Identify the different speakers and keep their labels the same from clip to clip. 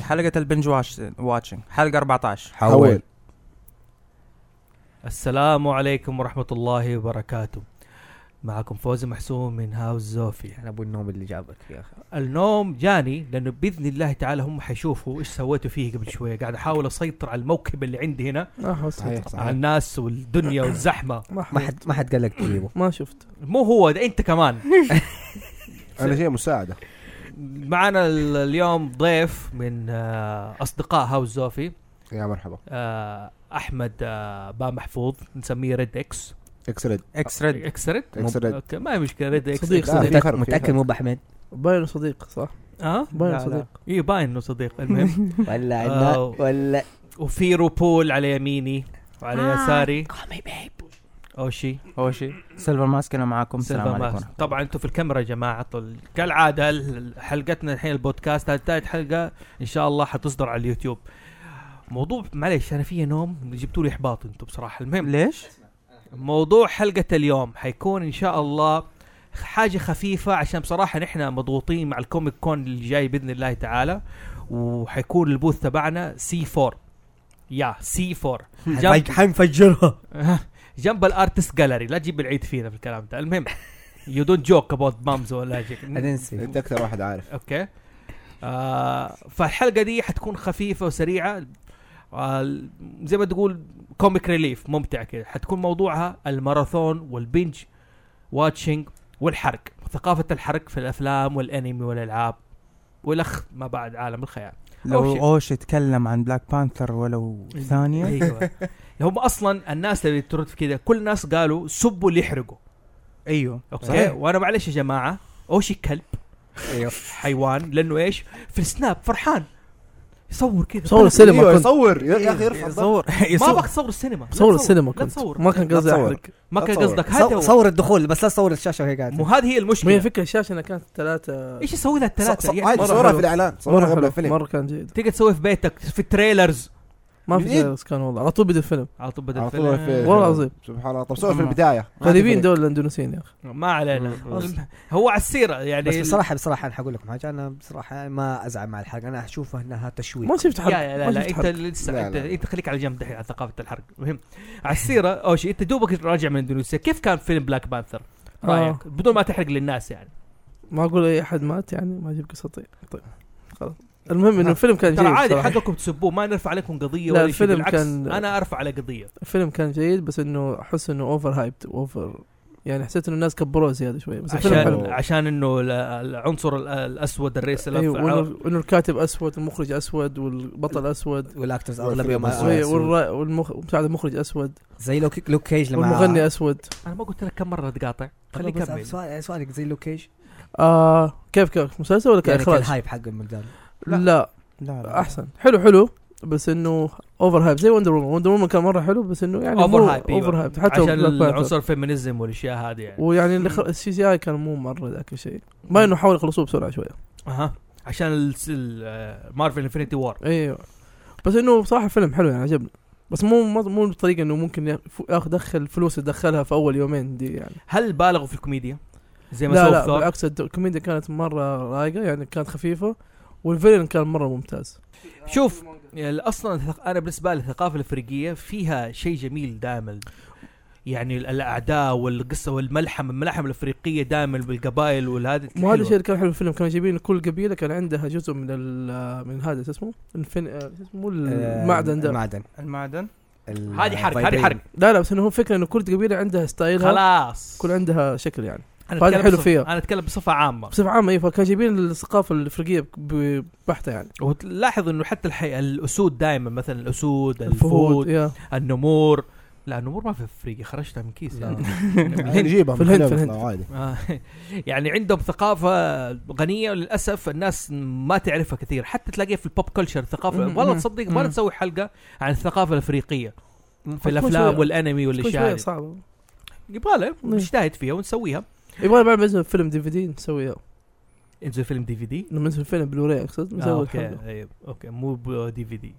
Speaker 1: حلقة البنج واتشنج حلقة 14
Speaker 2: حول
Speaker 3: السلام عليكم ورحمة الله وبركاته معكم فوزي محسوم من هاوس زوفي
Speaker 4: انا ابو النوم اللي جابك يا اخي
Speaker 3: النوم جاني لأنه بإذن الله تعالى هم حيشوفوا إيش سويتوا فيه قبل شوية قاعد أحاول أسيطر على الموكب اللي عندي هنا
Speaker 2: آه، صحيح
Speaker 3: على
Speaker 2: صحيح
Speaker 3: الناس والدنيا والزحمة
Speaker 4: ما حد ما حد قال لك تجيبه
Speaker 5: ما شفت
Speaker 3: مو هو ده أنت كمان
Speaker 2: انا جاي مساعده
Speaker 3: معنا ال- اليوم ضيف من آه، أصدقاء هاوس زوفي
Speaker 2: يا مرحبا
Speaker 3: آه، أحمد آه، با محفوظ نسميه ريد إكس
Speaker 2: اكسرد
Speaker 1: اكس ريد
Speaker 3: إكس ريد
Speaker 2: اكسرد
Speaker 3: اوكي ما هي مشكله ريد اكس
Speaker 5: صديق،
Speaker 3: لا،
Speaker 2: صديق. في فرق،
Speaker 4: متأكد,
Speaker 2: في
Speaker 4: متأكد
Speaker 2: فرق.
Speaker 4: مو باحمد
Speaker 5: باين صديق صح؟
Speaker 3: ها
Speaker 5: باين
Speaker 3: لا، لا.
Speaker 5: صديق.
Speaker 3: اي آه؟ إيه، باين انه صديق المهم
Speaker 4: ولا عنا-
Speaker 3: آه.
Speaker 4: ولا
Speaker 3: وفي روبول على يميني وعلى
Speaker 6: آه.
Speaker 3: يساري
Speaker 6: Call me babe.
Speaker 3: اوشي
Speaker 1: اول شيء سيلفر ماسك أنا معاكم السلام
Speaker 3: سيلفا
Speaker 1: عليكم
Speaker 3: ماست طبعا انتم في الكاميرا يا جماعه طل... كالعاده ال- حلقتنا الحين البودكاست هذه ثالث حلقه ان شاء الله حتصدر على اليوتيوب موضوع معليش انا في نوم جبتوا لي احباط انتم بصراحه المهم
Speaker 1: ليش؟
Speaker 3: موضوع حلقة اليوم حيكون إن شاء الله حاجة خفيفة عشان بصراحة نحن مضغوطين مع الكوميك كون اللي جاي بإذن الله تعالى وحيكون البوث تبعنا سي 4 يا سي 4 جنب
Speaker 4: حنفجرها
Speaker 3: جنب الارتست جاليري لا تجيب العيد فينا في الكلام ده المهم يو دونت جوك اباوت مامز ولا شيء.
Speaker 4: ننسي
Speaker 2: انت اكثر واحد عارف
Speaker 3: اوكي آه فالحلقة دي حتكون خفيفة وسريعة آه زي ما تقول كوميك ريليف ممتع كده حتكون موضوعها الماراثون والبنج واتشنج والحرق ثقافة الحرق في الأفلام والأنمي والألعاب والأخ ما بعد عالم الخيال
Speaker 1: لو
Speaker 3: أول شيء.
Speaker 1: أوش يتكلم عن بلاك بانثر ولو ثانية
Speaker 3: أيوة. هم أصلا الناس اللي ترد في كده كل الناس قالوا سبوا اللي يحرقوا
Speaker 1: أيوه
Speaker 3: اوكي
Speaker 1: صحيح.
Speaker 3: وانا معلش يا جماعه اوشي كلب
Speaker 5: أيوه.
Speaker 2: ايوه.
Speaker 3: حيوان لانه ايش في السناب فرحان يصور كذا
Speaker 5: صور
Speaker 3: طلع-
Speaker 5: السينما
Speaker 2: ايوه
Speaker 5: كنت
Speaker 2: يصور
Speaker 4: إيه،
Speaker 2: يا يا اخي ارفع الضغط.
Speaker 1: يصور
Speaker 3: ما
Speaker 1: يصور
Speaker 3: ابغى تصور السينما لا
Speaker 5: صور
Speaker 3: تصور،
Speaker 5: السينما
Speaker 3: لا
Speaker 5: كنت
Speaker 3: تصور
Speaker 5: ما كان
Speaker 2: لا
Speaker 5: قصدي
Speaker 2: تصور.
Speaker 5: احرق
Speaker 3: ما
Speaker 2: لا
Speaker 3: كان
Speaker 2: تصور.
Speaker 3: قصدك
Speaker 4: صو-
Speaker 3: هذا هو.
Speaker 4: صور الدخول بس لا صور الشاشه وهي
Speaker 3: مو
Speaker 4: قاعده
Speaker 3: هذه هي
Speaker 5: ما هي
Speaker 3: المشكله
Speaker 5: فكره الشاشه انها كانت ثلاثه
Speaker 3: ايش اسوي لها الثلاثه يعني
Speaker 2: عادي
Speaker 5: مرة
Speaker 2: صورها
Speaker 5: حلو.
Speaker 2: في الاعلان صورها
Speaker 5: مره
Speaker 2: قبل
Speaker 5: حلو
Speaker 2: الفيلم
Speaker 5: مره كان جيد
Speaker 3: تقدر تسوي في بيتك في التريلرز
Speaker 5: ما في
Speaker 2: جديد.
Speaker 5: جالس كان والله على طول بدا الفيلم
Speaker 3: على طول بدل
Speaker 2: على طول في
Speaker 3: الفيلم.
Speaker 5: والله العظيم.
Speaker 2: سبحان الله طب صور في
Speaker 1: أما.
Speaker 2: البدايه
Speaker 4: آه.
Speaker 5: غريبين دول الاندونيسيين يا اخي
Speaker 3: ما علينا
Speaker 2: خلاص.
Speaker 3: هو على السيره يعني
Speaker 4: بس بصراحه بصراحه انا حقول لكم حاجه انا بصراحه يعني ما ازعل مع الحلقه انا اشوفها انها تشويق
Speaker 5: ما شفت
Speaker 3: لا
Speaker 5: حرق
Speaker 3: لا إيه، طيب، لا,
Speaker 5: ما
Speaker 3: لا
Speaker 5: شفت
Speaker 3: انت
Speaker 5: حرق
Speaker 3: لسه
Speaker 2: لا،
Speaker 3: انت
Speaker 2: لا.
Speaker 3: انت خليك على جنب دحين على ثقافه الحرق مهم على السيره اول شيء انت دوبك راجع من اندونيسيا كيف كان فيلم بلاك بانثر؟
Speaker 5: آه.
Speaker 3: رايك بدون ما تحرق للناس يعني
Speaker 5: ما اقول اي احد مات يعني ما اجيب قصتي طيب خلاص المهم انه الفيلم كان
Speaker 3: ترى
Speaker 5: جيد
Speaker 3: عادي
Speaker 5: صراحة.
Speaker 3: حقكم تسبوه ما نرفع عليكم قضيه
Speaker 5: لا،
Speaker 3: ولا شيء
Speaker 5: الفيلم
Speaker 3: بالعكس
Speaker 5: كان-
Speaker 3: انا ارفع على قضيه
Speaker 5: الفيلم كان جيد بس انه احس انه اوفر هايبد اوفر يعني حسيت انه الناس كبروه زياده شويه بس الفيلم
Speaker 3: عشان
Speaker 5: حلو
Speaker 3: عشان انه ال- العنصر ال- الاسود الرئيس
Speaker 5: ايوه وانه وإنه الكاتب اسود والمخرج اسود والبطل اسود
Speaker 4: والاكترز
Speaker 2: والفيلم
Speaker 4: اغلبهم
Speaker 2: أسود.
Speaker 4: أسود.
Speaker 5: والرا- والمخ ومساعد المخرج اسود
Speaker 4: زي لو لوك كيج لما
Speaker 5: والمغني اسود
Speaker 3: انا ما قلت لك كم مره تقاطع
Speaker 4: خليني
Speaker 3: خليك كمل
Speaker 4: سؤال سؤالك زي لوك كيج
Speaker 5: آه كيف كيف مسلسل ولا
Speaker 4: يعني
Speaker 5: كاخراج؟
Speaker 4: الهايب حق المقدار
Speaker 5: لا.
Speaker 1: لا لا
Speaker 5: احسن حلو حلو بس انه اوفر هايب زي وندر وومن وندر وومن كان مره حلو بس انه يعني
Speaker 3: اوفر هايب
Speaker 5: اوفر هايب حتى
Speaker 3: أيوة. عشان
Speaker 5: Black Panther.
Speaker 3: العنصر الفيمينيزم والاشياء هذه يعني
Speaker 5: ويعني السي جي اي كان مو مره ذاك الشيء ما انه حاول يخلصوه بسرعه شويه
Speaker 3: اها عشان آه، مارفل انفنتي وار
Speaker 5: ايوه بس انه بصراحه فيلم حلو يعني عجبني بس مو مو- مو بالطريقه انه ممكن ياخ- ياخ دخل فلوس يدخلها في اول يومين دي يعني
Speaker 3: هل بالغوا في الكوميديا؟ زي ما
Speaker 5: لا
Speaker 3: سووا في
Speaker 5: لا
Speaker 3: ثور؟
Speaker 5: بالعكس الد- الكوميديا كانت مره رايقه يعني كانت خفيفه والفيلن كان مره ممتاز
Speaker 3: شوف يعني اصلا الثق- انا بالنسبه لي الثقافه الافريقيه فيها شيء جميل دائما يعني ال- الاعداء والقصه والملحمه الملاحم الافريقيه دائما بالقبائل والهذا
Speaker 5: مو هذا
Speaker 3: حلوة.
Speaker 5: الشيء اللي كان حلو في الفيلم كانوا جايبين كل قبيله كان عندها جزء من ال من هذا شو اسمه؟ الفن آه، شو اسمه المعدن ده
Speaker 4: المعدن
Speaker 1: المعدن
Speaker 4: ال-
Speaker 3: هذه حرق هذه
Speaker 4: vibranium.
Speaker 3: حرق
Speaker 5: لا لا بس انه هو فكره انه كل قبيله عندها ستايلها
Speaker 3: خلاص
Speaker 5: كل عندها شكل يعني أيوة،
Speaker 3: أنا
Speaker 5: فهذا
Speaker 3: أتكلم
Speaker 5: حلو
Speaker 3: بصف-
Speaker 5: فيها.
Speaker 3: انا اتكلم بصفه عامه
Speaker 5: بصفه عامه اي فكان جايبين الثقافه الافريقيه ب- بحته يعني
Speaker 3: وتلاحظ انه حتى الحي... الاسود دائما مثلا الاسود الفهود
Speaker 5: الفهود يا
Speaker 3: النمور لا النمور ما في افريقيا خرجتها من كيس يعني
Speaker 2: يعني نجيبها
Speaker 5: في الهند،
Speaker 2: من
Speaker 5: في
Speaker 2: الهند
Speaker 5: الهند.
Speaker 2: عادي
Speaker 3: آه، يعني عندهم ثقافة غنية وللأسف الناس ما تعرفها كثير حتى تلاقيها في البوب كلتشر ثقافة
Speaker 5: مم،
Speaker 3: والله
Speaker 5: مم،
Speaker 3: تصدق ما
Speaker 5: مم.
Speaker 3: نسوي حلقة عن الثقافة الأفريقية في
Speaker 5: شوي-
Speaker 3: الأفلام والأنمي
Speaker 5: كل شويه
Speaker 3: والأشياء هذه
Speaker 5: صعبه
Speaker 3: يبغى لها
Speaker 5: مم.
Speaker 3: نجتهد فيها ونسويها
Speaker 5: يبغى بعد بس فيلم دي في دي نسويها
Speaker 3: انزل فيلم دي في دي
Speaker 5: لما ننزل فيلم بلوراي اقصد
Speaker 3: آه،
Speaker 5: نسوي
Speaker 3: اوكي
Speaker 5: الحلقه
Speaker 3: أيوة، اوكي مو دي في دي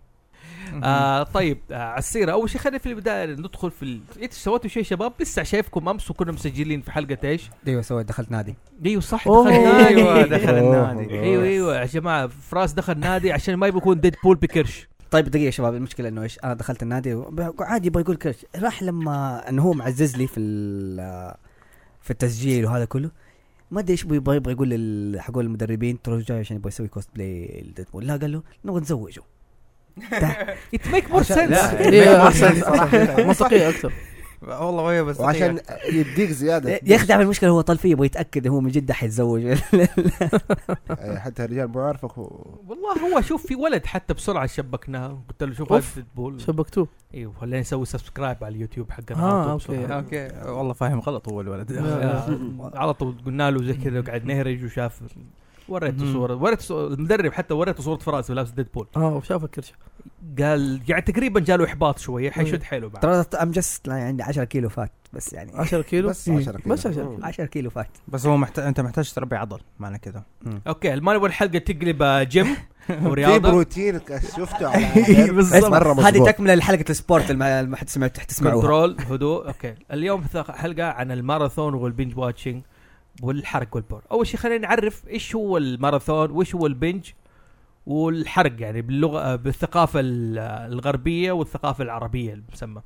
Speaker 3: آه طيب آه على السيره اول شيء خلينا في البدايه ندخل في ال... انت سويتوا شيء يا شباب لسه شايفكم امس وكنا مسجلين في حلقه ايش؟
Speaker 4: ايوه سويت دخلت نادي
Speaker 3: ايوه صح
Speaker 5: أوه.
Speaker 3: دخلنا
Speaker 1: ايوه
Speaker 3: ايوه
Speaker 1: دخل النادي
Speaker 3: ايوه ايوه يا جماعه فراس دخل نادي عشان ما يبغى يكون ديد بول بكرش
Speaker 4: طيب دقيقه يا شباب المشكله انه ايش انا دخلت النادي وب- عادي يبغى يقول كرش راح لما انه هو معزز لي في ال- في التسجيل وهذا كله ما ادري ايش يبغى يبغى يقول لل- حقول المدربين ترى جاي عشان يبغى يسوي كوست بلاي لديدبول لا قال له نبغى نزوجه
Speaker 3: ات ميك مور
Speaker 4: عشان-
Speaker 3: سنس
Speaker 4: لا.
Speaker 5: إيه،
Speaker 2: صح.
Speaker 5: منطقيه اكثر
Speaker 1: والله وهي بس
Speaker 2: وعشان يديك زياده
Speaker 4: يخدع في المشكله هو طال فيه يبغى يتاكد هو من جد حيتزوج
Speaker 2: إيه، حتى الرجال مو عارفك و-
Speaker 3: والله هو شوف في ولد حتى بسرعه شبكناه قلت له شوف هذا
Speaker 5: أوف.
Speaker 3: ديد بول
Speaker 5: شبكتوه
Speaker 3: ايوه خلينا نسوي سبسكرايب على اليوتيوب حقنا
Speaker 5: آه،
Speaker 3: على طول
Speaker 5: أوكي.
Speaker 3: بسرعة.
Speaker 1: اوكي إيه، والله فاهم غلط هو الولد
Speaker 3: آه، على طول قلنا له زي كذا قاعد نهرج وشاف وريته
Speaker 1: مم.
Speaker 3: صوره وريته صورة- المدرب حتى وريته صوره فراس لابس ديد بول
Speaker 5: اه وشاف الكرشه
Speaker 3: قال يعني تقريبا جاله احباط شويه حيشد حيله بعد
Speaker 4: ترى ام جست عندي 10 يعني كيلو فات بس يعني
Speaker 5: 10 كيلو
Speaker 2: بس 10 كيلو.
Speaker 5: بس 10 كيلو
Speaker 4: 10 كيلو فات
Speaker 1: بس هو محتاج انت محتاج تربي عضل معنى كذا
Speaker 3: اوكي ما نبغى الحلقه تقلب آه، جيم
Speaker 2: في
Speaker 3: ورياضه
Speaker 2: بروتين ك- شفته على
Speaker 4: بس
Speaker 2: مرة
Speaker 4: إيه، هذه
Speaker 2: مظبوط.
Speaker 4: تكمله لحلقه السبورت اللي ما حد سمع تحت تسمعوها
Speaker 3: كنترول هدوء اوكي اليوم ثق- حلقه عن الماراثون والبنج واتشنج والحرق والبور اول شيء خلينا نعرف ايش هو الماراثون وايش هو البنج والحرق يعني باللغه بالثقافه ال- الغربيه والثقافه العربيه المسمى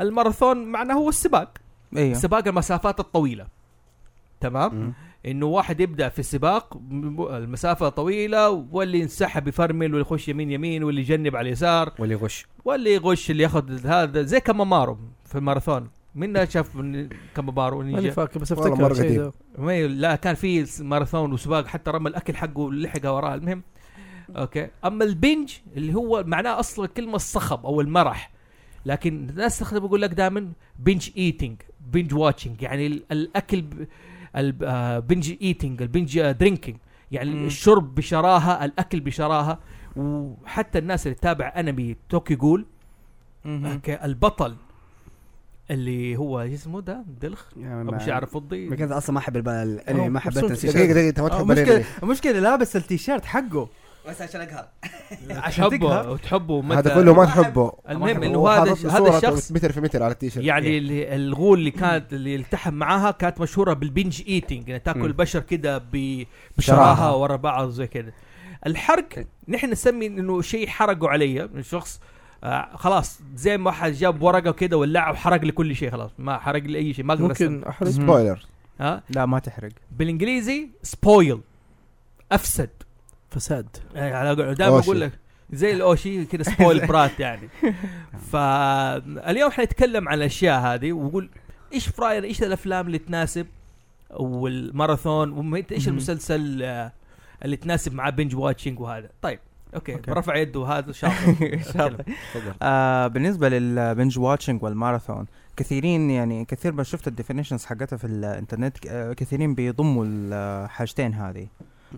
Speaker 3: الماراثون معناه هو السباق
Speaker 1: ايوه
Speaker 3: سباق المسافات الطويله تمام انه واحد يبدا في السباق م- المسافه طويله واللي ينسحب يفرمل واللي يخش يمين يمين واللي يجنب على اليسار
Speaker 4: واللي يغش
Speaker 3: واللي يغش اللي ياخذ هذا زي كمامارو في الماراثون منا شاف من- كمامارو
Speaker 5: ماني
Speaker 3: نينجا
Speaker 5: فاكر بس
Speaker 2: والله مرة
Speaker 5: افتكر شيء
Speaker 2: قديم.
Speaker 5: ذا.
Speaker 3: ما ي- لا كان في س- ماراثون وسباق حتى رمى الاكل حقه لحقه وراه المهم اوكي اما البنج اللي هو معناه اصلا كلمه الصخب او المرح لكن الناس تستخدم يقول لك دائما بنج ايتنج بنج واتشنج يعني ال- الاكل البنج ايتنج البنج درينكينج آه، يعني
Speaker 1: مم.
Speaker 3: الشرب بشراهه الاكل بشراهه وحتى الناس اللي تتابع انمي توكي جول
Speaker 1: مهم.
Speaker 3: اوكي البطل اللي هو إيش اسمه ده دلخ ابو شعر فضي
Speaker 4: كذا اصلا ما احب الب- الانمي ما حبيت
Speaker 5: مبسوط.
Speaker 4: السيشن.
Speaker 2: دقيقه دقيقه انت ما
Speaker 1: آه،
Speaker 2: تحب
Speaker 1: مشكلة
Speaker 2: الأنمي.
Speaker 1: مشكلة لابس التيشيرت حقه
Speaker 4: بس عشان اقهر
Speaker 1: عشان
Speaker 3: تحبه
Speaker 1: تقهر
Speaker 3: وتحبه متى
Speaker 2: هذا كله ما تحبه
Speaker 3: المهم انه
Speaker 2: هو
Speaker 3: هذا
Speaker 2: حاطط له
Speaker 3: هذا
Speaker 2: صورة
Speaker 3: الشخص
Speaker 2: متر في متر على التيشيرت
Speaker 3: يعني اللي- الغول اللي كانت اللي التحم معاها كانت مشهوره بالبنج ايتنج يعني تاكل
Speaker 4: مم.
Speaker 3: البشر كده ب- بشراهه
Speaker 2: شراهة.
Speaker 3: ورا بعض زي كده الحرق نحن نسمي انه شيء حرقوا علي الشخص آه خلاص زي ما واحد جاب ورقه كده ولاعه وحرق لي كل شيء خلاص ما حرق لي اي شيء ما اقدر أستنى.
Speaker 5: ممكن احرق
Speaker 2: سبويلر
Speaker 3: ها
Speaker 1: لا ما تحرق
Speaker 3: بالانجليزي سبويل افسد
Speaker 5: فساد
Speaker 3: يعني على دائما
Speaker 2: أوشي.
Speaker 3: اقول لك زي الاوشي كذا سبويل برات يعني فاليوم حنتكلم عن الاشياء هذه ونقول ايش في راينا ايش الافلام اللي تناسب والماراثون ومت- ايش
Speaker 1: مهم.
Speaker 3: المسلسل آه، اللي تناسب مع بنج واتشنج وهذا طيب اوكي,
Speaker 1: أوكي.
Speaker 3: رفع يده هذا شاطر
Speaker 1: شاطر.
Speaker 3: أتكلم.
Speaker 2: تفضل
Speaker 1: آه بالنسبة للبنج واتشنج والماراثون كثيرين يعني كثير ما شفت الديفينيشنز حقتها في الانترنت آه، كثيرين بيضموا الحاجتين هذه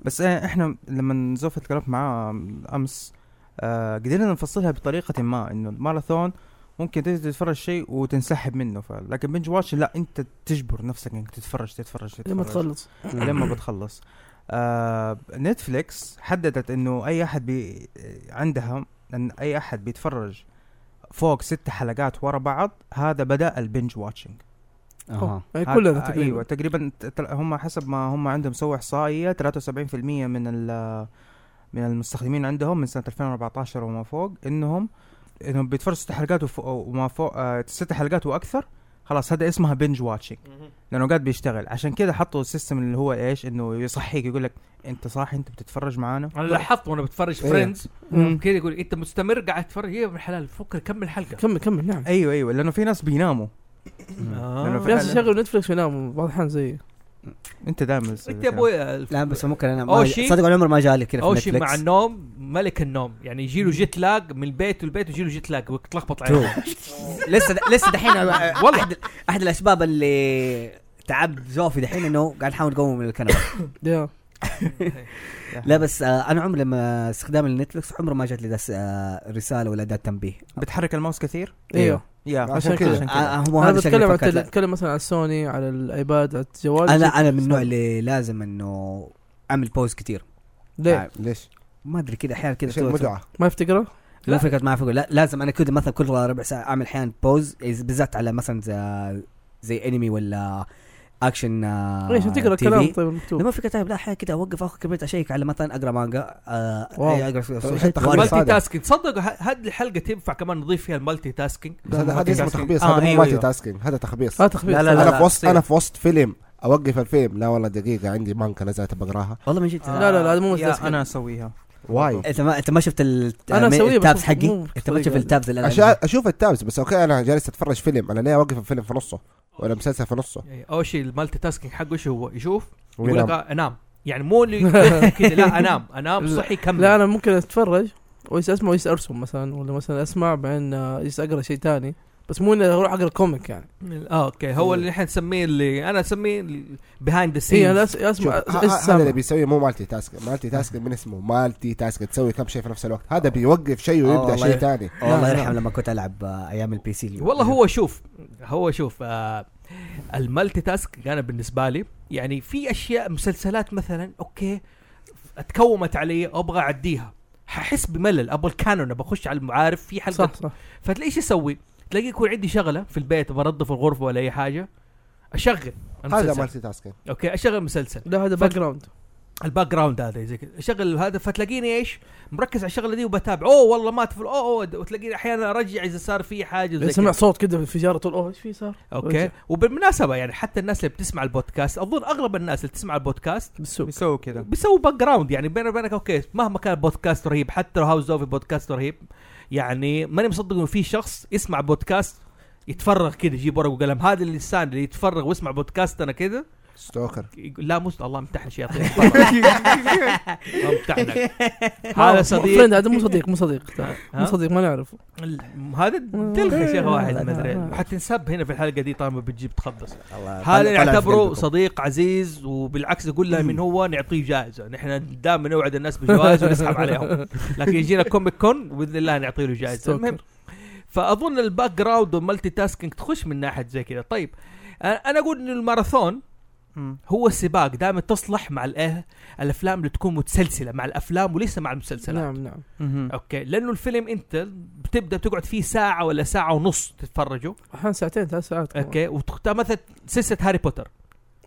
Speaker 1: بس آه، احنا لما زوف تكلمت معاه امس آه قدرنا نفصلها بطريقة ما انه الماراثون ممكن تجي تتفرج شيء وتنسحب منه ف... لكن بنج واتش لا انت تجبر نفسك انك تتفرج تتفرج تتفرج
Speaker 5: لما تخلص
Speaker 1: لما بتخلص آه نتفليكس حددت انه اي احد بي عندها ان اي احد بيتفرج فوق ست حلقات ورا بعض هذا بدا البنج واتشنج
Speaker 4: اها
Speaker 5: يعني
Speaker 1: هذا-
Speaker 5: كلنا
Speaker 1: آه،
Speaker 5: تقريبا
Speaker 1: ايوه تقريبا ت- تل- هم حسب ما هم عندهم سووا احصائيه 73% من ال من المستخدمين عندهم من سنه 2014 وما فوق انهم انهم بيتفرجوا ست حلقات وفوق وما فوق آه ست حلقات واكثر خلاص هذا اسمها بنج واتشنج لانه قاعد بيشتغل عشان كذا حطوا السيستم اللي هو ايش انه يصحيك يقول لك انت صاحي انت بتتفرج معانا
Speaker 3: انا لاحظت وانا بتفرج
Speaker 2: إيه.
Speaker 3: فريندز
Speaker 1: مم.
Speaker 3: كذا يقول انت مستمر قاعد تتفرج إيه يا ابن الحلال فكر كمل حلقه
Speaker 5: كمل كمل نعم
Speaker 1: ايوه ايوه لانه في ناس بيناموا
Speaker 3: آه.
Speaker 5: في ناس
Speaker 1: فعلاً.
Speaker 5: يشغلوا نتفلكس ويناموا بعض الأحيان زي
Speaker 1: انت دائما
Speaker 3: انت يا ابوي آه،
Speaker 4: لا بس ممكن انا ما-
Speaker 3: أوشي.
Speaker 4: صدق العمر ما جالي كذا في
Speaker 3: اوشي
Speaker 4: نتفلكس
Speaker 3: مع النوم ملك النوم يعني يجي له جيت لاج من البيت والبيت يجي له جيت لاج وتلخبط
Speaker 4: True.
Speaker 3: عليه
Speaker 4: لسه لسه دحين
Speaker 3: والله.
Speaker 4: احد احد الاسباب اللي تعب زوفي دحين انه قاعد يحاول يقومه من الكنبه
Speaker 5: يا
Speaker 4: لا بس آه انا عمري لما استخدام النتفلكس عمره ما جات لي دس آه رساله ولا جات تنبيه
Speaker 1: بتحرك الماوس كثير
Speaker 5: ايوه
Speaker 1: يا
Speaker 2: عشان
Speaker 5: عشان
Speaker 2: كذا.
Speaker 5: كذا
Speaker 1: عشان كذا
Speaker 4: آه هو
Speaker 5: انا
Speaker 4: هذا الشيء اللي
Speaker 5: بتكلم عن
Speaker 4: فكرت.
Speaker 5: تل- بتكلم مثلا على السوني على الايباد على الجوال
Speaker 4: انا
Speaker 5: شيء-
Speaker 4: انا من النوع اللي لازم انه اعمل بوز كثير
Speaker 5: ليه
Speaker 4: آه،
Speaker 2: ليش؟
Speaker 4: ما ادري كذا احيانا كذا
Speaker 2: عشان
Speaker 4: تسوي-
Speaker 2: المتعه
Speaker 5: ما يفتقره
Speaker 4: مو
Speaker 3: لا.
Speaker 4: فكره ما اعرف اقول لا لازم انا كذا مثلا كل ربع ساعه اعمل احيانا بوز بالذات على مثلا زي, زي انمي ولا اكشن آه،
Speaker 5: ايش تقرا
Speaker 4: تي في.
Speaker 5: كلام طيب مكتوب
Speaker 4: لما فكره طيب لا احيانا كذا اوقف اخذ كبريت اشيك على مثلا اقرا مانجا آه،
Speaker 5: واو.
Speaker 4: أي اقرا
Speaker 2: حتى
Speaker 4: خارج.
Speaker 2: خالص.
Speaker 3: مالتي
Speaker 2: صادق.
Speaker 3: تاسكينج تصدق ه- هذه الحلقه تنفع كمان نضيف فيها المالتي تاسكينج
Speaker 2: بس هذا هذا اسمه
Speaker 1: multitasking.
Speaker 2: تخبيص
Speaker 1: آه،
Speaker 2: هذا مو
Speaker 1: أيوه،
Speaker 2: مالتي
Speaker 1: أيوه.
Speaker 2: تاسكينج هذا تخبيص
Speaker 5: أه، لا تخفيف
Speaker 1: لا، لا، لا.
Speaker 2: انا في وسط
Speaker 1: تصير.
Speaker 2: انا في وسط فيلم اوقف الفيلم لا والله دقيقه عندي مانكا نزلت بقراها
Speaker 4: والله من جد
Speaker 5: لا، لا، لا، هذا مو
Speaker 1: يا
Speaker 5: مستسهل.
Speaker 1: انا اسويها
Speaker 2: واي
Speaker 4: انت ما انت ما شفت ال-
Speaker 5: أنا أسويه بس
Speaker 4: التابس
Speaker 5: مو-
Speaker 4: حقي
Speaker 5: مو
Speaker 4: انت ما
Speaker 5: بطريقة
Speaker 4: تشوف
Speaker 5: هذه.
Speaker 4: التابس اللي أنا
Speaker 2: عشان
Speaker 4: عندي.
Speaker 2: اشوف التابس بس اوكي انا جالس اتفرج فيلم انا ليه اوقف الفيلم في نصه ولا مسلسل في نصه
Speaker 3: يعني اول شيء المالتي تاسكينج حقه ايش هو؟ يشوف يقول لك
Speaker 2: وينام
Speaker 3: آه، انام يعني مو اللي كذا لا انام انام صحي كمل
Speaker 5: لا انا ممكن اتفرج ويس اسمع ويس ارسم مثلا ولا مثلا اسمع بعدين آه، يس اقرا شيء ثاني بس مو اني اروح اقرا كوميك يعني
Speaker 3: اه اوكي هو اللي احنا نسميه اللي انا اسميه بيهايند ذا
Speaker 5: اي انا
Speaker 3: سينز
Speaker 5: إيه، أس- آه، اسمع
Speaker 2: شوف،
Speaker 5: أس-
Speaker 2: ه- ه-
Speaker 5: أس-
Speaker 2: هذا اللي
Speaker 5: سامع.
Speaker 2: بيسويه مو مالتي تاسك مالتي تاسك من اسمه مالتي تاسك تسوي كم شيء في نفس الوقت هذا بيوقف شيء
Speaker 4: آه،
Speaker 2: ويبدا
Speaker 4: والله
Speaker 2: شيء
Speaker 4: يف-
Speaker 2: ثاني
Speaker 4: والله
Speaker 5: لا، لا.
Speaker 4: يرحم لما كنت العب آه، ايام البي سي
Speaker 3: والله هو شوف هو شوف آه المالتي تاسك انا بالنسبه لي يعني في اشياء مسلسلات مثلا اوكي اتكومت علي ابغى اعديها ححس بملل ابغى الكانون بخش على المعارف في حلقه
Speaker 5: صح صح
Speaker 3: فتلاقي ايش اسوي؟ تلاقي يكون عندي شغله في البيت بنظف الغرفه ولا اي حاجه اشغل
Speaker 2: هذا
Speaker 3: المسلسل
Speaker 2: مالتي تاسك
Speaker 3: اوكي اشغل مسلسل
Speaker 5: لا هذا
Speaker 3: فك-
Speaker 5: باك جراوند
Speaker 3: الباك جراوند هذا زي كذا اشغل هذا فتلاقيني ايش؟ مركز على الشغله دي وبتابع اوه والله ما تفل اوه اوه وتلاقيني احيانا ارجع اذا صار في حاجه زي
Speaker 5: سمع
Speaker 3: كذا
Speaker 5: صوت كذا انفجار طول اوه ايش في صار؟
Speaker 3: اوكي
Speaker 5: ورجع.
Speaker 3: وبالمناسبه يعني حتى الناس اللي بتسمع البودكاست اظن اغلب الناس اللي تسمع البودكاست
Speaker 5: بالسوق
Speaker 1: يسووا كذا
Speaker 3: بيسووا باك جراوند يعني بيني وبينك اوكي مهما كان بودكاست رهيب حتى لو هاوس اوف بودكاست رهيب يعني ماني مصدق انه في شخص يسمع بودكاست يتفرغ كذا يجيب ورق وقلم هذا الانسان اللي يتفرغ ويسمع بودكاست انا كذا
Speaker 2: ستوكر
Speaker 3: يقول لا مست الله امتحن شياطين الله امتحنك هذا صديق
Speaker 5: فريند هذا مو صديق مو صديق ترى.
Speaker 3: ها؟
Speaker 5: مو صديق ما نعرفه
Speaker 3: ال- هذا دلخ شيخ واحد ما ادري حتنسب هنا في الحلقه دي طالما بتجيب تخبص هذا نعتبره صديق عزيز وبالعكس نقول له من هو نعطيه جائزه نحن دائما نوعد الناس بجوائز ونسحب
Speaker 5: نعم،
Speaker 3: عليهم لكن يجينا كوميك كون باذن الله نعطي له جائزه المهم فاظن الباك جراوند والمالتي تاسكينج تخش من ناحيه زي كذا طيب أنا- انا اقول ان الماراثون
Speaker 1: مم.
Speaker 3: هو السباق دائما تصلح مع الايه الافلام اللي تكون متسلسله مع الافلام وليس مع المسلسلات
Speaker 5: نعم نعم
Speaker 1: مهم.
Speaker 3: اوكي لانه الفيلم انت بتبدا تقعد فيه ساعه ولا ساعه ونص تتفرجه
Speaker 5: احيانا ساعتين ثلاث ساعات كمان.
Speaker 3: اوكي وتخت- مثلا سلسله هاري بوتر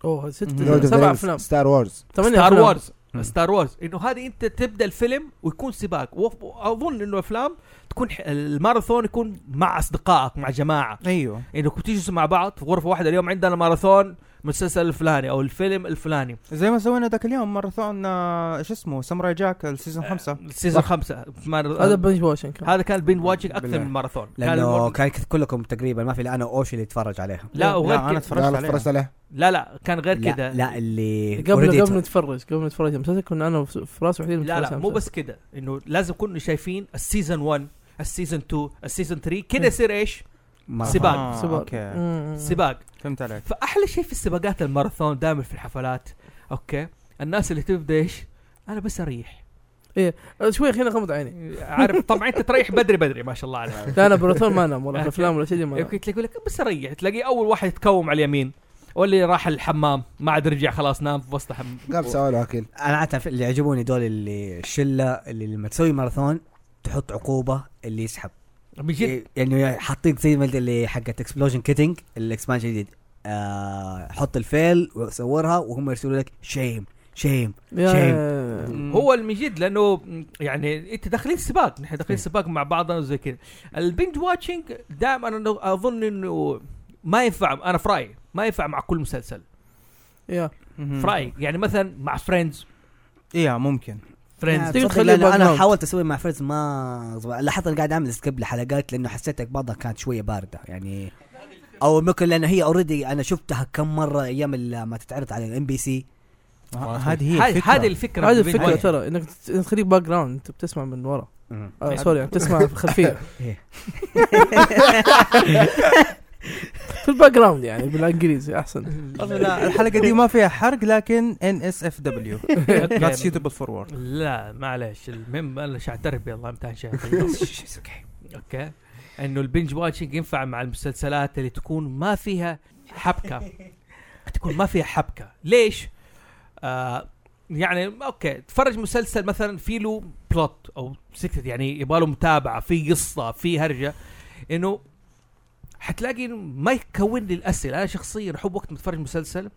Speaker 5: اوه ست
Speaker 1: مم.
Speaker 5: سبع افلام
Speaker 2: ستار وورز
Speaker 5: ثمانية
Speaker 3: ستار
Speaker 5: أفلام.
Speaker 3: وورز
Speaker 1: مم.
Speaker 3: ستار وورز انه هذه انت تبدا الفيلم ويكون سباق وف- واظن انه افلام تكون ح- الماراثون يكون مع اصدقائك مع جماعه
Speaker 1: ايوه
Speaker 3: انه تجلسوا مع بعض في غرفه واحده اليوم عندنا ماراثون مسلسل الفلاني او الفيلم الفلاني
Speaker 1: زي ما سوينا ذاك اليوم ماراثون آه، ايش اسمه ساموراي جاك
Speaker 5: آه.
Speaker 1: السيزون خمسة
Speaker 3: سيزون خمسة مار-
Speaker 5: هذا بنج واشنج كان
Speaker 3: هذا كان بين واتشنج اكثر
Speaker 2: بالله.
Speaker 3: من ماراثون كان
Speaker 4: لانه
Speaker 3: المر-
Speaker 4: كان كلكم تقريبا ما في لا انا اوشي اللي يتفرج عليها
Speaker 3: لا وغير
Speaker 1: لا انا
Speaker 3: كده
Speaker 1: اتفرجت عليه
Speaker 2: اتفرجت عليه
Speaker 3: لا لا كان غير
Speaker 4: لا-
Speaker 3: كده
Speaker 4: لا اللي
Speaker 5: قبل
Speaker 4: already
Speaker 5: قبل نتفرج قبل نتفرج على المسلسل كنا انا وف- فراس وحيد
Speaker 3: لا لا مو بس كده انه لازم كنا شايفين السيزون 1 السيزون 2 السيزون 3 كده يصير ايش؟
Speaker 4: ما-
Speaker 3: سباق.
Speaker 1: آه،
Speaker 5: سباق.
Speaker 1: اوكي
Speaker 3: سباق
Speaker 1: فهمت عليك
Speaker 3: فاحلى شيء في السباقات الماراثون دائما في الحفلات اوكي الناس اللي تبدا ايش؟ انا بس اريح
Speaker 5: شوي خلينا غمض عيني
Speaker 3: عارف طبعا انت تريح بدري بدري ما شاء الله عليك
Speaker 5: لا انا براتون ما انام ولا في افلام ولا شيء دي ما انام
Speaker 3: يمكن تلاقي يقول لك بس اريح تلاقي اول واحد يتكوم على اليمين واللي راح الحمام ما عاد رجع خلاص نام في وسط الحمام
Speaker 2: قام سوى له اكل
Speaker 4: انا اعرف اللي يعجبوني دول اللي الشله اللي لما تسوي ماراثون تحط عقوبه اللي يسحب
Speaker 3: من جد
Speaker 4: يعني حاطين زي ما اللي حقت اكسبلوجن كيتنج الاكسبانشن الجديد آه حط الفيل وصورها وهم يرسلوا لك شيم شيم
Speaker 5: يا-
Speaker 4: شيم.
Speaker 5: يا-
Speaker 3: هو اللي من جد لانه يعني انت داخلين سباق نحن داخلين سباق مع بعضنا وزي كذا البنج واتشنج دائما انا اظن انه ما ينفع انا في رايي ما ينفع مع كل مسلسل
Speaker 5: يا
Speaker 1: مهم.
Speaker 3: في رايي يعني مثلا مع فريندز
Speaker 1: ايه ممكن
Speaker 4: لا،
Speaker 3: فريندز
Speaker 5: تبي
Speaker 4: تصدق
Speaker 5: تخليه
Speaker 4: لا، لا،
Speaker 5: باك
Speaker 4: انا
Speaker 5: جراوند.
Speaker 4: حاولت اسوي مع فريز ما زبط. لاحظت انا قاعد اعمل سكيب لحلقات لانه حسيت إنك بعضها كانت شويه بارده يعني او ممكن لان هي اوريدي انا شفتها كم مره ايام ال- ما تتعرض على الام بي سي
Speaker 1: آه، هذه هي
Speaker 3: هذه هذه
Speaker 1: الفكرة
Speaker 3: الفكره
Speaker 5: هذه
Speaker 3: في Binge
Speaker 5: الفكره
Speaker 3: Watching.
Speaker 5: ترى انك تت- إنك تخليك باك جراوند انت بتسمع من ورا آه
Speaker 3: إيه.
Speaker 5: سوري يعني بتسمع في الخلفيه
Speaker 4: إيه.
Speaker 5: في الباك جراوند يعني بالانجليزي احسن
Speaker 1: والله لا الحلقة دي ما فيها حرق لكن ان اس اف دبليو نوت
Speaker 3: أوكي.
Speaker 1: سيوتبل فور وورد
Speaker 3: يعني لا معلش المهم انا مش اعترف بالله امتحان شياطين بس اوكي اوكي انه البنج واتشنج ينفع مع المسلسلات اللي تكون ما فيها حبكه تكون ما فيها حبكه ليش؟ آه يعني اوكي تفرج مسلسل مثلا في له بلوت او سكت يعني يبغى متابعه في قصه في هرجه انه حتلاقي إنه ما يكون لي الاسئله انا شخصيا احب وقت ما اتفرج مسلسل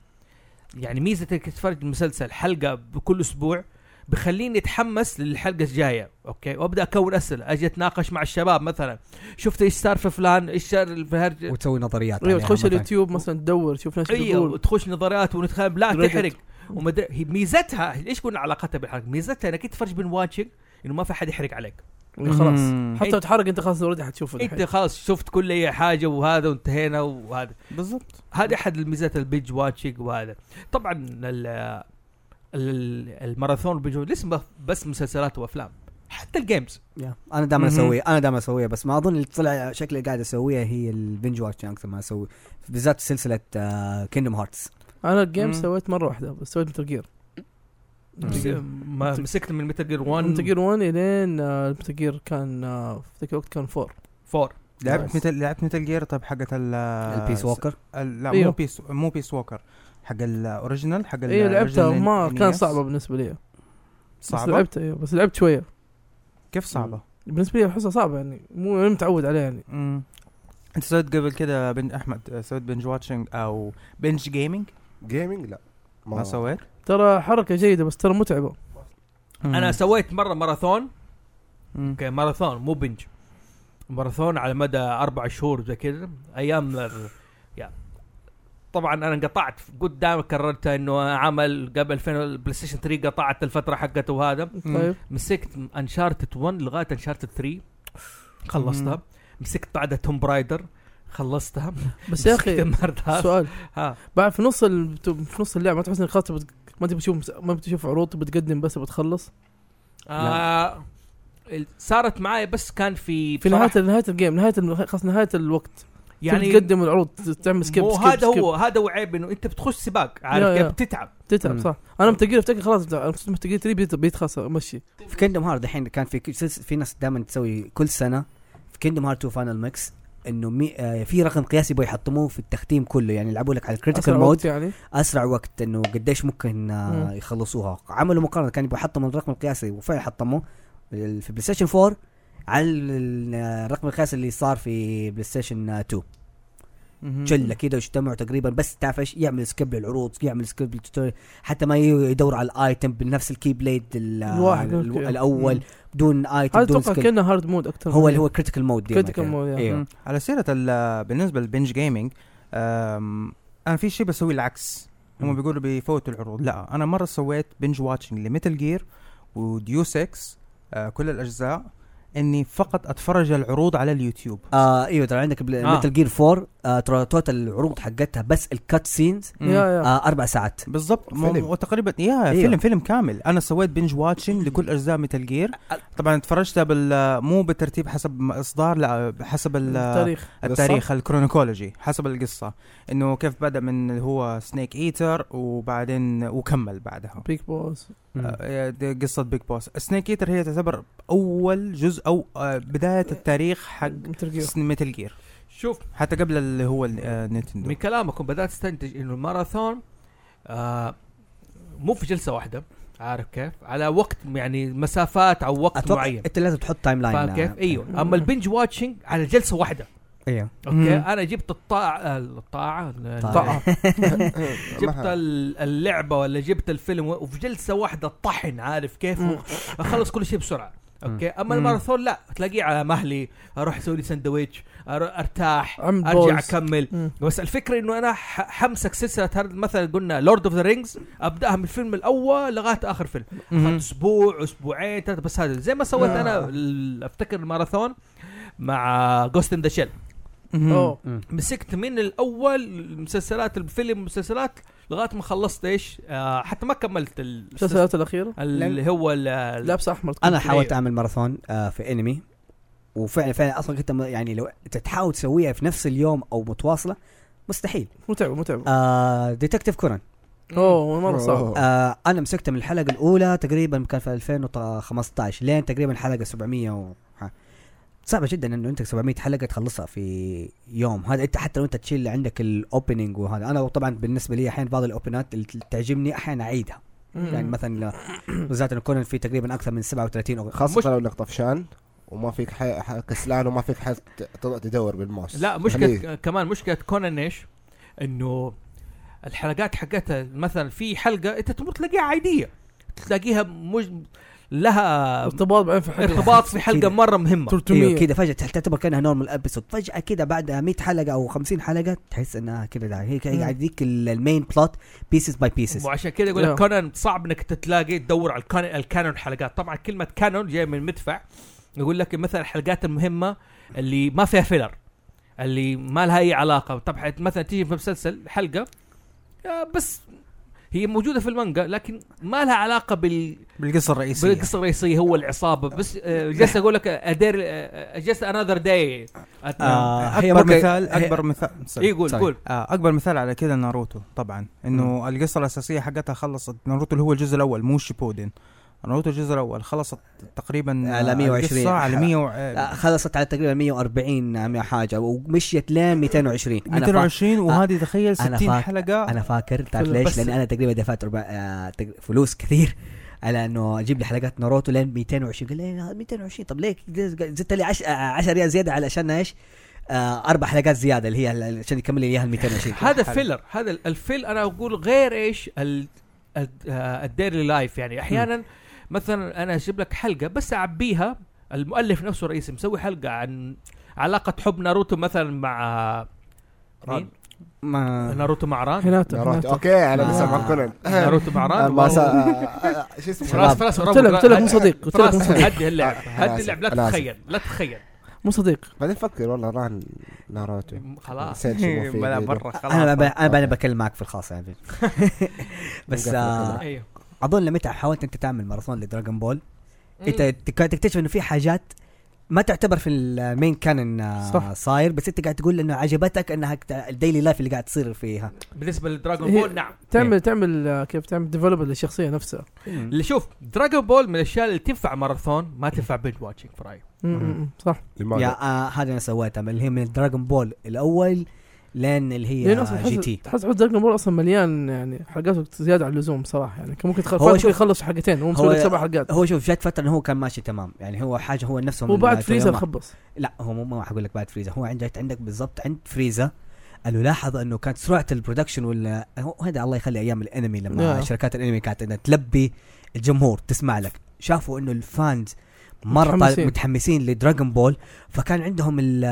Speaker 3: يعني ميزه انك تتفرج مسلسل حلقه بكل اسبوع بخليني اتحمس للحلقه الجايه اوكي وابدا اكون اسئله اجي اتناقش مع الشباب مثلا شفت ايش صار في فلان ايش صار في هرجه
Speaker 4: وتسوي نظريات
Speaker 5: ايوه
Speaker 4: عليها
Speaker 5: تخش
Speaker 4: مثلاً.
Speaker 5: اليوتيوب مثلا تدور تشوف ناس
Speaker 3: ايوه
Speaker 5: بتقول
Speaker 3: تخش نظريات ونتخيل لا
Speaker 5: Reddit.
Speaker 3: تحرق ومدري هي ميزتها ليش قلنا علاقتها بالحرق ميزتها انك تفرج بين واتشنج انه ما في حد يحرق عليك
Speaker 5: إيه خلاص
Speaker 1: مم.
Speaker 5: حتى لو تحرق انت خلاص اوريدي حتشوفه
Speaker 3: انت
Speaker 5: دحين.
Speaker 3: خلاص شفت كل اي حاجه وهذا وانتهينا وهذا
Speaker 1: بالضبط
Speaker 3: هذا احد الميزات البيج واتشنج وهذا طبعا ال ال- الماراثون بيج واتشنج لسه بس مسلسلات وافلام حتى الجيمز
Speaker 4: يا. انا دائما
Speaker 1: مهم.
Speaker 4: اسويه انا دائما اسويه بس ما اظن اللي طلع شكل اللي قاعد اسويها هي البنج واتش اكثر ما اسوي بالذات آه، سلسله كيندم هارتس
Speaker 5: انا الجيم
Speaker 1: مم.
Speaker 5: سويت مره واحده بس سويت متل جير
Speaker 3: ما مسكت من متل جير
Speaker 5: متل
Speaker 3: 1
Speaker 5: جير 1 الين متل جير كان آه، في ذاك الوقت كان 4
Speaker 3: 4
Speaker 1: لعبت متل لعبت متل جير طيب حقت ال
Speaker 5: آه،
Speaker 4: البيس ووكر
Speaker 1: ال- لا مو
Speaker 5: أيوه.
Speaker 1: بيس مو بيس ووكر حق الاوريجينال حق ال-
Speaker 5: ايوه لعبتها
Speaker 1: original E
Speaker 5: ما كان
Speaker 1: NES.
Speaker 5: صعبه بالنسبه لي بس
Speaker 1: صعبه
Speaker 5: لعبتها ايوه بس لعبت شويه
Speaker 1: كيف صعبه؟
Speaker 5: بالنسبه لي احسها صعبه يعني مو أنا متعود عليها يعني
Speaker 1: مم. انت سويت قبل كده بن احمد سويت بنج واتشنج او بنج جيمنج
Speaker 2: جيمنج لا
Speaker 1: ما سويت؟
Speaker 5: ترى حركه جيده بس ترى متعبه
Speaker 3: انا سويت مره ماراثون
Speaker 1: مم.
Speaker 3: اوكي ماراثون مو بنج ماراثون على مدى اربع شهور زي كذا ايام ال- يا. طبعا انا انقطعت قدام كررت انه عمل قبل 2000 البلاي ستيشن 3 قطعت الفتره حقته وهذا
Speaker 5: طيب
Speaker 3: مسكت انشارتد 1 لغايه انشارتد 3 خلصتها
Speaker 1: مم.
Speaker 3: مسكت بعدها توم برايدر خلصتها
Speaker 5: بس يا اخي
Speaker 3: اخي
Speaker 5: سؤال
Speaker 3: ها
Speaker 5: بعد في نص ال... في نص اللعبه ما تحس انك خلاص تبت- ما تبي تشوف ما بتشوف عروض بتقدم بس بتخلص
Speaker 3: آه ال- صارت معي بس كان في
Speaker 5: في نهايه
Speaker 3: بصراحة
Speaker 5: نهايه الجيم نهايه الم... خلاص نهايه الوقت يعني تقدم العروض تعمل سكيب
Speaker 3: مو
Speaker 5: سكيب
Speaker 3: هذا
Speaker 5: سكيب.
Speaker 3: هو هذا هو عيب انه انت بتخش سباق
Speaker 5: يا-
Speaker 3: عارف كيف
Speaker 5: يا.
Speaker 3: بتتعب
Speaker 5: تتعب
Speaker 4: مم.
Speaker 5: صح انا متقير افتكر خلاص بتاع- انا كنت متقير تري بيت بيت خلاص امشي
Speaker 4: في كيندم هارت الحين كان في سلس- في ناس دائما تسوي كل سنه في كيندم هارت 2 فاينل ميكس انه مي آه في رقم قياسي يبغوا يحطموه في التختيم كله يعني يلعبوا لك على الكريتيكال
Speaker 5: أسرع
Speaker 4: مود
Speaker 5: وقت يعني
Speaker 4: اسرع وقت انه قديش ممكن آه،
Speaker 5: مم.
Speaker 4: يخلصوها عملوا مقارنه كان يبغوا يحطموا الرقم القياسي وفعلا حطموه ال- في بلاي ستيشن 4 على ال- آه، الرقم القياسي اللي صار في بلاي ستيشن آه، 2
Speaker 1: مم.
Speaker 4: شله كده واجتمعوا تقريبا بس تعرف ايش يعمل سكيب للعروض يعمل سكيب للتوتوريال حتى ما ي- يدور على الايتم بنفس الكي بليد ال-
Speaker 5: الواحد،
Speaker 4: ال-
Speaker 5: أوكي.
Speaker 4: الاول
Speaker 1: مم.
Speaker 4: بدون ايتم
Speaker 5: هذا
Speaker 4: بدون
Speaker 5: اتوقع
Speaker 4: سكيب
Speaker 5: كانه هارد مود اكثر
Speaker 4: هو يعني إيه. اللي هو كريتيكال مود
Speaker 5: يعني. Critical mode، يعني. يا.
Speaker 1: مم. على سيرة ال- بالنسبة للبنج جيمنج أم، أنا في شيء بسوي العكس هم
Speaker 4: مم.
Speaker 1: بيقولوا بيفوتوا العروض لا أنا مرة سويت بنج واتشنج لميتل جير وديو 6 آه، كل الأجزاء إني فقط أتفرج العروض على اليوتيوب
Speaker 4: آه ايوه ترى عندك
Speaker 3: آه.
Speaker 4: متل جير 4 آه ترى توتال العروض حقتها بس الكات سينز
Speaker 1: مم.
Speaker 5: يا يا
Speaker 4: آه اربع ساعات
Speaker 1: بالضبط مو-
Speaker 2: فيلم.
Speaker 1: وتقريبا يا
Speaker 4: أيوة.
Speaker 1: فيلم فيلم كامل انا سويت بنج واتشنج لكل اجزاء ميتل جير طبعا اتفرجتها بال مو بالترتيب حسب م- اصدار لا حسب ال-
Speaker 5: التاريخ
Speaker 1: التاريخ الكرونيكولوجي حسب القصه انه كيف بدا من اللي هو سنيك ايتر وبعدين وكمل بعدها
Speaker 5: بيك بوس
Speaker 1: آه، دي قصه بيج بوس سنيك ايتر هي تعتبر اول جزء او آه، بدايه التاريخ حق
Speaker 5: متل جير
Speaker 1: ميتل جير
Speaker 3: شوف
Speaker 1: حتى قبل اللي هو ال- آه، نينتندو
Speaker 3: من كلامكم بدات استنتج انه الماراثون آه مو في جلسه واحده عارف كيف على وقت يعني مسافات او وقت
Speaker 4: اتوقع
Speaker 3: معين
Speaker 4: انت لازم تحط آه، تايم لاين
Speaker 3: فاهم
Speaker 1: نعم.
Speaker 3: كيف؟ ايوه اما البنج واتشنج على جلسه واحده
Speaker 4: ايوه
Speaker 3: اوكي
Speaker 1: مم.
Speaker 3: انا جبت الطاعه الطاعه
Speaker 4: طاعة.
Speaker 3: جبت ال- اللعبه ولا جبت الفيلم وفي جلسه واحده طحن عارف كيف
Speaker 5: مم.
Speaker 3: اخلص كل شيء بسرعه اوكي اما
Speaker 1: مم.
Speaker 3: الماراثون لا تلاقيه على مهلي اروح اسوي لي سندويتش أر- ارتاح
Speaker 5: عم
Speaker 3: ارجع
Speaker 5: بوز.
Speaker 3: اكمل
Speaker 5: مم.
Speaker 3: بس الفكره انه انا ح- حمسك سلسله هارد- مثلا قلنا لورد اوف ذا رينجز ابداها من الفيلم الاول لغايه اخر فيلم
Speaker 1: مهم.
Speaker 3: اخذت اسبوع اسبوعين ثلاثه بس هذا زي ما سويت
Speaker 5: آه.
Speaker 3: انا ال- افتكر الماراثون مع جوست ان ذا شيل
Speaker 1: مهم.
Speaker 5: اوه
Speaker 3: مسكت من الاول المسلسلات الفيلم مسلسلات لغايه ما خلصت ايش آه حتى ما كملت ال-
Speaker 5: المسلسلات الاخيره
Speaker 3: اللي هو ال- ال-
Speaker 5: لابس احمر
Speaker 4: انا حاولت
Speaker 3: أيوة.
Speaker 4: اعمل ماراثون آه في انمي وفعلا فعلا اصلا كنت م- يعني لو تحاول تسويها في نفس اليوم او متواصله مستحيل
Speaker 5: متعبه متعبه
Speaker 4: آه ديتكتيف كورن
Speaker 5: اوه مره صعب
Speaker 2: أوه.
Speaker 4: آه انا مسكته من الحلقه الاولى تقريبا كان في 2015 لين تقريبا الحلقه 700 و... ح- صعبه جدا انه انت 700 حلقه تخلصها في يوم هذا انت حتى لو انت تشيل عندك الاوبننج وهذا انا طبعا بالنسبه لي احيانا بعض الاوبنات اللي تعجبني احيانا اعيدها
Speaker 5: مم.
Speaker 4: يعني مثلا ل- بالذات انه كونان في تقريبا اكثر من 37 او
Speaker 2: خاصة لو انك طفشان وما فيك ح- ح- كسلان وما فيك حد تقعد تدور بالماوس
Speaker 3: لا
Speaker 2: خليه-
Speaker 3: مشكله كمان مشكله كونان ايش؟ انه الحلقات حقتها مثلا في حلقه انت تمر تلاقيها عاديه تلاقيها مج... لها
Speaker 5: ارتباط بعدين في حلقه
Speaker 3: ارتباط في حلقه
Speaker 4: كده.
Speaker 3: مره مهمه
Speaker 5: 300
Speaker 4: ايوه كذا فجاه تعتبر كانها نورمال ابيسود فجاه كذا بعدها 100 حلقه او 50 حلقه تحس انها كذا دا- هي
Speaker 5: مم.
Speaker 4: كذا يعديك المين بلوت بيسز باي بيسز
Speaker 3: وعشان كذا يقول لك
Speaker 5: Yeah.
Speaker 3: كونان صعب انك تلاقي تدور على الكان- الكانون حلقات طبعا كلمه كانون جايه من مدفع يقول لك مثلا الحلقات المهمه اللي ما فيها فيلر اللي ما لها اي علاقه طبعا مثلا تيجي في مسلسل حلقه آه، بس هي موجوده في المانجا لكن ما لها علاقه بال
Speaker 1: بالقصه الرئيسيه
Speaker 3: بالقصه الرئيسيه هو العصابه بس آه، جالس اقول لك آه، ادير جالس انذر داي
Speaker 1: آه
Speaker 4: هي
Speaker 1: اكبر
Speaker 4: ممكن-
Speaker 1: مثال
Speaker 4: هي-
Speaker 1: اكبر مثال sorry.
Speaker 3: اي إيه، قول
Speaker 4: sorry.
Speaker 3: قول
Speaker 1: آه اكبر مثال على كذا ناروتو طبعا انه القصه الاساسيه حقتها خلصت ناروتو اللي هو الجزء الاول مو شيبودن ناروتو الجزء الاول خلصت تقريبا
Speaker 4: على 120
Speaker 1: القصة على 100
Speaker 4: آه،
Speaker 1: و-
Speaker 4: خلصت على تقريبا 140 عم- حاجه ومشيت لين 220 انا فا-
Speaker 1: 220 وهذه تخيل
Speaker 4: أنا
Speaker 1: 60
Speaker 4: فاك-
Speaker 1: حلقه
Speaker 4: انا فاكر تعرف
Speaker 5: فل-
Speaker 4: ليش
Speaker 5: بس-
Speaker 4: لان انا تقريبا دفعت أربع... آه، تق- فلوس كثير على انه اجيب لي حلقات ناروتو لين 220 قال لي "آه، 220 طب ليه كده زدت لي 10 10 ريال زياده علشان ايش؟ آه، اربع حلقات زياده اللي هي ال- عشان يكمل لي اياها ال 220
Speaker 3: هذا فيلر هذا ال- الفيل انا اقول غير ايش ال- ال- آه، الديري لايف يعني احيانا مثلا انا اجيب لك حلقه بس اعبيها المؤلف نفسه الرئيسي مسوي حلقه عن علاقه حب ناروتو مثلا مع مين؟
Speaker 1: ما
Speaker 3: ناروتو مع ران
Speaker 5: هناتا
Speaker 2: رحت
Speaker 5: هناتا.
Speaker 2: اوكي انا
Speaker 4: آه.
Speaker 2: لسه مع كونان
Speaker 3: ناروتو مع
Speaker 2: آه،
Speaker 3: ران
Speaker 2: ما سا-
Speaker 3: وهو-
Speaker 2: آه، آه، شو اسمه
Speaker 3: خلاص
Speaker 4: شباب.
Speaker 3: خلاص
Speaker 5: قلت لك- قلت لك مو صديق قلت لك مو
Speaker 3: خلاص
Speaker 5: صديق
Speaker 3: هدي اللعب
Speaker 2: أنا
Speaker 3: هدي
Speaker 2: آسف،
Speaker 3: اللعب لا
Speaker 2: أنا آسف.
Speaker 3: تتخيل لا تتخيل
Speaker 5: مو صديق
Speaker 2: بعدين فكر والله ران ناروتو
Speaker 3: خلاص
Speaker 2: نسيت شو هو في
Speaker 1: بلا
Speaker 2: إيده.
Speaker 1: مره خلاص
Speaker 4: انا ب... انا ب- بكلم معك في الخاص يعني بس آه،
Speaker 3: ايوه
Speaker 4: اظن لما انت حاولت انت تعمل ماراثون لدراغون بول انت تك- تكتشف انه في حاجات ما تعتبر في المين كانن آه،
Speaker 5: صح.
Speaker 4: صاير بس انت قاعد تقول انه عجبتك انها كت- الديلي لايف اللي قاعد تصير فيها
Speaker 3: بالنسبه لدراغون
Speaker 5: هي-
Speaker 3: بول نعم
Speaker 4: أيوة.
Speaker 5: تعمل تعمل آه، كيف تعمل ديفلوب للشخصيه نفسها
Speaker 3: اللي شوف دراغون بول من الاشياء اللي تنفع ماراثون ما تنفع بنج واتشنج في رايي
Speaker 5: مم، مم، صح
Speaker 2: لماذا؟
Speaker 4: يا آه هذا انا سويتها اللي هي من دراغون بول الاول لين اللي
Speaker 5: لان
Speaker 4: هي
Speaker 5: اصلا
Speaker 4: جي تي
Speaker 5: يعني تحس تحس دراجون بول اصلا مليان يعني حلقات زياده عن اللزوم صراحه يعني كان ممكن تخ-
Speaker 4: هو
Speaker 5: فاتك
Speaker 4: شوف-
Speaker 5: يخلص حلقتين هو مسوي
Speaker 4: هو-
Speaker 5: لك سبع حلقات
Speaker 4: هو شوف جت فتره انه هو كان ماشي تمام يعني هو حاجه هو نفسه من-
Speaker 5: وبعد
Speaker 4: في
Speaker 5: فريزر
Speaker 4: يومها.
Speaker 5: خبص
Speaker 4: لا هو مو ما حقول لك بعد فريزا هو عند جت عندك بالضبط عند فريزا اللي لاحظ انه كانت سرعه البرودكشن ولا هو- هذا الله يخلي ايام الانمي لما
Speaker 5: آه.
Speaker 4: شركات الانمي كانت انها تلبي الجمهور تسمع لك شافوا انه الفانز مره
Speaker 5: متحمسين.
Speaker 4: متحمسين, متحمسين لدراغون بول فكان عندهم ال-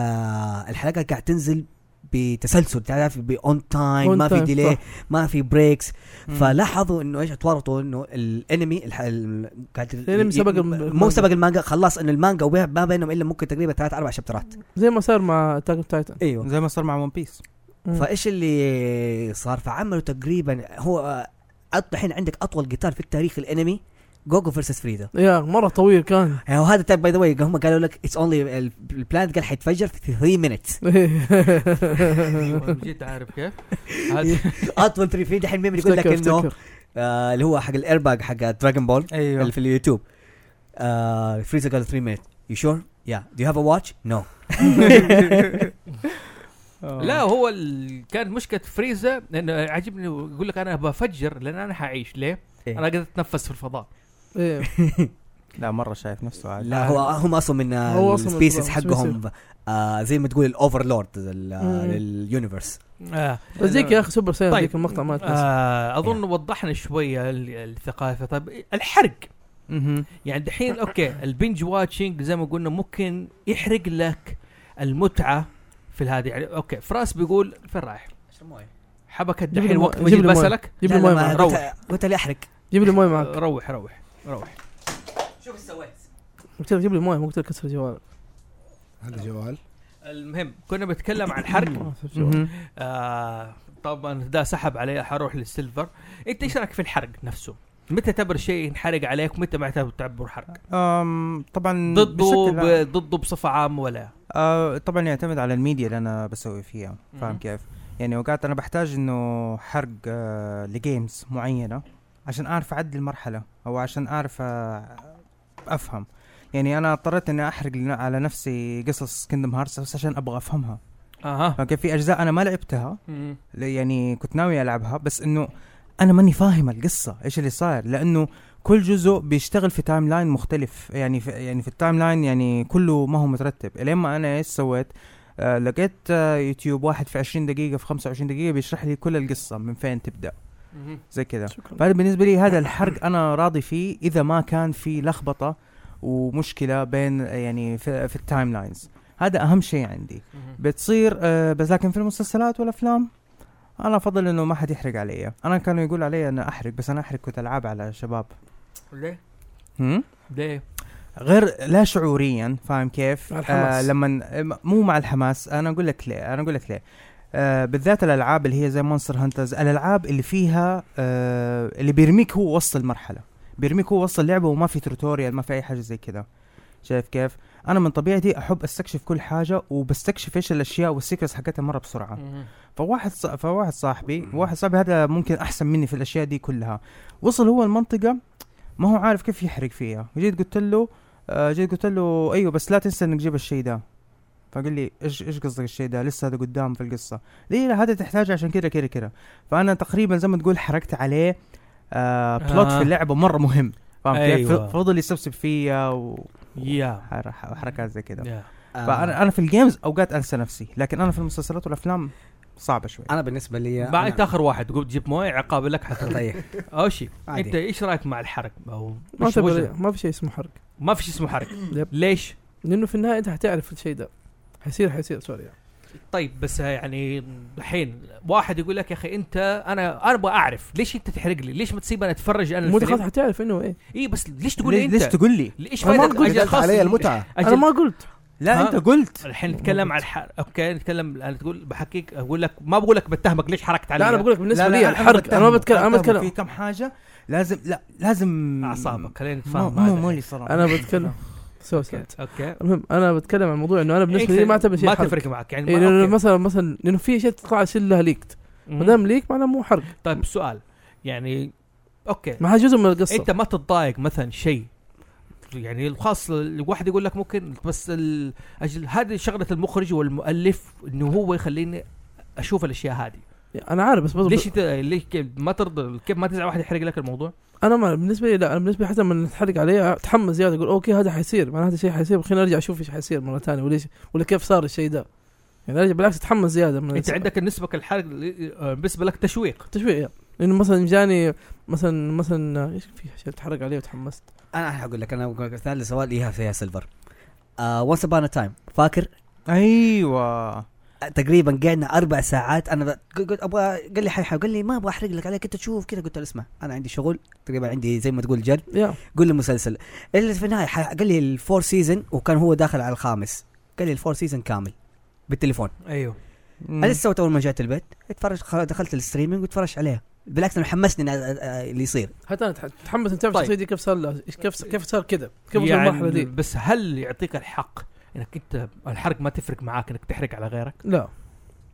Speaker 4: الحلقه قاعد تنزل بتسلسل تعرف باون تايم
Speaker 5: On
Speaker 4: ما في
Speaker 5: time،
Speaker 4: ديلي
Speaker 5: صح.
Speaker 4: ما في بريكس
Speaker 1: مم.
Speaker 4: فلاحظوا انه ايش تورطوا انه الانمي الح... ال- قاعد
Speaker 5: الأنمي سبق الم-
Speaker 4: مو
Speaker 5: المانجا.
Speaker 4: سبق المانجا خلاص انه المانجا وبيع- ما بينهم الا ممكن تقريبا ثلاث اربع شابترات
Speaker 5: زي ما صار مع تاك تايتن
Speaker 4: ايوه
Speaker 1: زي ما صار مع ون بيس
Speaker 4: فايش اللي صار فعملوا تقريبا هو أط- الحين عندك اطول قتال في التاريخ الانمي جوجو فيرسس فريزا
Speaker 5: يا مره طويل كان
Speaker 4: يعني وهذا تايب باي ذا واي هم قالوا لك اتس اونلي البلانت قال حيتفجر في 3 مينتس
Speaker 3: أيوة، جيت عارف كيف هذا
Speaker 4: اطول 3 في دحين ميم يقول لك
Speaker 5: افتكر-
Speaker 4: انه
Speaker 5: افتكر.
Speaker 4: آه، اللي هو حق الايرباج حق دراجون بول
Speaker 1: ايوه
Speaker 4: اللي في اليوتيوب آه، فريزا قال 3 مينتس يو شور يا دو يو هاف ا واتش نو
Speaker 3: لا هو ال... كان مشكله فريزا لانه عجبني يقول لك انا بفجر لان انا حعيش ليه؟
Speaker 4: إيه.
Speaker 3: انا قاعد اتنفس في الفضاء
Speaker 5: إيه.
Speaker 1: لا مره شايف نفسه عادي
Speaker 4: لا هو هم اصلا من
Speaker 5: هو أصلاً من
Speaker 4: السبيسيس
Speaker 5: السبيسيس.
Speaker 4: حقهم آه، زي ما تقول الاوفرلورد
Speaker 5: مم.
Speaker 4: لليونيفرس
Speaker 3: آه.
Speaker 5: بس ذيك يا اخي سوبر سايان
Speaker 3: طيب.
Speaker 5: ذيك المقطع إيه. ما تنسى
Speaker 3: آه اظن وضحنا شويه ال- الثقافه طيب الحرق
Speaker 1: مهم.
Speaker 3: يعني دحين اوكي البنج واتشنج زي ما قلنا ممكن يحرق لك المتعه في هذه يعني اوكي فراس بيقول فين رايح؟ حبكت
Speaker 5: جيب لي
Speaker 3: دحين وقت
Speaker 5: مي-
Speaker 3: ما
Speaker 5: جيب
Speaker 3: جيت
Speaker 5: لي مي.
Speaker 3: بسالك
Speaker 5: جيب لي مويه معك
Speaker 3: ما- روح.
Speaker 4: قلت لي احرق
Speaker 5: جيب لي مويه معك
Speaker 3: روح روح روح
Speaker 4: شوف ايش سويت
Speaker 5: قلت لك جيب لي مويه مو قلت لك كسر جوالك
Speaker 2: هذا جوال
Speaker 3: المهم كنا بنتكلم عن الحرق
Speaker 5: ما في جوال.
Speaker 1: مهم.
Speaker 3: آه طبعا ده سحب عليه حروح للسيلفر انت ايش رايك في الحرق نفسه؟ متى تعتبر شيء ينحرق عليك متى ما تعتبر- تعتبر حرق؟
Speaker 1: أم، طبعا
Speaker 3: ضده
Speaker 1: بشكل عام.
Speaker 3: ب... ضده بصفه عامه ولا؟
Speaker 1: آه طبعا يعتمد على الميديا اللي انا بسوي فيها
Speaker 3: مم.
Speaker 1: فاهم كيف يعني اوقات انا بحتاج انه حرق آه لجيمز معينه عشان اعرف اعدي المرحله او عشان اعرف آه افهم يعني انا اضطريت اني احرق لن- على نفسي قصص كندم هارتس بس عشان ابغى افهمها
Speaker 3: اها
Speaker 1: فاهم كيف في اجزاء انا ما لعبتها ل- يعني كنت ناوي العبها بس انه انا ماني فاهم القصه ايش اللي صاير لانه كل جزء بيشتغل في تايم لاين مختلف يعني في يعني في التايم لاين يعني كله ما هو مترتب الين ما انا ايش سويت آه لقيت آه يوتيوب واحد في 20 دقيقه في 25 دقيقه بيشرح لي كل القصه من فين تبدا زي كذا
Speaker 5: شكرا
Speaker 1: فانا بالنسبه لي هذا الحرق انا راضي فيه اذا ما كان في لخبطه ومشكله بين يعني في, في التايم لاينز هذا اهم شيء عندي بتصير آه بس لكن في المسلسلات والافلام انا افضل انه ما حد يحرق علي انا كانوا يقول علي انا احرق بس انا احرق كنت العاب على شباب
Speaker 3: ليه؟
Speaker 1: هم؟
Speaker 3: ليه؟
Speaker 1: غير لا شعوريا فاهم كيف؟
Speaker 5: مع الحماس.
Speaker 1: آه لما مو مع الحماس انا اقول لك ليه انا اقول لك ليه آه بالذات الالعاب اللي هي زي مونستر هانترز الالعاب اللي فيها آه اللي بيرميك هو وسط المرحله بيرميك هو وسط اللعبه وما في توتوريال ما في اي حاجه زي كذا شايف كيف؟ انا من طبيعتي احب استكشف كل حاجه وبستكشف ايش الاشياء والسيكرس حقتها مره
Speaker 3: آه.
Speaker 1: بسرعه فواحد ص... فواحد صاحبي واحد صاحبي هذا ممكن احسن مني في الاشياء دي كلها وصل هو المنطقه ما هو عارف كيف يحرق فيها جيت قلت له آه جيت قلت له ايوه بس لا تنسى انك تجيب الشيء ده فقال لي ايش ايش قصدك الشيء ده لسه هذا قدام في القصه ليه لا هذا تحتاجه عشان كذا كذا كذا فانا تقريبا زي ما تقول حركت عليه آه بلوت
Speaker 3: آه.
Speaker 1: في اللعبه مره مهم فاهم كيف
Speaker 3: أيوة.
Speaker 1: فضل يسبسب فيا
Speaker 3: يا
Speaker 1: وحركات زي كذا
Speaker 3: يا.
Speaker 4: آه،
Speaker 1: فانا انا في الجيمز اوقات انسى نفسي لكن انا في المسلسلات والافلام صعبه شوي
Speaker 4: انا بالنسبه لي
Speaker 3: بعد أنت اخر واحد قلت جيب مويه عقاب لك حتى
Speaker 4: طيب
Speaker 3: او شيء
Speaker 4: عادي.
Speaker 3: انت ايش رايك مع الحرق او
Speaker 5: ما
Speaker 3: إيش وجه-
Speaker 5: تبغى ما في شيء اسمه حرق
Speaker 3: ما في شيء اسمه حرق
Speaker 5: يب.
Speaker 3: ليش؟
Speaker 5: لانه في النهايه انت حتعرف الشيء ده حيصير حيصير سوري يعني.
Speaker 3: طيب بس يعني الحين واحد يقول لك يا اخي انت انا انا ابغى اعرف ليش انت تحرق لي؟ ليش ما تسيبني اتفرج انا
Speaker 5: مو خلاص
Speaker 3: الفيلم؟
Speaker 5: حتعرف انه ايه
Speaker 3: اي بس ليش تقول لي
Speaker 1: ليش,
Speaker 3: انت؟
Speaker 1: ليش تقول لي؟
Speaker 3: ليش
Speaker 2: انا ما
Speaker 3: فايدة- أجل
Speaker 2: قلت
Speaker 3: خلاص،
Speaker 2: علي المتعه
Speaker 5: انا
Speaker 3: أجل
Speaker 5: ما قلت
Speaker 1: لا
Speaker 3: ها؟
Speaker 1: انت قلت
Speaker 3: الحين نتكلم عن الحرق اوكي نتكلم انا تقول بحكيك اقول لك ما بقول لك بتهمك ليش حركت علي
Speaker 5: لا انا بقول لك بالنسبه لي
Speaker 1: أنا
Speaker 5: الحرق انا ما بتكلم انا ما
Speaker 1: بتهمك في
Speaker 5: بتكلم
Speaker 1: كم حاجه لازم لا لازم
Speaker 3: اعصابك خلينا
Speaker 1: مو
Speaker 3: نتفاهم
Speaker 1: مو
Speaker 3: هذا.
Speaker 1: مو لي صراحه
Speaker 5: انا بتكلم سو
Speaker 3: اوكي
Speaker 5: ساد
Speaker 3: اوكي
Speaker 5: المهم انا بتكلم عن موضوع انه انا بالنسبه لي ما اعتبر شيء
Speaker 3: إيه، ما
Speaker 5: حرق
Speaker 3: تفرق معك يعني
Speaker 5: إيه
Speaker 3: ما-
Speaker 5: لانه
Speaker 3: أوكي.
Speaker 5: مثلا مثلا لانه في اشياء تطلع يصير لها ليكت ما دام ليك معناه مو حرق
Speaker 3: طيب سؤال يعني اوكي
Speaker 5: ما هذا جزء من القصه
Speaker 3: انت ما تتضايق مثلا شيء يعني الخاص الواحد يقول لك ممكن بس ال- اجل هذه شغله المخرج والمؤلف انه هو يخليني اشوف الاشياء هذه
Speaker 5: انا عارف بس بس
Speaker 3: ليش انت ليش كيف ما ترضى كيف ما تزعل واحد يحرق لك الموضوع
Speaker 5: انا ما بالنسبه لي لا انا بالنسبه لي حتى لما نتحرق عليه اتحمس زياده اقول اوكي هذا حيصير معناته هذا الشيء حيصير خلينا ارجع اشوف ايش حيصير مره ثانيه وليش ولا كيف صار الشيء ده يعني ارجع بالعكس اتحمس زياده من
Speaker 3: انت عندك بالنسبه الحرق بالنسبه آه لك تشويق
Speaker 5: تشويق يعني. لانه مثلا جاني مثلا مثلا ايش في اشياء تحرق عليه وتحمست
Speaker 4: انا حقول لك انا بقول لك ثالث سؤال ليها فيها آه، سيلفر وانس ابانا تايم فاكر
Speaker 1: ايوه
Speaker 4: تقريبا قعدنا اربع ساعات انا ب- قل- قلت ابغى قال لي حيحب قال لي ما ابغى احرق لك عليك انت تشوف كذا قلت له اسمع انا عندي شغل تقريبا عندي زي ما تقول جد
Speaker 5: يا
Speaker 4: قول لي مسلسل اللي في النهايه ح- قال لي الفور سيزون وكان هو داخل على الخامس قال لي الفور سيزون كامل بالتليفون
Speaker 5: أيوه.
Speaker 3: ايوه
Speaker 4: انا لسه سويت اول ما جيت البيت اتفرج خل- دخلت الستريمينج واتفرج عليها بالعكس انا حمسني إن- آه، آه، اللي يصير
Speaker 5: حتى انا تح- تحمس انت تعرف
Speaker 3: طيب.
Speaker 5: الشخصيه دي كيف صار لها إيش- كيف كيف صار كذا كيف وصل المرحله
Speaker 3: يعني
Speaker 5: دي
Speaker 3: بس هل يعطيك الحق انك انت الحرق ما تفرق معاك انك تحرق على غيرك
Speaker 5: لا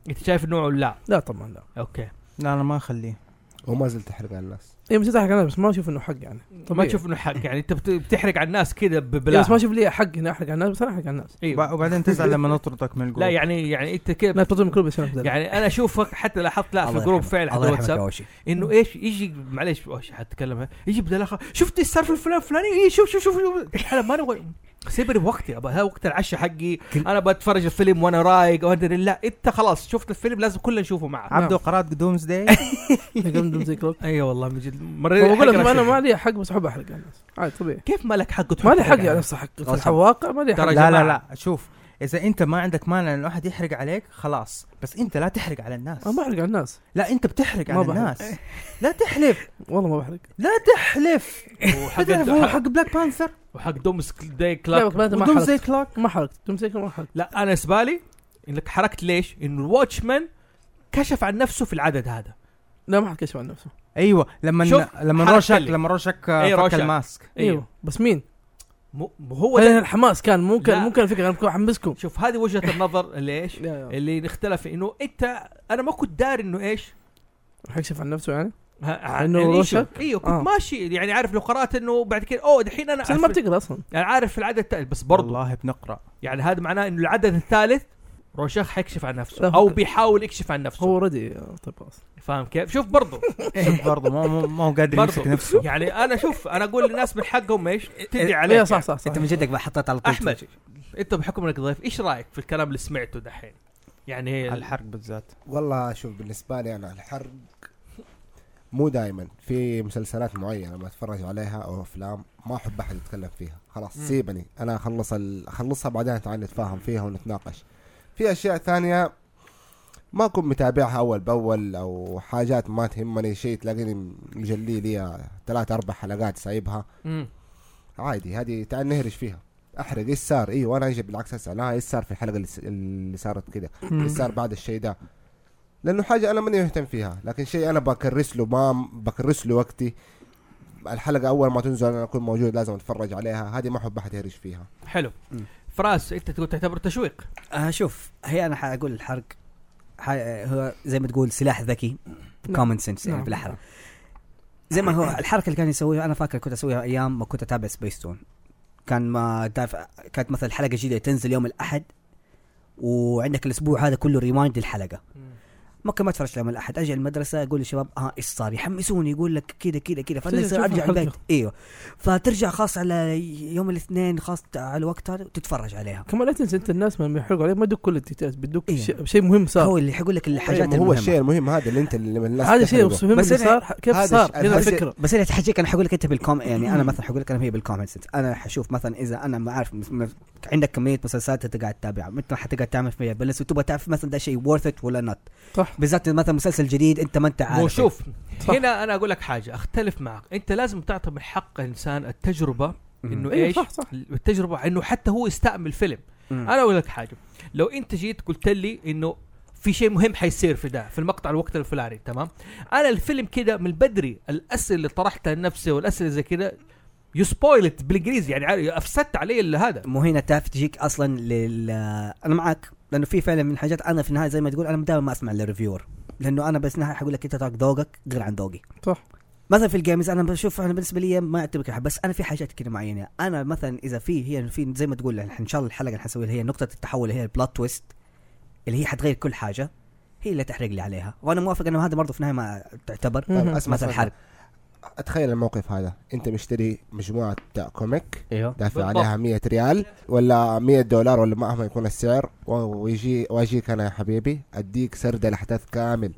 Speaker 3: انت شايف انه لا
Speaker 5: لا طبعا لا
Speaker 3: اوكي
Speaker 1: لا انا ما اخليه
Speaker 2: وما زلت احرق على الناس
Speaker 5: اي بس تحرق عليه بس ما اشوف انه حق يعني
Speaker 3: ما
Speaker 5: طبيعي.
Speaker 3: تشوف انه حق يعني انت بت- بتحرق على الناس كذا
Speaker 5: إيه
Speaker 3: ببلاش
Speaker 5: بس ما اشوف لي حق اني احرق على الناس بس انا احرق على الناس
Speaker 1: وب- وبعدين تزعل لما نطردك من الجروب
Speaker 3: إيه. أيوة. لا يعني يعني انت كذا
Speaker 5: لا تطلب من كل بس انا
Speaker 3: يعني انا اشوفك حتى لاحظت لا في
Speaker 4: الله
Speaker 3: الجروب
Speaker 4: يرحمه.
Speaker 3: فعلا حتى
Speaker 4: الله يرحمك يا اوشي
Speaker 3: الواتساب انه ايش يجي معليش اوش حتكلم يجي بدل اخر شفت ايش صار في الفلان الفلاني إيه شوف شوف شوف شوف انا ما نبغى سيبني بوقتي ابى هذا وقت العشاء حقي
Speaker 4: كل-
Speaker 3: انا بتفرج الفيلم وانا رايق وادري لا انت خلاص شفت الفيلم لازم كلنا نشوفه معك
Speaker 1: عبده قرات دومز داي
Speaker 5: زي كلوب
Speaker 3: ايوه والله من جد مرينا
Speaker 5: بقول لك
Speaker 3: حق
Speaker 5: ما انا
Speaker 3: رشيد.
Speaker 5: ما لي حق بس احب احرق على الناس عادي طبيعي
Speaker 3: كيف ما لك حق
Speaker 5: ما لي حق يعني نفس حق في الواقع ما لي حق
Speaker 3: ترى
Speaker 1: لا لا
Speaker 3: جماعة.
Speaker 1: لا شوف اذا انت ما عندك مانع ان الواحد يحرق عليك خلاص بس انت لا تحرق على الناس
Speaker 5: ما بحرق على الناس
Speaker 1: لا انت بتحرق
Speaker 5: ما
Speaker 1: على
Speaker 5: بحرق.
Speaker 1: الناس لا تحلف
Speaker 5: والله ما بحرق
Speaker 1: لا تحلف بتعرف هو
Speaker 3: وحق
Speaker 1: حق بلاك بانثر
Speaker 3: وحق دومس داي
Speaker 5: لا
Speaker 3: كلاك
Speaker 5: بس ما
Speaker 1: ودومز
Speaker 5: حرقت
Speaker 1: داي كلوك
Speaker 5: ما حرقت دوم سيكل ما حرقت
Speaker 3: لا انا زبالي انك حركت ليش؟ انه الواتشمان كشف عن نفسه في العدد هذا
Speaker 5: لا ما حد كشف عن نفسه
Speaker 1: ايوه لما
Speaker 3: شوف،
Speaker 1: لما
Speaker 3: حركة
Speaker 1: روشك
Speaker 3: اللي.
Speaker 1: لما روشك
Speaker 3: أي
Speaker 1: آه، فك
Speaker 3: روشك.
Speaker 1: الماسك
Speaker 5: ايوه بس مين؟
Speaker 3: مو مو هو
Speaker 5: هذا
Speaker 3: ده
Speaker 5: الحماس كان ممكن
Speaker 3: لا.
Speaker 5: ممكن الفكره انا كنت احمسكم
Speaker 3: شوف هذه وجهه النظر ليش؟
Speaker 5: لا، لا.
Speaker 3: اللي نختلف انه انت انا ما كنت داري انه ايش؟
Speaker 5: حيكشف عن نفسه يعني
Speaker 3: ها-
Speaker 5: إنه
Speaker 3: يعني
Speaker 5: روشك؟
Speaker 3: شوف، ايوه كنت
Speaker 5: آه.
Speaker 3: ماشي يعني عارف لو قرات انه بعد كده اوه دحين انا
Speaker 5: بس أنا ما
Speaker 3: عارف,
Speaker 5: بتقرا اصلا
Speaker 3: يعني عارف العدد الثالث بس برضه
Speaker 1: والله بنقرا
Speaker 3: يعني هذا معناه انه العدد الثالث روشاخ حيكشف عن نفسه
Speaker 5: لا، هو
Speaker 3: او
Speaker 5: ك-
Speaker 3: بيحاول يكشف عن نفسه
Speaker 5: هو اوريدي طيب خلاص
Speaker 3: فاهم كيف شوف برضه
Speaker 1: برضه مو مو مو قادر يمسك
Speaker 3: برضه
Speaker 1: نفسه
Speaker 3: يعني انا شوف انا اقول للناس من حقهم ايش تدي
Speaker 5: إيه،
Speaker 3: عليه
Speaker 5: صح صح صح
Speaker 4: انت من جدك بقى حطيت على طول
Speaker 3: احمد انت بحكم انك ضيف ايش رايك في الكلام اللي سمعته دحين يعني
Speaker 1: على الحرق بالذات
Speaker 2: والله شوف بالنسبه لي انا الحرق مو دائما في مسلسلات معينه ما اتفرج عليها او افلام ما احب احد يتكلم فيها خلاص
Speaker 3: مم.
Speaker 2: سيبني انا اخلص ال... اخلصها بعدين تعال نتفاهم فيها ونتناقش في اشياء ثانيه ما اكون متابعها اول باول او حاجات ما تهمني شيء تلاقيني مجلي لي ثلاث اربع حلقات سايبها
Speaker 3: مم.
Speaker 2: عادي هذه تعال نهرج فيها احرق ايش صار ايوه انا اجي بالعكس اسال آه، ايش صار في الحلقه اللي س- اللي صارت كذا ايش صار بعد الشيء ده لانه حاجه انا ماني مهتم فيها لكن شيء انا بكرس له ما بكرس له وقتي الحلقه اول ما تنزل انا اكون موجود لازم اتفرج عليها هذه ما احب احد يهرج فيها
Speaker 3: حلو
Speaker 4: مم.
Speaker 3: فراس انت تقول تعتبر تشويق
Speaker 4: آه شوف هي انا حاقول الحرق ح- هو زي ما تقول سلاح ذكي كومن سنس يعني
Speaker 5: نعم.
Speaker 4: بالاحرى زي ما هو الحركه اللي كان يسويها انا فاكر كنت اسويها ايام ما كنت اتابع سبيستون كان ما تعرف كانت مثلا حلقه جديده تنزل يوم الاحد وعندك الاسبوع هذا كله ريمايند للحلقه ممكن ما اتفرج يوم الاحد اجي المدرسه اقول للشباب ها ايش صار يحمسوني يقول لك كذا كذا كذا فانا
Speaker 5: تجي
Speaker 4: يصير
Speaker 5: تشوف
Speaker 4: ارجع
Speaker 5: الحلقة.
Speaker 4: البيت ايوه فترجع خاص على يوم الاثنين خاص على الوقت هذا وتتفرج عليها
Speaker 5: كمان لا تنسى انت الناس ما يحرقوا عليك ما يدوك كل الديتيلز بيدوك
Speaker 4: إيه.
Speaker 5: شيء شيء مهم صار
Speaker 4: هو اللي حيقول لك الحاجات
Speaker 2: أيوة، ما هو
Speaker 4: المهمة.
Speaker 2: الشيء المهم هذا اللي انت اللي من الناس
Speaker 5: هذا شيء
Speaker 2: بتحرقه.
Speaker 5: مهم
Speaker 4: بس
Speaker 5: اللي
Speaker 4: أنا-
Speaker 5: صار ح- كيف
Speaker 2: هذا
Speaker 5: صار
Speaker 2: الش-
Speaker 5: هنا
Speaker 2: هذا
Speaker 5: الفكره
Speaker 4: بس انا حجيك انا حقول لك انت بالكوم يعني انا مثلا حقول لك انا هي بالكومن سنس انا حشوف مثلا اذا انا ما عارف مس- مس- عندك كميه مسلسلات انت قاعد تتابعها متى حتقعد تعمل فيها بلس وتبغى تعرف مثلا ده شيء ورث ات ولا نوت
Speaker 5: صح
Speaker 4: بالذات مثلا مسلسل جديد انت ما انت عارف
Speaker 3: وشوف
Speaker 5: صح.
Speaker 3: هنا انا اقول لك حاجه اختلف معك انت لازم تعطي من حق الانسان التجربه
Speaker 4: مم. أيوة،
Speaker 3: انه
Speaker 5: إيه،
Speaker 3: ايش
Speaker 5: صح، صح.
Speaker 3: التجربه انه حتى هو يستعمل فيلم
Speaker 4: مم.
Speaker 3: انا اقول لك حاجه لو انت جيت قلت لي انه في شيء مهم حيصير في ده في المقطع الوقت الفلاني تمام انا الفيلم كده من بدري الاسئله اللي طرحتها لنفسي والاسئله زي كده يو سبويلت بالانجليزي يعني عارف- افسدت علي ال- هذا
Speaker 4: مو هنا تعرف تجيك اصلا لل انا معك لانه في فعلا من الحاجات انا في النهايه زي ما تقول انا دائما ما اسمع للريفيور لانه انا بس نهايه حقول لك انت تراك ذوقك غير عن ذوقي
Speaker 5: صح.
Speaker 4: مثلا في الجيمز انا بشوف انا بالنسبه لي ما اعتبر بس انا في حاجات كده معينه انا مثلا اذا في هي في زي ما تقول إحنا ان شاء الله الحلقه اللي حنسويها اللي هي نقطه التحول اللي هي البلوت تويست اللي هي حتغير كل حاجه هي اللي تحرق لي عليها وانا موافق انه هذا برضه في النهايه ما تعتبر
Speaker 5: مهم.
Speaker 2: طيب، اسمع
Speaker 4: مثلا
Speaker 2: سؤال.
Speaker 4: حرق
Speaker 2: اتخيل الموقف هذا انت مشتري مجموعه كوميك
Speaker 5: إيوه.
Speaker 4: ايوه
Speaker 2: دافع
Speaker 3: بالضبط.
Speaker 2: عليها 100 ريال ولا 100 دولار ولا مهما يكون السعر و- ويجي واجيك انا يا حبيبي اديك سرد الاحداث كامل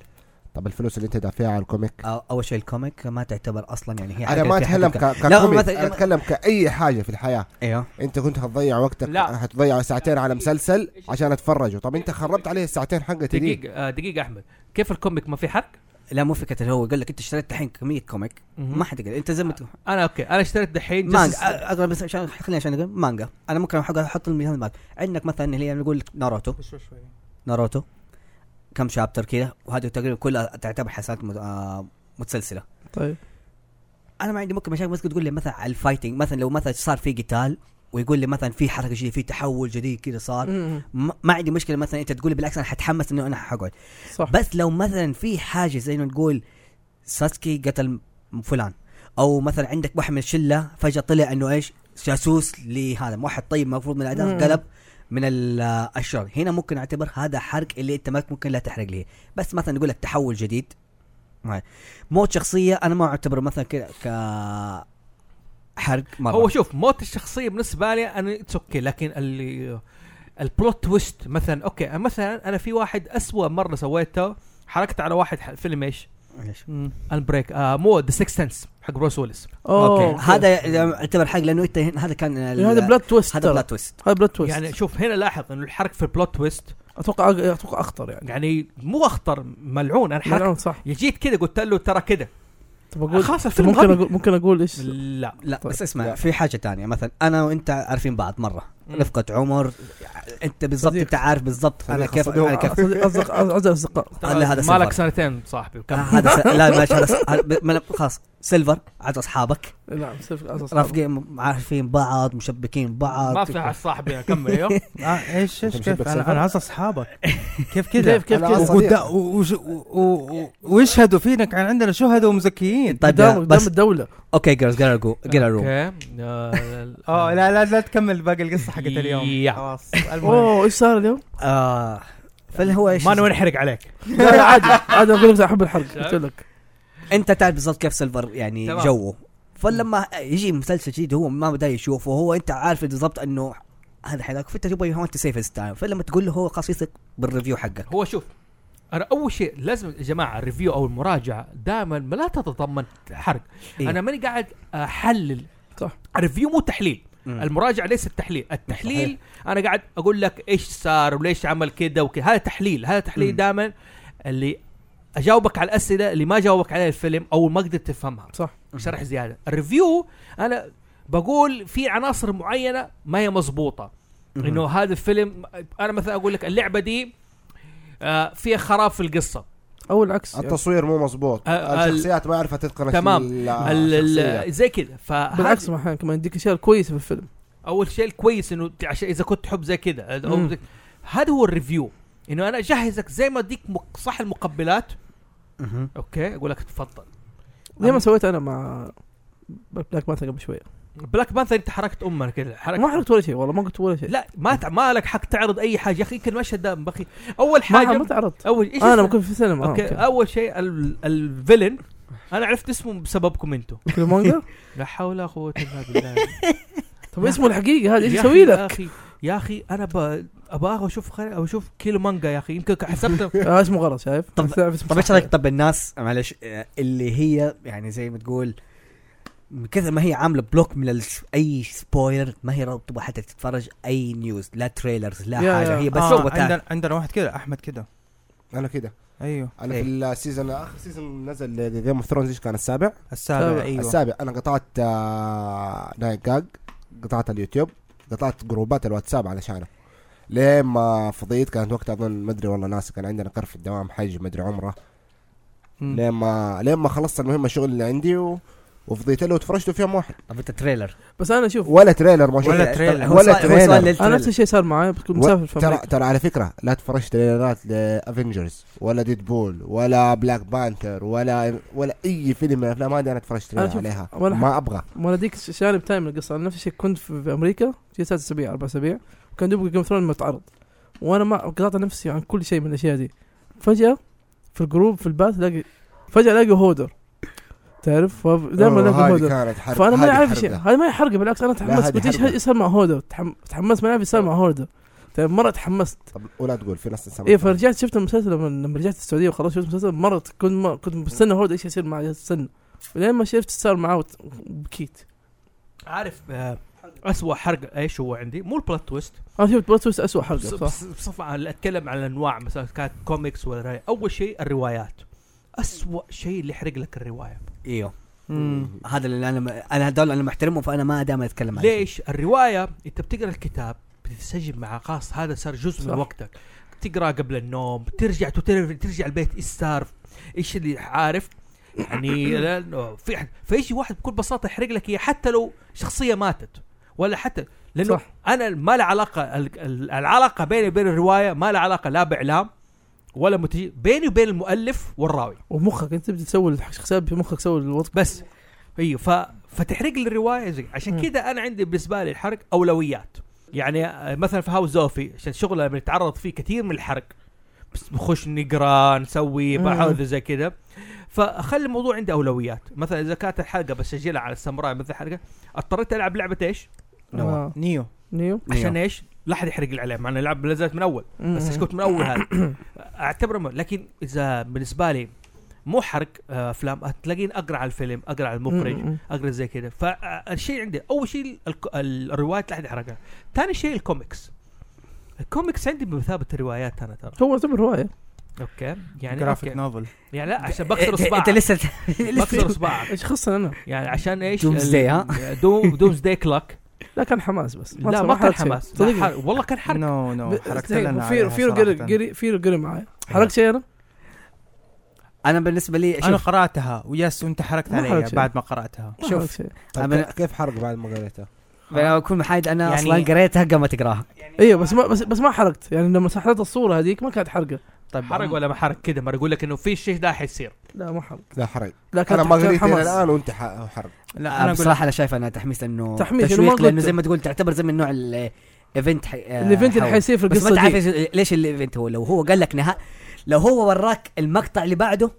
Speaker 2: طب الفلوس اللي انت دافعها على الكوميك
Speaker 4: اول شيء الكوميك ما تعتبر اصلا يعني هي
Speaker 2: انا
Speaker 4: حاجة
Speaker 2: ما
Speaker 4: فيها
Speaker 2: اتكلم
Speaker 4: حرق.
Speaker 2: ك-
Speaker 4: لا،
Speaker 2: ككوميك
Speaker 4: مثلاً-
Speaker 2: انا اتكلم كاي حاجه في الحياه
Speaker 4: ايوه
Speaker 2: انت كنت هتضيع وقتك
Speaker 3: لا.
Speaker 2: هتضيع ساعتين على مسلسل عشان اتفرجه طب انت خربت عليه الساعتين حقتي دي
Speaker 3: دقيقه آه، دقيقه احمد كيف الكوميك ما في حرق
Speaker 4: لا مو فكره اللي هو يقول لك انت اشتريت الحين كميه كوميك ما
Speaker 3: ما حد
Speaker 4: حتقدر انت زي ما تقول
Speaker 3: انا اوكي انا اشتريت دحين
Speaker 4: مانجا
Speaker 3: جسس-
Speaker 4: أ- اغلب بس عشان خليني عشان اقول مانجا انا ممكن احط احط المثال معك عندك مثلا اللي هي نقول ناروتو ناروتو كم شابتر كذا وهذه تقريبا كلها تعتبر حسنات مت- آه، متسلسله
Speaker 5: طيب
Speaker 4: انا ما عندي ممكن مشاكل بس تقول لي مثلا على الفايتنج مثلا لو مثلا صار في قتال ويقول لي مثلا في حركه جديده في تحول جديد كذا صار
Speaker 5: مم.
Speaker 4: ما ما عندي مشكله مثلا انت تقول لي بالعكس انا حتحمس انه انا حقعد
Speaker 5: صح
Speaker 4: بس لو مثلا في حاجه زي انه نقول ساسكي قتل فلان او مثلا عندك واحد من الشله فجاه طلع انه ايش جاسوس لهذا واحد طيب المفروض من
Speaker 5: مم.
Speaker 4: الاداء قلب من ال- الشر هنا ممكن اعتبر هذا حرق اللي انت ما ممكن لا تحرق لي بس مثلا نقول لك تحول جديد معي. موت شخصيه انا ما اعتبره مثلا ك ك حرق مره
Speaker 3: هو شوف موت الشخصيه بالنسبه لي انا اتس اوكي لكن اللي البلوت تويست مثلا اوكي مثلا انا في واحد اسوأ مره سويته حركت على واحد ح- فيلم ايش؟
Speaker 4: إيش؟
Speaker 3: البريك آه مو ذا سكس سنس حق بروس ويلس
Speaker 5: أوه،
Speaker 4: اوكي هذا يعتبر حرق لانه انت هنا- هذا كان ال-
Speaker 5: هذا بلاد تويست
Speaker 4: هذا
Speaker 5: ترى.
Speaker 4: بلاد تويست
Speaker 5: هذا بلاد تويست
Speaker 3: يعني شوف هنا لاحظ انه الحرق في البلوت تويست
Speaker 5: اتوقع اتوقع اخطر يعني
Speaker 3: يعني مو اخطر ملعون انا حركت
Speaker 5: ملعون صح
Speaker 3: جيت كده قلت له ترى كده
Speaker 5: طب اقول
Speaker 3: خلاص الفيلم
Speaker 5: ممكن
Speaker 3: غبي.
Speaker 5: اقول ممكن اقول ايش
Speaker 3: لا
Speaker 4: لا
Speaker 5: طيب.
Speaker 4: بس اسمع
Speaker 2: لا.
Speaker 4: في حاجه تانية مثلا انا وانت عارفين بعض مره
Speaker 3: مم.
Speaker 4: رفقه عمر انت بالضبط
Speaker 5: صديق.
Speaker 4: انت عارف بالضبط انا
Speaker 2: صديق
Speaker 4: كيف
Speaker 2: الصدوق.
Speaker 4: انا كيف
Speaker 5: أصدق- أصدق- قصدي اصدقاء
Speaker 3: ترى
Speaker 4: أنا هذا
Speaker 3: مالك
Speaker 4: سفر.
Speaker 3: سنتين صاحبي
Speaker 4: آه،
Speaker 3: وكم
Speaker 4: هذا س... لا ماشي هذا س... هذا ب- ما- خلاص سيلفر عاد اصحابك
Speaker 5: نعم سيف أصدق.
Speaker 4: رافقين عارفين بعض مشبكين بعض
Speaker 3: ما في احد صاحبي اكمل ايوه
Speaker 1: آه ايش ايش
Speaker 2: أنت
Speaker 1: كيف
Speaker 2: مشبك
Speaker 1: انا
Speaker 2: سفر؟
Speaker 1: انا عايز اصحابك كيف كذا
Speaker 5: كيف كيف
Speaker 2: أنا
Speaker 5: كيف
Speaker 2: أصدق. صديق.
Speaker 1: وقدا- وش- و- و- و- ويشهدوا فينك عن عندنا شهداء ومزكيين
Speaker 4: طيب يا-
Speaker 5: قدام قدام
Speaker 4: بس طيب.
Speaker 5: الدوله
Speaker 4: اوكي جيرلز جيرل جو جيرل روم
Speaker 3: اوكي آه،
Speaker 1: اه لا لا لا تكمل باقي القصه حقت اليوم
Speaker 3: يا.
Speaker 1: خلاص المهم
Speaker 5: اوه ايش صار اليوم؟
Speaker 4: آه فالهو ايش
Speaker 3: ما نبغى نحرق عليك
Speaker 5: لا لا عادي عادي اقول لك بس احب الحرق قلت لك
Speaker 4: انت تعرف بالضبط كيف سيلفر يعني
Speaker 3: تمام.
Speaker 4: جوه فلما يجي مسلسل جديد هو ما بدا يشوفه هو انت عارف بالضبط انه هذا حلاك فانت تبغى هو انت سيف ستايم فلما تقول له هو خلاص يثق بالريفيو حقك
Speaker 3: هو شوف انا اول شيء لازم يا جماعه الريفيو او المراجعه دائما ما لا تتضمن حرق
Speaker 4: إيه.
Speaker 3: إيه؟ انا ماني قاعد احلل
Speaker 5: صح.
Speaker 3: الريفيو مو تحليل
Speaker 4: مم.
Speaker 3: المراجعه ليست تحليل التحليل انا قاعد اقول لك ايش صار وليش عمل كده وكذا هذا تحليل هذا تحليل
Speaker 4: مم.
Speaker 3: دائما اللي اجاوبك على الاسئله اللي ما جاوبك عليها الفيلم او ما قدرت تفهمها
Speaker 5: صح.
Speaker 3: شرح زياده الريفيو انا بقول في عناصر معينه ما هي مضبوطه
Speaker 4: مم.
Speaker 3: انه هذا الفيلم انا مثلا اقول لك اللعبه دي آه فيها خراب في القصه
Speaker 5: او العكس يعني.
Speaker 2: التصوير مو مزبوط
Speaker 3: آه،
Speaker 2: الشخصيات ما عرفت تتقن
Speaker 3: تمام.
Speaker 2: ال-
Speaker 3: ال- ال-
Speaker 2: الشخصية.
Speaker 3: زي كذا فبالعكس
Speaker 5: آه، يعني بالعكس ما احيانا كمان يديك اشياء كويسه في الفيلم
Speaker 3: اول شيء الكويس انه ت- عشان اذا كنت تحب زي كذا أو
Speaker 5: مم.
Speaker 3: زي- هذا هو الريفيو انه انا اجهزك زي ما اديك مق- صح المقبلات
Speaker 4: مهم.
Speaker 3: اوكي اقول لك تفضل
Speaker 5: زي ما سويت انا مع بلاك مانثر قبل شويه
Speaker 3: بلاك بانثر انت حركت امك كذا
Speaker 5: ما حركت ولا شيء والله ما قلت ولا شيء
Speaker 3: لا ما تع- ما لك حق تعرض اي حاجه يا اخي يمكن المشهد ده بخي اول
Speaker 5: ما ما
Speaker 3: حاجه
Speaker 5: تعرضت
Speaker 3: اول ايش
Speaker 5: انا
Speaker 3: اسمه؟
Speaker 5: لما كنت في السينما آه،
Speaker 3: اوكي اول شيء ال- الفيلن انا عرفت اسمه بسببكم انتم
Speaker 5: كيلمونجر
Speaker 3: لا حول ولا قوه الا بالله
Speaker 5: طب اسمه الحقيقي هذا ايش
Speaker 3: يا
Speaker 5: يسوي
Speaker 3: أخي-
Speaker 5: لك؟
Speaker 3: يا اخي يا اخي انا ب... ابغى اشوف خل... أو اشوف كيلو مانجا يا اخي يمكن حسبت
Speaker 5: آه اسمه غلط شايف؟
Speaker 4: طب-
Speaker 5: بس تعرف اسمه
Speaker 4: طب ايش
Speaker 5: صح.
Speaker 4: رايك طب الناس معلش آه، اللي هي يعني زي ما تقول من كثر ما هي عامله بلوك من ال- اي سبويلر ما هي تبغى حتى تتفرج اي نيوز لا تريلرز لا
Speaker 5: يا-
Speaker 4: حاجه
Speaker 5: يا.
Speaker 4: هي بس
Speaker 1: آه
Speaker 4: تبغى تعرف.
Speaker 1: عندنا عندنا واحد كذا احمد كذا
Speaker 2: انا كده
Speaker 1: ايوه
Speaker 2: انا
Speaker 4: إيه.
Speaker 2: في السيزون اخر سيزون نزل جيم اوف ثرونز ايش كان السابع؟
Speaker 1: السابع
Speaker 5: السابع.
Speaker 1: ايوه
Speaker 2: السابع انا قطعت آه، نايت جاج قطعت اليوتيوب قطعت جروبات الواتساب علشانه لين ما فضيت كانت وقتها اظن ما ادري والله ناسي كان عندنا قرف في الدوام حج ما ادري عمره
Speaker 1: مم.
Speaker 2: لين ما لين ما خلصت المهمه الشغل اللي عندي و... وفضيت له وتفرجته في يوم واحد
Speaker 4: طب انت تريلر
Speaker 5: بس انا شوف
Speaker 2: ولا تريلر ما
Speaker 1: ولا
Speaker 2: شفت
Speaker 1: تريلر.
Speaker 4: هو
Speaker 2: ولا
Speaker 4: سؤال- هو
Speaker 2: تريلر.
Speaker 4: سؤال
Speaker 5: انا
Speaker 4: للتريلر.
Speaker 5: نفس الشيء صار معي كنت
Speaker 2: و-
Speaker 5: مسافر في
Speaker 2: ترى
Speaker 5: امريكا
Speaker 2: ترى على فكره لا تفرجت تريلرات لافنجرز ولا ديد بول ولا بلاك بانثر ولا ولا اي فيلم من الافلام هذه انا تفرجت
Speaker 5: أنا
Speaker 2: تريلر
Speaker 5: شوف-
Speaker 2: عليها
Speaker 5: ولا
Speaker 2: ما ابغى
Speaker 5: وانا ديك جانب تاني من القصه انا نفس الشيء كنت في في امريكا في ثلاث اسابيع اربع اسابيع وكان دوب جيم ثرون متعرض وانا ما قاطع نفسي عن كل شيء من الاشياء دي فجاه في الجروب في الباث الاقي فجاه الاقي هودر تعرف دائما
Speaker 2: أوه،
Speaker 5: الاقي
Speaker 2: هذه
Speaker 5: هودر
Speaker 2: كانت حرب
Speaker 5: فانا ما
Speaker 2: هذه
Speaker 5: عارف
Speaker 2: حرب
Speaker 5: شيء
Speaker 2: ده.
Speaker 5: هذا ما هي حرقه بالعكس انا
Speaker 2: هذه
Speaker 5: تحمست قلت ايش
Speaker 2: حرقة.
Speaker 5: ه- يصير مع هودر تحم- تحمست ما نعرف يصير مع هودر طيب مره تحمست
Speaker 2: طب ولا تقول في ناس تسمع
Speaker 5: ايه فرجعت شفت المسلسل لما لما رجعت السعوديه وخلاص شفت المسلسل مره كنت ما كنت مستنى هود ايش يصير معي استنى لين ما شفت صار معاه وت- بكيت
Speaker 3: عارف آه، اسوء حرق ايش هو عندي مو البلوت تويست
Speaker 5: انا شفت بلوت تويست اسوء حلقه
Speaker 3: بص-
Speaker 5: صح
Speaker 3: بص- بصفة عن اتكلم عن الانواع مثلا كانت كوميكس ولا رواية. اول شيء الروايات اسوء شيء اللي يحرق لك الروايه
Speaker 4: ايوه
Speaker 1: مم.
Speaker 4: هذا اللي انا م... انا هدول انا محترمه فانا ما دائما اتكلم عنه
Speaker 3: ليش الروايه انت بتقرا الكتاب بتنسجم مع خاص هذا صار جزء
Speaker 5: صح.
Speaker 3: من وقتك تقرا قبل النوم ترجع تتر- ترجع البيت ايش صار ايش اللي عارف يعني لأنه في أحد- فيجي واحد بكل بساطه يحرق لك اياه حتى لو شخصيه ماتت ولا حتى لانه صح.
Speaker 5: صح.
Speaker 3: انا ما له علاقه ال- ال- العلاقه بيني وبين الروايه ما له علاقه لا باعلام ولا متج... بيني وبين المؤلف والراوي
Speaker 5: ومخك انت تبدا تسوي الشخصيات بمخك تسوي الوضع
Speaker 3: بس ايوه ف... فتحرق لي الروايه زي عشان
Speaker 5: مم.
Speaker 3: كذا انا عندي بالنسبه لي الحرق اولويات يعني آه، مثلا في هاوس زوفي عشان شغله بنتعرض فيه كثير من الحرق بس نخش نقرا نسوي
Speaker 5: مم.
Speaker 3: بعض زي كذا فاخلي الموضوع عندي اولويات مثلا اذا كانت الحلقه بسجلها على الساموراي مثل حلقه اضطريت العب لعبه ايش؟
Speaker 5: آه.
Speaker 1: نيو
Speaker 5: نيو
Speaker 3: عشان ايش؟ لا احد يحرق لي عليه مع ان اللعبه نزلت من اول بس ايش
Speaker 5: مم.
Speaker 3: كنت من اول هذا اعتبره م- لكن اذا بالنسبه لي مو حرق آه، افلام تلاقيني اقرا على الفيلم اقرا على المخرج
Speaker 5: مم.
Speaker 3: اقرا زي كذا فالشيء عندي اول شيء الك- ال- الروايات لا احد يحرقها ثاني شيء الكوميكس الكوميكس عندي بمثابه الروايات انا ترى
Speaker 5: هو يعتبر روايه
Speaker 3: اوكي يعني
Speaker 1: جرافيك
Speaker 3: أوكي.
Speaker 1: نوفل
Speaker 3: يعني لا عشان
Speaker 4: إيه،
Speaker 3: بكسر
Speaker 4: إنت-
Speaker 3: اصبعك
Speaker 4: انت لسه
Speaker 3: بكسر اصبعك
Speaker 5: ايش خصني انا؟
Speaker 3: يعني عشان ايش
Speaker 4: Doomsday، ها؟
Speaker 3: دومز داي كلوك
Speaker 5: لا كان حماس بس
Speaker 3: لا ما كان حماس لا، حرق. والله كان حرق
Speaker 1: نو نو
Speaker 3: طيب،
Speaker 1: حركت لنا
Speaker 5: في في قري
Speaker 1: قري
Speaker 5: قري في قري معايا حركت شيء انا؟
Speaker 4: انا بالنسبه لي
Speaker 1: انا
Speaker 4: شوف
Speaker 1: قراتها ويس وانت حركت
Speaker 5: ما
Speaker 1: علي
Speaker 5: حركت شيء.
Speaker 1: بعد ما قراتها
Speaker 5: ما
Speaker 4: شوف.
Speaker 5: حركت شيء.
Speaker 2: طيب
Speaker 4: أنا-
Speaker 2: كيف- كيف حرق بعد ما قريته؟
Speaker 4: أنا اكون محايد انا
Speaker 1: يعني-
Speaker 4: اصلا قريتها قبل ما تقراها
Speaker 5: ايوه بس ما بس بس ما حركت يعني لما سحبت الصوره هذيك ما كانت حرقه
Speaker 1: طيب
Speaker 3: حرق ولا ما حرق كذا ما أنا اقول لك انه في شيء ده حيصير
Speaker 5: لا ما حرق
Speaker 2: لا حرق
Speaker 5: لا كانت
Speaker 2: انا ما
Speaker 5: كان
Speaker 2: قريت
Speaker 5: حماس.
Speaker 2: الى الان وانت ح- حرق
Speaker 1: لا
Speaker 4: انا
Speaker 1: انا اقول
Speaker 5: آه،
Speaker 4: بصراحه انا شايف انها تحميس لانه
Speaker 5: تحميس،
Speaker 4: تحميس
Speaker 5: إنه ما
Speaker 4: تشويق لانه
Speaker 5: قلت.
Speaker 4: زي ما تقول تعتبر زي من نوع ال- ايفنت حي... آه،
Speaker 5: الايفنت اللي
Speaker 4: حول.
Speaker 5: حيصير في
Speaker 4: بس ما انت
Speaker 5: القصه
Speaker 4: عارف
Speaker 5: دي
Speaker 4: إيش- ليش الايفنت هو لو هو قال لك نها لو هو وراك المقطع اللي بعده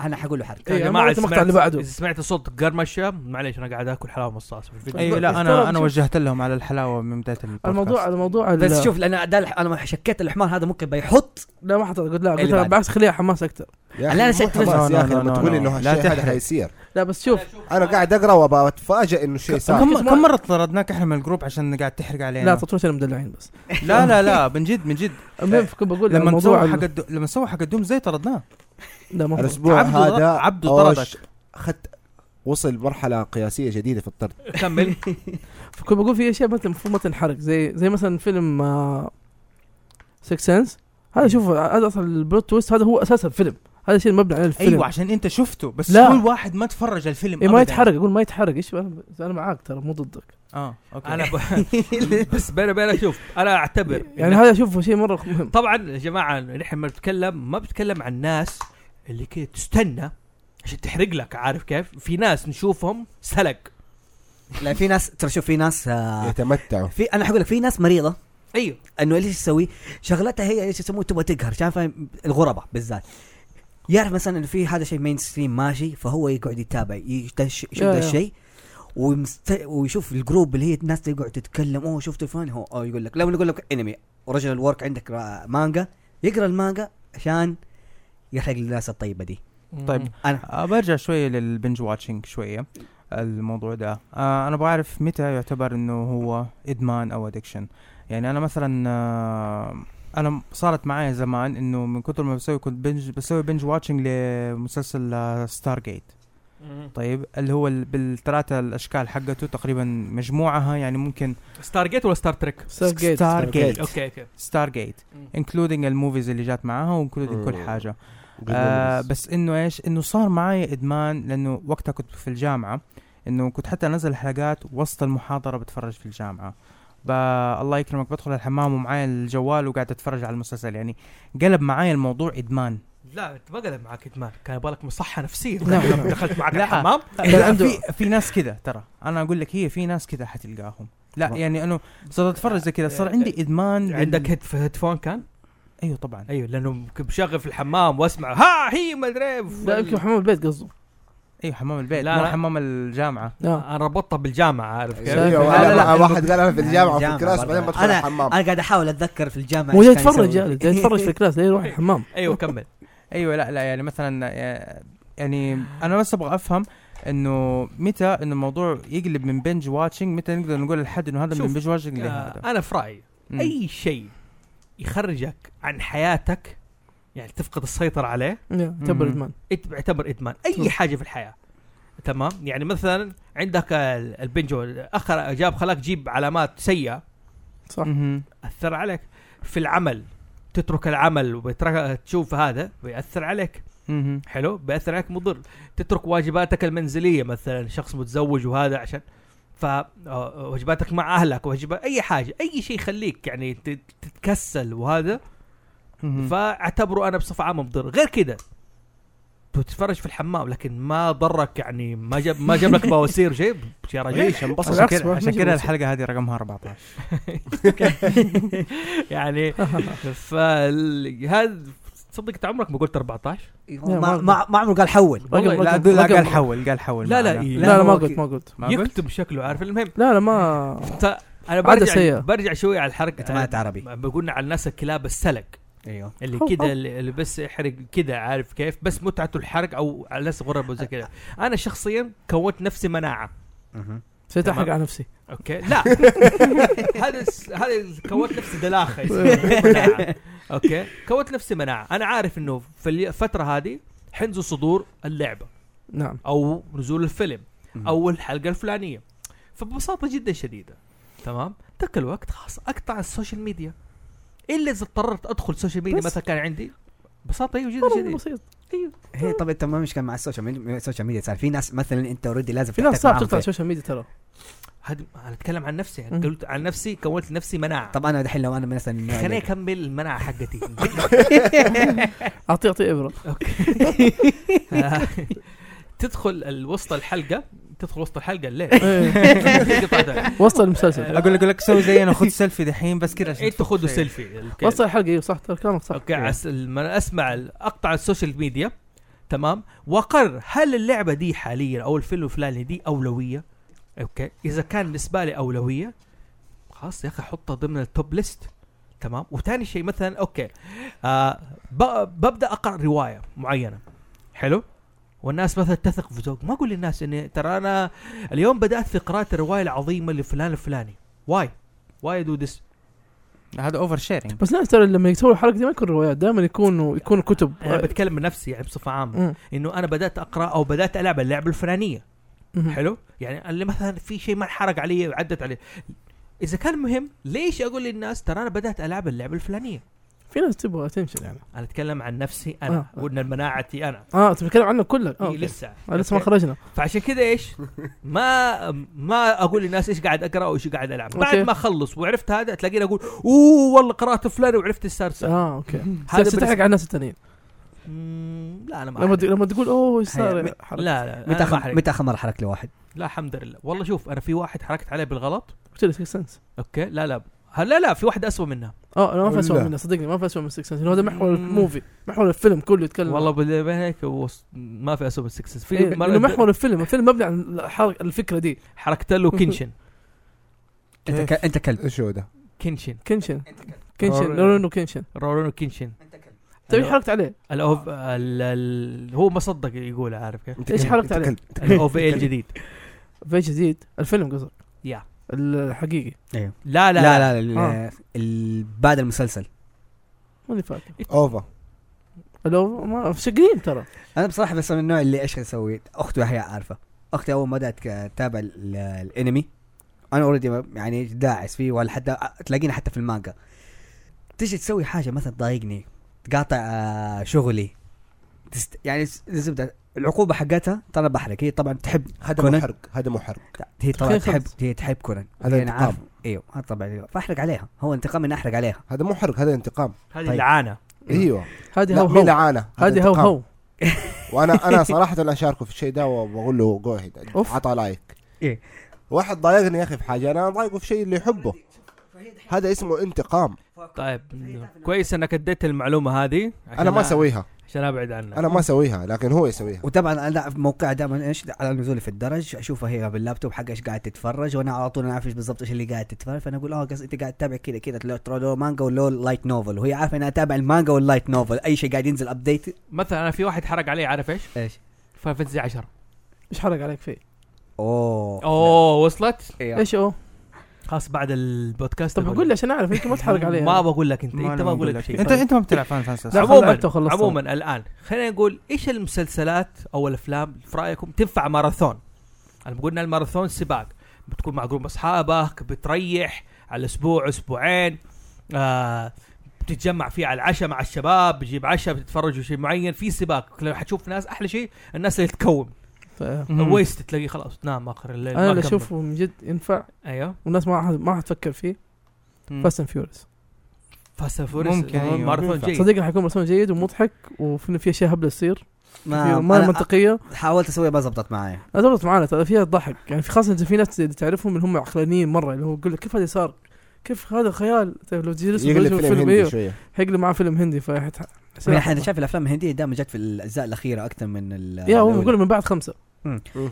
Speaker 4: انا حقول له حرق
Speaker 5: إيه،
Speaker 3: يا
Speaker 5: أنا
Speaker 3: جماعه
Speaker 5: قلت
Speaker 3: إذا
Speaker 5: المقطع
Speaker 3: سمعت-
Speaker 5: اللي بعده.
Speaker 3: اذا سمعت صوت قرمشه معليش انا قاعد اكل حلاوه مصاص في الفيديو
Speaker 1: ايوه لا
Speaker 5: ترى
Speaker 1: انا انا
Speaker 5: شوف-
Speaker 1: وجهت لهم على الحلاوه من بدايه البودكاست
Speaker 5: الموضوع الموضوع
Speaker 4: بس
Speaker 5: ال-
Speaker 4: شوف لان ده الح- انا ما شكيت الحمار هذا ممكن بيحط
Speaker 5: لا ما حطيت قلت لا
Speaker 4: إيه اللي
Speaker 5: قلت
Speaker 4: بعده.
Speaker 5: لا، بالعكس خليها حماس اكثر
Speaker 2: يا
Speaker 4: لا، لا،
Speaker 2: اخي
Speaker 4: لا،
Speaker 2: مو حماس
Speaker 1: لا،
Speaker 2: يا اخي
Speaker 1: لا،
Speaker 2: لما
Speaker 1: لا،
Speaker 2: تقول
Speaker 1: لا،
Speaker 2: انه
Speaker 1: لا
Speaker 2: الشيء هذا
Speaker 1: تحرق.
Speaker 2: حيصير
Speaker 5: لا بس شوف
Speaker 2: انا قاعد اقرا وبتفاجئ انه الشيء صار
Speaker 1: كم كم مره طردناك احنا من الجروب عشان قاعد تحرق علينا
Speaker 5: لا تطرش انا مدلعين بس
Speaker 1: لا لا لا من جد من جد
Speaker 5: المهم كنت بقول
Speaker 1: لما
Speaker 5: الموضوع
Speaker 1: نسوي
Speaker 5: ال-
Speaker 1: حق الدو... لما نسوي حق الدوم زي طردناه
Speaker 5: لا ما هو.
Speaker 2: الاسبوع
Speaker 1: عبده
Speaker 2: هذا
Speaker 1: ضرب- عبده
Speaker 2: أوش
Speaker 1: طردك.
Speaker 2: اخذت وصل مرحله قياسيه جديده في الطرد
Speaker 3: كمل
Speaker 5: فكنت بقول في اشياء مثلا المفروض ما تنحرق زي زي مثلا فيلم سكس سنس هذا شوف هذا اصلا البلوت تويست هذا هو اساس الفيلم هذا الشيء المبني عليه الفيلم
Speaker 4: أيوة،
Speaker 1: ايوه عشان انت شفته بس
Speaker 5: لا.
Speaker 1: كل واحد ما تفرج الفيلم
Speaker 5: إيه ما
Speaker 1: أبداً.
Speaker 5: يتحرق اقول ما يتحرق ايش انا أنا معاك ترى مو ضدك
Speaker 1: اه اوكي
Speaker 3: انا ب... بس بيني وبينك شوف انا اعتبر
Speaker 5: يعني هذا اشوفه شيء مره
Speaker 4: طيب،
Speaker 5: مهم
Speaker 3: طبعا يا جماعه نحن لما بنتكلم ما بنتكلم عن الناس اللي كده تستنى عشان تحرق لك عارف كيف؟ في ناس نشوفهم سلق
Speaker 4: لا في ناس ترى شوف في ناس آه،
Speaker 2: يتمتعوا
Speaker 4: في انا حقول لك في ناس مريضه
Speaker 3: ايوه
Speaker 4: انه ليش تسوي شغلتها هي ايش يسموه تبغى تقهر شايف الغرباء بالذات يعرف مثلا انه في هذا شيء مين ستريم ماشي فهو يقعد يتابع يشوف
Speaker 5: يا-
Speaker 4: ذا
Speaker 5: يا.
Speaker 4: الشيء ومست... ويشوف الجروب اللي هي الناس تقعد تتكلم اوه شفت فلان هو أوه يقول لك لو يقول لك انمي ورجل الورك عندك آه، را- مانجا يقرا المانجا عشان يحرق للناس الطيبه دي
Speaker 1: طيب.
Speaker 4: انا
Speaker 1: آه برجع شويه للبنج واتشنج شويه الموضوع ده آه انا ابغى اعرف متى يعتبر انه هو ادمان او ادكشن يعني انا مثلا آه انا صارت معايا زمان انه من كثر ما بسوي كنت بنج بسوي بنج واتشنج لمسلسل ستار جيت طيب اللي هو ال- بالثلاثه الاشكال حقته تقريبا مجموعها يعني ممكن
Speaker 3: ستار جيت ولا ستار تريك؟
Speaker 5: ستار جيت.
Speaker 1: ستار
Speaker 2: جيت.
Speaker 1: جيت
Speaker 3: اوكي اوكي
Speaker 1: ستار جيت
Speaker 3: مم.
Speaker 1: انكلودينج الموفيز اللي جات معاها وانكلودينج كل
Speaker 2: مم.
Speaker 1: حاجه آه بس انه ايش انه صار معي ادمان لانه وقتها كنت في الجامعه انه كنت حتى انزل حلقات وسط المحاضره بتفرج في الجامعه ب- الله يكرمك بدخل الحمام ومعايا الجوال وقاعد اتفرج على المسلسل يعني قلب معاي الموضوع ادمان
Speaker 3: لا انت ما قلب معك ادمان كان يبغالك مصحه نفسيه
Speaker 5: لا.
Speaker 3: لما دخلت معك
Speaker 1: لا.
Speaker 3: الحمام
Speaker 5: لا، عنده-
Speaker 1: في في ناس كذا ترى انا اقول لك هي في ناس كذا حتلقاهم لا يعني انه صرت اتفرج زي كذا صار عندي ادمان لل-
Speaker 3: عندك هيد هيدفون كان؟
Speaker 1: ايوه طبعا
Speaker 3: ايوه لانه كنت بشغل في الحمام واسمع ها هي ما ادري
Speaker 5: لا يمكن حمام البيت قصده
Speaker 1: ايوه حمام البيت
Speaker 3: لا،
Speaker 1: مو
Speaker 3: لا.
Speaker 1: حمام الجامعه
Speaker 5: لا
Speaker 4: آه،
Speaker 3: انا ربطتها بالجامعه عارف كيف؟
Speaker 2: أيوة،
Speaker 5: لا،
Speaker 2: أنا-
Speaker 4: لا، لا.
Speaker 2: واحد قال انا في الجامعه في
Speaker 4: الجامعة
Speaker 2: الكلاس
Speaker 4: برضه.
Speaker 2: بعدين بدخل
Speaker 4: أنا-
Speaker 2: الحمام
Speaker 4: انا قاعد احاول اتذكر في الجامعه
Speaker 5: هو
Speaker 4: إيش
Speaker 5: جاي
Speaker 4: كان
Speaker 5: يتفرج
Speaker 4: يسوي.
Speaker 5: جاي جاي يتفرج في الكلاس لا يروح الحمام
Speaker 3: ايوه كمل
Speaker 1: ايوه لا لا يعني مثلا آه، يعني انا بس ابغى افهم انه متى انه الموضوع يقلب من بنج واتشنج متى نقدر نقول لحد انه هذا
Speaker 3: شوف،
Speaker 1: من بنج واتشنج لهذا
Speaker 3: آه، انا في رايي
Speaker 1: مم.
Speaker 3: اي شيء يخرجك عن حياتك يعني تفقد السيطره عليه
Speaker 5: يا، تبر
Speaker 1: مم.
Speaker 5: ادمان
Speaker 3: إت- يعتبر ادمان اي حاجه في الحياه تمام يعني مثلا عندك ال- البنجو اخر جاب خلاك تجيب علامات سيئه
Speaker 5: صح
Speaker 1: مهم.
Speaker 3: اثر عليك في العمل تترك العمل وترك تشوف هذا بياثر عليك
Speaker 1: مهم.
Speaker 3: حلو بياثر عليك مضر تترك واجباتك المنزليه مثلا شخص متزوج وهذا عشان فواجباتك مع اهلك واجبات اي حاجه اي شيء يخليك يعني تت- تتكسل وهذا
Speaker 1: مهم.
Speaker 3: فاعتبره انا بصفه عامه مضر غير كده بتتفرج في الحمام لكن ما ضرك يعني ما جاب ما جاب لك بواسير شيء يا رجل
Speaker 2: ليش انبسط
Speaker 1: عشان
Speaker 5: بالعكس،
Speaker 1: كده
Speaker 5: ما-
Speaker 1: عشان
Speaker 5: ماشي
Speaker 1: كده
Speaker 5: بس.
Speaker 1: الحلقه هذه رقمها 14
Speaker 3: يعني فهذا تصدق انت عمرك ما قلت 14
Speaker 4: ما ما ما عمره قال حول
Speaker 1: والله
Speaker 5: رقم-
Speaker 1: لا
Speaker 5: رقم-
Speaker 1: لا قال
Speaker 5: رقم-
Speaker 1: حول قال حول
Speaker 3: طيب، لا، لا،
Speaker 1: معنا.
Speaker 3: إيه.
Speaker 5: لا لا ما
Speaker 4: هو
Speaker 5: قلت
Speaker 4: كي-
Speaker 5: ما قلت
Speaker 1: ما قلت
Speaker 3: يكتب شكله عارف المهم
Speaker 5: لا لا ما
Speaker 3: ت- انا
Speaker 5: عادة
Speaker 3: برجع
Speaker 5: سيئة.
Speaker 3: برجع شوي على
Speaker 4: انت ما انت
Speaker 3: الحركه
Speaker 4: عربي
Speaker 3: بقولنا على الناس الكلاب السلق
Speaker 4: ايوه
Speaker 3: اللي
Speaker 5: أو- أو.
Speaker 3: كده اللي اللي بس يحرق كده عارف كيف بس متعته الحرق او على الناس غرب وزي كده انا شخصيا كونت نفسي مناعه
Speaker 5: سيت احرق
Speaker 3: تمام.
Speaker 5: على نفسي
Speaker 3: اوكي لا هذا الس- هذا كونت نفسي دلاخه مناعة. اوكي كونت نفسي مناعه انا عارف انه في الفتره هذه حينزل صدور اللعبه
Speaker 5: نعم
Speaker 3: او نزول الفيلم
Speaker 4: مم.
Speaker 3: او الحلقه الفلانيه فببساطه جدا شديده تمام ذاك الوقت خلاص اقطع السوشيال ميديا الا اذا اضطريت ادخل السوشيال ميديا
Speaker 5: بس.
Speaker 3: مثلا كان عندي ببساطه ايوه جدا
Speaker 5: والله
Speaker 3: شديده
Speaker 5: بسيط
Speaker 4: هي طب انت ما مشكله مع السوشيال ميديا السوشيال ميديا صار في ناس مثلا انت اوريدي لازم
Speaker 5: في ناس
Speaker 4: تحتك
Speaker 5: صعب
Speaker 4: معاهم
Speaker 5: تقطع
Speaker 4: فيها.
Speaker 5: السوشيال ميديا ترى
Speaker 3: هذا انا اتكلم عن نفسي
Speaker 5: مم.
Speaker 3: أنا قلت عن نفسي كونت لنفسي مناعه
Speaker 4: طب انا دحين لو يعني انا مثلا من النوع
Speaker 3: خليني
Speaker 4: اللي-
Speaker 3: اكمل المناعه حقتي
Speaker 5: اعطيه اعطيه ابره
Speaker 3: تدخل الوسط الحلقه تدخل وسط الحلقه ليه؟
Speaker 5: إيه.
Speaker 3: قطعتها.
Speaker 5: وسط المسلسل
Speaker 1: اقول اقول لك سوي زي انا خذ سيلفي دحين بس كذا عشان
Speaker 3: انتوا خذوا
Speaker 1: تفك-
Speaker 3: سيلفي أوكي.
Speaker 5: وسط الحلقه ايوه صح ترى كلامك صح
Speaker 3: اوكي عس... لما اسمع ال- اقطع السوشيال ميديا تمام واقرر هل اللعبه دي حاليا او الفيلم الفلاني دي اولويه اوكي اذا كان بالنسبه لي اولويه خلاص يا اخي احطها ضمن التوب ليست تمام وثاني شيء مثلا اوكي آه ب... ببدا اقرا روايه معينه حلو والناس مثلا تثق في ذوق ما اقول للناس اني ترى انا اليوم بدات في قراءه الروايه العظيمه لفلان الفلاني واي واي دو ذس
Speaker 1: هذا اوفر شيرنج
Speaker 5: بس ناس ترى لما يسووا الحلقه دي ما يكون روايات دائما يكونوا يكونوا كتب
Speaker 3: انا بتكلم من نفسي يعني بصفه عامه
Speaker 5: مم.
Speaker 3: انه انا بدات اقرا او بدات العب اللعبه الفلانيه
Speaker 5: مم.
Speaker 3: حلو يعني اللي مثلا في شيء ما انحرق علي وعدت علي اذا كان مهم ليش اقول للناس ترى انا بدات العب اللعبه الفلانيه
Speaker 5: في ناس تبغى تنشل يعني
Speaker 3: انا اتكلم عن نفسي انا
Speaker 5: آه.
Speaker 3: وقلنا مناعتي انا
Speaker 5: اه انت بتتكلم عنه كلك
Speaker 3: هي
Speaker 5: اه أوكي.
Speaker 3: إيه، لسه
Speaker 5: آه، لسه ما
Speaker 3: أوكي.
Speaker 5: خرجنا
Speaker 3: فعشان كذا ايش ما ما اقول للناس ايش قاعد اقرا وايش قاعد العب بعد
Speaker 5: أوكي.
Speaker 3: ما اخلص وعرفت هذا تلاقيني اقول اوه والله قرات فلان وعرفت ايش صار صار
Speaker 5: اه اوكي
Speaker 3: هذا
Speaker 5: تحرق
Speaker 3: بالنسبة-
Speaker 5: على الناس الثانيين
Speaker 3: مم، لا انا ما
Speaker 5: لما
Speaker 3: أحرق.
Speaker 5: ت- لما تقول اوه ايش صار
Speaker 4: هي-
Speaker 5: حرق.
Speaker 3: لا لا
Speaker 4: متى
Speaker 3: متى
Speaker 4: آخر- متى اخر مره حركت لواحد؟
Speaker 3: لا الحمد لله والله شوف انا في واحد حركت عليه بالغلط
Speaker 5: قلت لك 6 سنس
Speaker 3: اوكي لا لا هل- لا لا في واحد اسوء منها
Speaker 5: اه أنا ما في اسوء
Speaker 2: ولا.
Speaker 5: منه صدقني ما في اسوء من 6 سنس هذا محور
Speaker 3: مم.
Speaker 5: الموفي محور الفيلم كله يتكلم
Speaker 3: والله بال- بين هيك وص- ما في اسوء من سكسس في
Speaker 5: إيه،
Speaker 3: مرة
Speaker 5: انه محور الفيلم الفيلم مبني عن الحرق- الفكره دي
Speaker 3: حركت له كنشن
Speaker 4: انت ك... انت كلب
Speaker 2: ايش هو ده؟
Speaker 3: كنشن
Speaker 5: كنشن كنشن
Speaker 3: أور-
Speaker 5: لونو كنشن
Speaker 3: رورونو كنشن
Speaker 5: طيب ايش حركت عليه؟
Speaker 3: الأوف... ال... ال... هو ما صدق يقول عارف كيف
Speaker 5: ايش حركت عليه؟
Speaker 3: الاوف اي الجديد
Speaker 5: فيش جديد الفيلم قصدك
Speaker 3: يا
Speaker 5: الحقيقي
Speaker 3: لا
Speaker 4: لا
Speaker 3: لا لا, لا.
Speaker 4: لا, لا, لا آه. ال... بعد المسلسل
Speaker 5: ماني فاكر
Speaker 3: إيه.
Speaker 2: اوفا
Speaker 5: لو ما شقين ترى
Speaker 4: انا بصراحه بس من النوع اللي ايش اسوي اختي هي عارفه اختي اول ما بدات ك- تتابع ال- ال- الانمي انا اوريدي يعني داعس فيه ولا حتى تلاقيني حتى في المانجا تيجي تسوي حاجه مثلا تضايقني تقاطع آه، شغلي تست... يعني س- لازم ت- العقوبه حقتها ترى بحرك هي طبعا تحب
Speaker 2: هذا
Speaker 4: كونان.
Speaker 2: مو حرق هذا مو حرق
Speaker 4: هي طبعا
Speaker 5: خلاص.
Speaker 4: تحب هي تحب كونان
Speaker 2: هذا
Speaker 4: هي أنا
Speaker 2: انتقام.
Speaker 4: عارف ايوه هذا طبعا فاحرق عليها هو انتقام اني احرق عليها
Speaker 2: هذا مو حرق هذا انتقام
Speaker 3: هذه
Speaker 4: طيب.
Speaker 3: لعانه
Speaker 2: ايوه
Speaker 5: هذه
Speaker 2: لا
Speaker 5: هو
Speaker 2: مين
Speaker 5: هو
Speaker 2: لعانه
Speaker 5: هذه هو
Speaker 2: انتقام.
Speaker 5: هو
Speaker 2: وانا انا صراحه انا اشاركه في الشيء ده وبقول له جو هيد
Speaker 5: أوف.
Speaker 2: عطى لايك
Speaker 4: إيه.
Speaker 2: واحد ضايقني يا اخي في حاجه انا ضايقه في شيء اللي يحبه هذا اسمه انتقام
Speaker 3: طيب كويس انك اديت المعلومه هذه عشان
Speaker 2: انا ما
Speaker 3: أ-
Speaker 2: اسويها
Speaker 3: عشان ابعد عنها
Speaker 2: انا ما اسويها لكن هو يسويها
Speaker 4: وطبعا انا موقع دائما ايش على نزولي في الدرج اشوفها هي باللابتوب حق ايش قاعد تتفرج وانا على طول انا عارف ايش بالضبط ايش اللي قاعد تتفرج فانا اقول اه قصدي انت قاعد تتابع كذا كذا تلا- ترى لو مانجا ولو لايت نوفل وهي عارفه انا اتابع المانجا واللايت نوفل اي شيء قاعد ينزل ابديت
Speaker 3: مثلا انا في واحد حرق علي عارف ايش؟
Speaker 4: ايش؟
Speaker 3: فاين فانتسي 10
Speaker 5: ايش حرق عليك فيه؟
Speaker 4: اوه
Speaker 3: اوه وصلت
Speaker 4: إيه.
Speaker 5: ايش هو؟
Speaker 3: خلاص بعد البودكاست
Speaker 5: طب اقول لي عشان اعرف يمكن ما تحرق عليه
Speaker 3: ما بقول لك انت
Speaker 1: ما
Speaker 3: انت
Speaker 1: أنا
Speaker 3: ما بقول لك
Speaker 1: لك
Speaker 3: شيء
Speaker 1: انت انت ما بتلعب فان فانسس
Speaker 5: لا،
Speaker 3: عموما
Speaker 5: خلعت وخلصت.
Speaker 3: عموما الان خلينا نقول ايش المسلسلات او الافلام في رايكم تنفع ماراثون؟ انا قلنا الماراثون سباق بتكون مع جروب اصحابك بتريح على اسبوع اسبوعين آه بتتجمع فيه على العشاء مع الشباب بتجيب عشاء بتتفرجوا شيء معين في سباق لو حتشوف ناس احلى شيء الناس اللي تكوم
Speaker 5: ف-
Speaker 3: ويست تلاقي خلاص نام اخر الليل
Speaker 5: انا
Speaker 3: ما
Speaker 5: اللي
Speaker 3: كمل.
Speaker 5: اشوفه من جد ينفع
Speaker 3: ايوه
Speaker 5: والناس ما حد ما حتفكر فيه فاست اند فيوريس
Speaker 3: فاست فوريس
Speaker 1: ممكن، أيوة.
Speaker 3: آه، ماراثون
Speaker 2: ينفع.
Speaker 3: جيد
Speaker 5: صديقي حيكون مرسوم جيد ومضحك وفي في اشياء هبله تصير
Speaker 4: ما,
Speaker 2: نعم،
Speaker 5: كثير ما
Speaker 4: ما
Speaker 5: منطقيه
Speaker 4: حاولت اسويها ما زبطت معايا
Speaker 5: لا تضبط معانا ترى فيها ضحك يعني في خاصه إذا في ناس اللي تعرفهم اللي هم عقلانيين مره اللي هو يقول لك كيف هذا صار؟ كيف هذا خيال؟ طيب لو تجلس
Speaker 2: يقلب فيلم هندي
Speaker 5: ايوه
Speaker 2: شويه
Speaker 5: حيقلب معاه فيلم هندي فحت
Speaker 4: انا يعني شايف الافلام الهنديه دائما جت في الاجزاء الاخيره اكثر من ال-
Speaker 5: يا هو
Speaker 4: الأولى.
Speaker 5: يقول من بعد خمسه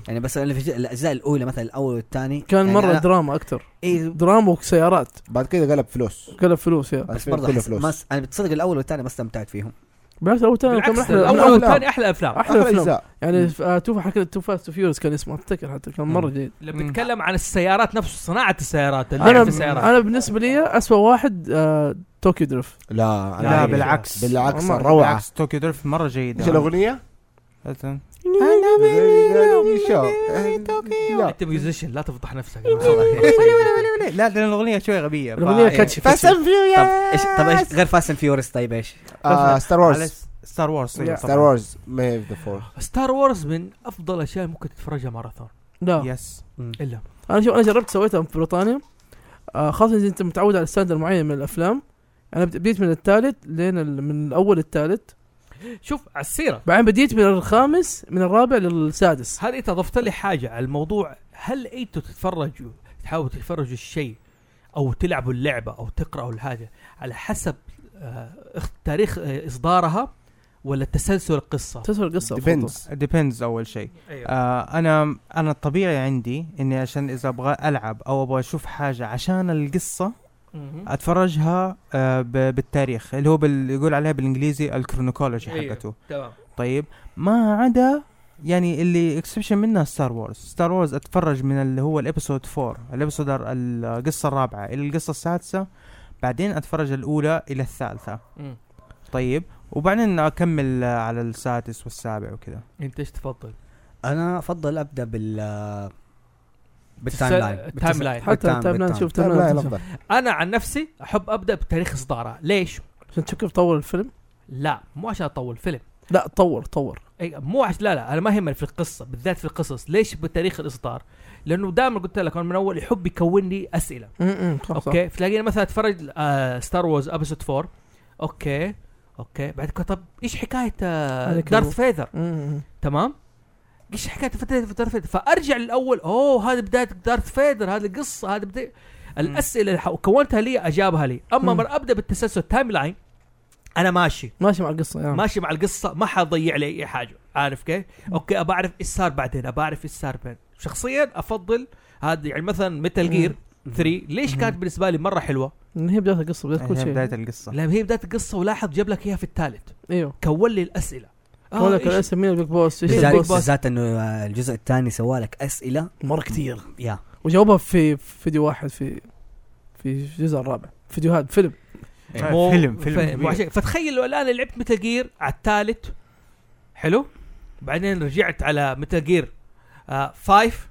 Speaker 4: يعني بس أنا في الاجزاء الاولى مثلا الاول والثاني
Speaker 5: كان
Speaker 4: يعني
Speaker 5: مره
Speaker 4: أنا-
Speaker 5: دراما اكثر
Speaker 4: إيه،
Speaker 5: دراما وسيارات
Speaker 2: بعد كده قلب فلوس
Speaker 5: قلب فلوس يا
Speaker 4: بس
Speaker 2: الفيلم
Speaker 4: برضه
Speaker 2: كله
Speaker 4: أحس- ما س- انا بتصدق الاول والثاني ما استمتعت فيهم
Speaker 5: بالعكس الاول تاني كان من
Speaker 3: بالعكس
Speaker 5: احلى
Speaker 3: الاول
Speaker 5: الاول
Speaker 2: والثاني
Speaker 3: والثاني احلى افلام
Speaker 5: احلى
Speaker 2: احلى
Speaker 5: افلام
Speaker 2: اجزاء
Speaker 5: يعني آه، تو حكى تو فاست تو فيورس كان اسمه افتكر حتى كان مره
Speaker 4: آه.
Speaker 1: مم.
Speaker 5: جيد
Speaker 3: لما
Speaker 1: مم.
Speaker 3: بتتكلم عن السيارات نفسه صناعه السيارات اللعب
Speaker 5: انا
Speaker 3: في السيارات
Speaker 5: انا بالنسبه لي اسوء واحد آه، طوكيو دريفت
Speaker 2: لا
Speaker 1: لا
Speaker 2: أنا-
Speaker 1: بالعكس
Speaker 2: بالعكس
Speaker 5: والله
Speaker 2: روعه
Speaker 1: بالعكس توكيو دريفت مره جيده
Speaker 2: ايش الاغنيه؟
Speaker 1: أتن-
Speaker 2: لا
Speaker 3: انت ميوزيشن لا تفضح نفسك
Speaker 1: لا لان الاغنيه شوي غبيه
Speaker 5: الأغنية كاتشي.
Speaker 2: فاست اند
Speaker 4: طب
Speaker 2: فيوريوس
Speaker 4: ايش طب ايش غير فاست اند فيوريس طيب ايش؟
Speaker 2: ستار
Speaker 1: على
Speaker 2: وورز
Speaker 1: ستار وورز
Speaker 5: Yeah.
Speaker 2: ستار وورز ماي اوف ذا فورس
Speaker 3: ستار وورز من افضل اشياء ممكن تتفرجها ماراثون
Speaker 5: لا
Speaker 1: يس
Speaker 3: الا
Speaker 5: انا شوف انا جربت سويتها في بريطانيا آه خاصه اذا انت متعود على ستاندر معين من الافلام انا بت- بديت من الثالث لين ال... من الاول الثالث
Speaker 3: شوف على السيره
Speaker 5: بعدين بديت من الخامس من الرابع للسادس
Speaker 3: هل انت اضفت لي حاجه على الموضوع هل انتوا تتفرجوا تحاولوا تتفرجوا الشيء او تلعبوا اللعبه او تقراوا الحاجه على حسب آه، اخ- تاريخ آه، اصدارها ولا تسلسل القصه
Speaker 5: تسوى القصه أفضل.
Speaker 2: ديبندز
Speaker 1: ديبندز اول شيء
Speaker 3: أيوة.
Speaker 1: آه انا انا الطبيعي عندي اني عشان اذا ابغى العب او ابغى اشوف حاجه عشان القصه
Speaker 3: مهم.
Speaker 1: اتفرجها آه ب- بالتاريخ اللي هو بال... يقول عليها بالانجليزي الكرونيكولوجي
Speaker 3: أيوة.
Speaker 1: حقته
Speaker 3: تمام
Speaker 1: طيب ما عدا يعني اللي اكسبشن منها ستار وورز ستار وورز اتفرج من اللي هو الابيسود 4 الابيسود القصه الرابعه الى القصه السادسه بعدين اتفرج الاولى الى الثالثه
Speaker 3: مم.
Speaker 1: طيب وبعدين اكمل آه، على السادس والسابع وكذا
Speaker 3: انت ايش تفضل؟
Speaker 4: انا افضل ابدا بال بالتايم
Speaker 3: التسل-
Speaker 4: لاين
Speaker 3: التايم
Speaker 4: بالتس-
Speaker 3: لاين.
Speaker 5: حتى
Speaker 4: بالتايم-
Speaker 5: التايم لاين
Speaker 4: بالتايم.
Speaker 5: شوف
Speaker 2: لا
Speaker 5: التايم
Speaker 2: لا
Speaker 5: لاين شوف.
Speaker 2: لحظة.
Speaker 3: انا عن نفسي احب ابدا بتاريخ اصدارها ليش؟
Speaker 5: عشان تشوف طور الفيلم
Speaker 3: لا مو عشان اطول فيلم
Speaker 5: لا طور طور
Speaker 3: أي إيه، مو عشان لا لا انا ما يهمني في القصه بالذات في القصص ليش بتاريخ الاصدار؟ لانه دائما قلت لك أنا من اول يحب يكون لي اسئله
Speaker 5: اوكي
Speaker 3: اوكي فتلاقينا مثلا اتفرج آه ستار وورز ابيسود 4 اوكي اوكي بعد كده طب ايش حكايه آه
Speaker 5: هذا كده.
Speaker 3: دارث فيذر تمام ايش حكايه فتره دارث فيذر فارجع للاول اوه هذه بدايه دارث فيذر هذه القصه هذه بداية الاسئله اللي ح- كونتها لي اجابها لي اما
Speaker 5: مم.
Speaker 3: مر ابدا بالتسلسل التايم لاين انا ماشي
Speaker 5: ماشي مع القصه
Speaker 1: آه.
Speaker 5: يعني
Speaker 3: ماشي مع القصه ما حضيع لي اي حاجه عارف كيف؟ اوكي ابى اعرف ايش صار بعدين ابى اعرف ايش صار بعدين شخصيا افضل هذا يعني مثلا ميتال جير 3 ليش
Speaker 1: مم.
Speaker 3: كانت بالنسبه لي مره حلوه؟
Speaker 5: لأن هي بدايه القصه بدايه كل
Speaker 1: هي
Speaker 5: شيء
Speaker 1: بدايه القصه
Speaker 3: لما هي بدات القصه ولاحظ جاب لك اياها في الثالث
Speaker 5: ايوه
Speaker 3: كون لي الاسئله آه،
Speaker 5: كونك
Speaker 3: إيش-
Speaker 5: الاسم مين البيج بوس ايش
Speaker 3: بالذات-
Speaker 5: البيج
Speaker 4: بالذات
Speaker 5: بوس
Speaker 4: بالذات انه آه، الجزء الثاني سوالك اسئله
Speaker 5: مره كثير
Speaker 4: يا
Speaker 5: وجاوبها في في فيديو واحد في في الجزء الرابع فيديوهات فيلم
Speaker 1: آه،
Speaker 3: مو-
Speaker 1: فيلم
Speaker 3: ف-
Speaker 1: فيلم
Speaker 3: مو
Speaker 1: كبير.
Speaker 3: عشان- فتخيل لو الان لعبت متل جير على الثالث حلو بعدين رجعت على متل جير آه فايف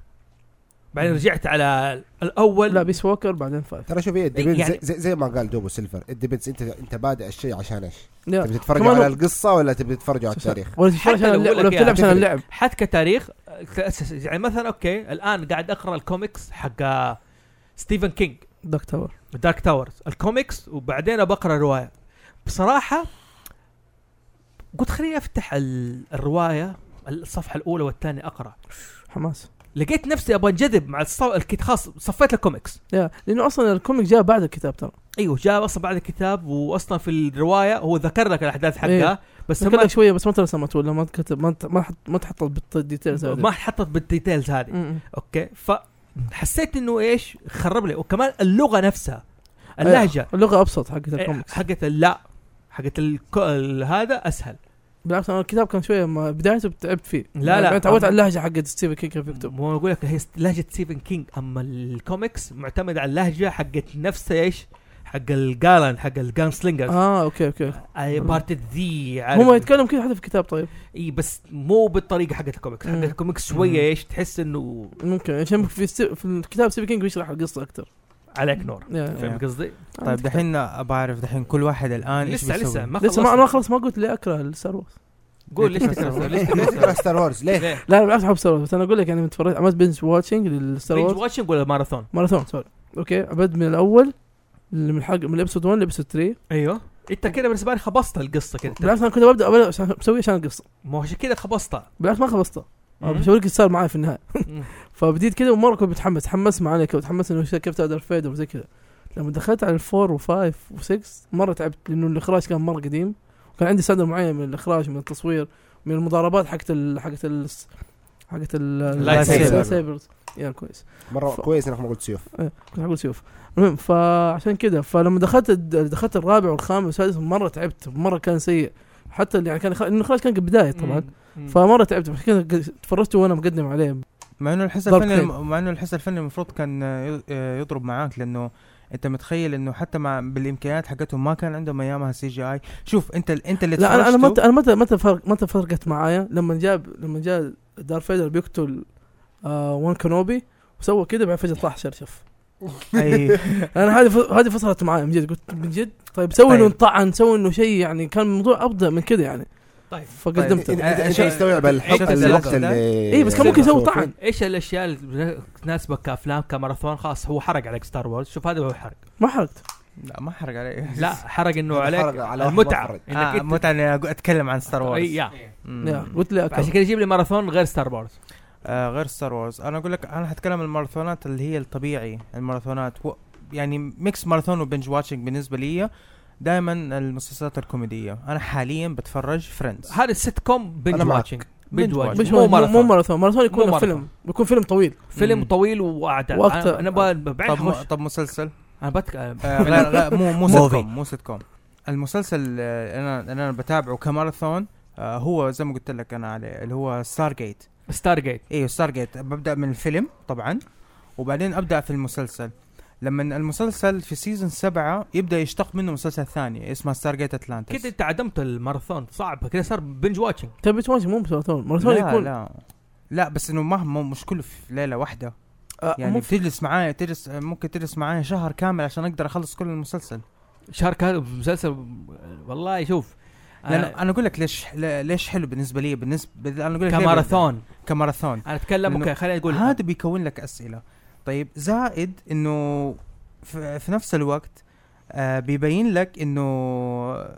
Speaker 3: بعدين رجعت على الاول
Speaker 5: لا بيس ووكر بعدين فايف
Speaker 2: ترى شوف ايه الديبندز
Speaker 3: يعني-
Speaker 2: زي, زي, زي ما قال دوبو سيلفر الديبندز انت انت بادئ الشيء عشان ايش؟
Speaker 5: لا
Speaker 2: تبي تتفرج
Speaker 5: كمان
Speaker 2: على
Speaker 5: هو-
Speaker 2: القصه ولا تبي تتفرج على التاريخ؟
Speaker 5: ولا
Speaker 3: حتى
Speaker 5: تتفرج عشان
Speaker 3: لو
Speaker 5: اللعب
Speaker 3: أقول
Speaker 5: ولا
Speaker 3: لك إياها
Speaker 5: بتلعب عشان
Speaker 2: تفرق.
Speaker 5: اللعب
Speaker 3: حتى كتاريخ آه، تأسس- يعني مثلا اوكي الان قاعد اقرا الكوميكس حق آه، ستيفن كينج
Speaker 5: دارك تاور
Speaker 3: دارك تاورز الكوميكس وبعدين بقرا روايه بصراحه قلت خليني افتح ال- الروايه الصفحه الاولى والثانيه اقرا
Speaker 5: حماس
Speaker 3: لقيت نفسي ابغى انجذب مع الصو... الكت... خلاص صفيت الكوميكس
Speaker 5: يا لانه اصلا الكوميك جاء بعد الكتاب ترى
Speaker 3: ايوه جاء اصلا بعد الكتاب واصلا في الروايه هو ذكر لك الاحداث حقها
Speaker 5: إيه.
Speaker 3: بس
Speaker 5: ذكر لك
Speaker 3: ما
Speaker 5: شويه بس ما ترسمت ولا ما كتب ما ت- ما حط ما تحط بالديتيلز
Speaker 3: ما حطت بالديتيلز هذه اوكي فحسيت انه ايش خرب لي وكمان اللغه نفسها
Speaker 5: أيوه.
Speaker 3: اللهجه
Speaker 5: اللغه ابسط حقت
Speaker 3: إيه،
Speaker 5: الكوميكس
Speaker 3: حقت اللا حقت الكو... ال- هذا اسهل
Speaker 5: بالعكس انا الكتاب كان شويه ما بدايته تعبت فيه
Speaker 3: لا، لا.
Speaker 5: أنا تعودت على اللهجه حقت ستيفن كينج كيف يكتب
Speaker 3: مو اقول لك هي لهجه ستيفن كينج اما الكوميكس معتمد على اللهجه حقت نفسها ايش؟ حق الجالن حق الجان سلينجر
Speaker 5: اه اوكي اوكي
Speaker 3: اي بارت ذي
Speaker 5: هم يتكلم كذا حتى في الكتاب طيب
Speaker 3: اي بس مو بالطريقه حقت الكوميكس
Speaker 5: مم.
Speaker 3: حقت الكوميكس شويه
Speaker 1: مم.
Speaker 3: ايش تحس انه
Speaker 5: ممكن عشان في ستي... في الكتاب ستيفن كينج بيشرح القصه اكثر
Speaker 3: عليك نور
Speaker 5: يا.
Speaker 3: فاهم قصدي؟
Speaker 1: طيب دحين ابغى اعرف دحين كل واحد الان إيش
Speaker 3: لسه
Speaker 1: بيسوي.
Speaker 3: لسه ما
Speaker 5: لسه ما
Speaker 3: خلصنا.
Speaker 5: ما خلص ما قلت ليه اكره الستار وورز
Speaker 3: قول ليش تكره ليش
Speaker 2: ليه تكره
Speaker 3: تكره
Speaker 2: ستار وورز؟ ليه؟
Speaker 3: ليه؟
Speaker 5: لا انا بالعكس احب ستار وورز بس انا اقول لك يعني متفرج عملت بنج واتشنج للستار
Speaker 3: بينج
Speaker 5: وورز
Speaker 3: واتشنج ولا ماراثون؟
Speaker 5: ماراثون سوري اوكي ابد من الاول اللي من حق من الابسود 1 لابسود 3
Speaker 3: ايوه انت كده بالنسبه لي خبصت القصه كده
Speaker 5: بالعكس انا كنت ببدا أبدأ عشان بسوي عشان القصه
Speaker 3: مو عشان كده خبصتها
Speaker 5: بالعكس ما خلصتها أنا
Speaker 3: مم.
Speaker 5: بسوي لك اللي صار معي في النهايه
Speaker 3: مم.
Speaker 5: فبديت كذا ومره كنت متحمس تحمست معايا كذا وتحمست انه كيف تقدر فيدر وزي كذا لما دخلت على الفور و5 و6 مره تعبت لانه الاخراج كان مره قديم وكان عندي صدر معين من الاخراج من التصوير من المضاربات حقت ال... حقت ال... حقت
Speaker 3: Light saber.
Speaker 5: ال سيبرز يا كويس
Speaker 2: مره
Speaker 5: ف-
Speaker 2: كويس انك ما قلت سيوف
Speaker 5: إيه، كنت اقول سيوف المهم فعشان كذا فلما دخلت الد- دخلت الرابع والخامس والسادس مره تعبت مره كان سيء حتى اللي يعني كان انه خلاص كان بدايه طبعا
Speaker 3: مم.
Speaker 5: فمره تعبت عشان كذا ق- تفرجت وانا مقدم عليه
Speaker 1: مع انه الحس
Speaker 5: ضرب
Speaker 1: الفني
Speaker 5: خيل.
Speaker 1: مع انه الحس الفني المفروض كان آه، آه، يضرب معاك لانه انت متخيل انه حتى مع بالامكانيات حقتهم ما كان عندهم ايامها سي جي اي شوف انت ال- انت اللي
Speaker 5: لا انا انا
Speaker 1: تفرجته-
Speaker 5: متى انا متى متى فرق متى فرقت معايا لما جاب لما جاء دار فيدر بيقتل آه وان كانوبي وسوى كذا بعد فجاه طاح شرشف
Speaker 1: أي.
Speaker 5: انا هذه ف- هذه فصلت معايا من جد قلت من جد طيب سوي
Speaker 1: طيب.
Speaker 5: انه طعن سوي انه شيء يعني كان الموضوع ابدا من كذا يعني
Speaker 3: طيب
Speaker 5: فقدمته
Speaker 1: طيب.
Speaker 2: انت انت- انت
Speaker 1: شفت-
Speaker 5: إيه،
Speaker 2: مستوعب الحب
Speaker 1: شفت
Speaker 2: الوقت
Speaker 1: الوقت ده؟
Speaker 2: اللي
Speaker 5: اي إيه، بس كان ممكن يسوي طعن
Speaker 3: ايش الاشياء اللي تناسبك كافلام كماراثون خلاص هو حرق عليك ستار وورز شوف هذا هو حرق
Speaker 5: ما حرقت
Speaker 1: لا ما حرق علي
Speaker 3: لا حرق انه
Speaker 2: هذا
Speaker 3: عليك
Speaker 2: حرق على واحد
Speaker 3: المتعه
Speaker 2: مفرد.
Speaker 1: آه،
Speaker 3: انك انت
Speaker 1: متى انا أقو- اتكلم عن ستار
Speaker 3: أي-
Speaker 1: وورز
Speaker 3: يا.
Speaker 1: مم.
Speaker 5: يا، قلت لي
Speaker 3: عشان
Speaker 5: أكمل.
Speaker 3: كذا يجيب لي ماراثون غير ستار وورز
Speaker 1: آه غير ستار وورز انا اقول لك انا هتكلم الماراثونات اللي هي الطبيعي الماراثونات و... يعني ميكس ماراثون وبنج واتشنج بالنسبه لي دائما المسلسلات الكوميديه انا حاليا بتفرج فريندز
Speaker 3: هذا السيت كوم
Speaker 2: أنا
Speaker 3: بنج
Speaker 2: معك.
Speaker 3: واتشنج بنج
Speaker 1: binge watching.
Speaker 5: مش
Speaker 3: واتشنج
Speaker 5: مو
Speaker 3: مو
Speaker 5: ماراثون مو
Speaker 3: ماراثون
Speaker 5: ماراثون ماراثون
Speaker 3: مو
Speaker 5: يكون
Speaker 3: ماراثون.
Speaker 5: فيلم بيكون فيلم طويل
Speaker 3: فيلم
Speaker 1: مم.
Speaker 3: طويل واعداد
Speaker 5: وقت-
Speaker 3: انا أنا ب- بعيد
Speaker 1: طب م...
Speaker 3: أخش.
Speaker 1: طب مسلسل
Speaker 3: انا بتك
Speaker 1: آه غير لا مو مو
Speaker 4: Movie.
Speaker 1: سيت كوم مو سيت كوم المسلسل آه انا اللي انا بتابعه كماراثون آه هو زي ما قلت لك انا عليه اللي هو ستار جيت
Speaker 3: ستار جيت
Speaker 1: ايوه ستار جيت ببدا من الفيلم طبعا وبعدين ابدا في المسلسل لما المسلسل في سيزون سبعة يبدا يشتق منه مسلسل ثاني اسمه ستار جيت اتلانتس
Speaker 3: كده انت عدمت الماراثون صعب كده صار بنج واتشنج
Speaker 5: تبي تماشي مو ماراثون ماراثون
Speaker 1: لا
Speaker 5: يكون
Speaker 1: لا لا بس انه ما ما- مش كله في ليله واحده
Speaker 5: آه،
Speaker 1: يعني
Speaker 5: مو-
Speaker 1: بتجلس معايا تجلس ممكن تجلس معايا شهر كامل عشان اقدر اخلص كل المسلسل
Speaker 3: شارك هذا مسلسل والله شوف آه،
Speaker 1: لان
Speaker 3: أنا-
Speaker 1: انا اقول لك ليش ليش حلو بالنسبه لي بالنسبه انا اقول لك ليه
Speaker 3: كماراثون
Speaker 1: كماراثون
Speaker 3: انا اتكلم
Speaker 1: لأنه
Speaker 3: اوكي خليني اقول
Speaker 1: هذا بيكون لك اسئله طيب زائد انه في, في نفس الوقت آه بيبين لك انه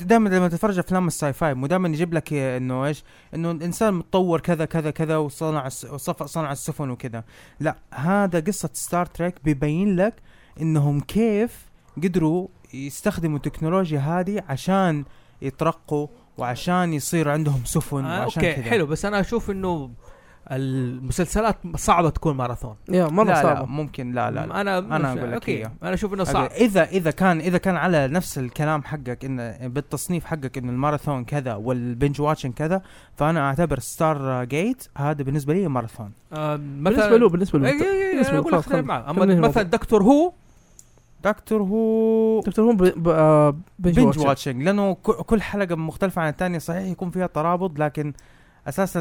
Speaker 1: دائما لما تتفرج افلام الساي فاي مو دائما يجيب لك آه، انه ايش انه الانسان متطور كذا كذا كذا وصنع الس- وصف صنع السفن وكذا لا هذا قصه ستار تريك بيبين لك انهم كيف قدروا يستخدموا التكنولوجيا هذه عشان يترقوا وعشان يصير عندهم سفن
Speaker 3: آه
Speaker 1: وعشان
Speaker 3: اوكي
Speaker 1: كذا.
Speaker 3: حلو بس انا اشوف انه المسلسلات صعبه تكون ماراثون
Speaker 5: يا مره
Speaker 1: لا لا
Speaker 5: صعبه
Speaker 1: ممكن لا لا, لا.
Speaker 3: انا
Speaker 1: أنا أقول لك
Speaker 3: اوكي
Speaker 1: إياه.
Speaker 3: انا اشوف انه صعب
Speaker 1: أوكي، اذا اذا كان اذا كان على نفس الكلام حقك ان بالتصنيف حقك ان الماراثون كذا والبنج واتشن كذا فانا اعتبر ستار جيت هذا بالنسبه لي ماراثون
Speaker 3: آه إيه، مثلا
Speaker 5: بالنسبه له بالنسبه
Speaker 3: أي-
Speaker 5: له
Speaker 3: أي- أي-
Speaker 5: بالنسبة
Speaker 3: انا
Speaker 5: له،
Speaker 3: اقول
Speaker 5: خلاص،
Speaker 3: لك أختلف
Speaker 5: خلاص.
Speaker 3: معه
Speaker 5: خلينا
Speaker 3: اما
Speaker 5: نروح.
Speaker 3: مثلا دكتور هو
Speaker 1: دكتور هو
Speaker 5: دكتور هو ب- ب- آه،
Speaker 1: بنج
Speaker 5: بنج واتش
Speaker 1: واتشنج لانه ك- كل حلقه مختلفه عن الثانيه صحيح يكون فيها ترابط لكن اساسا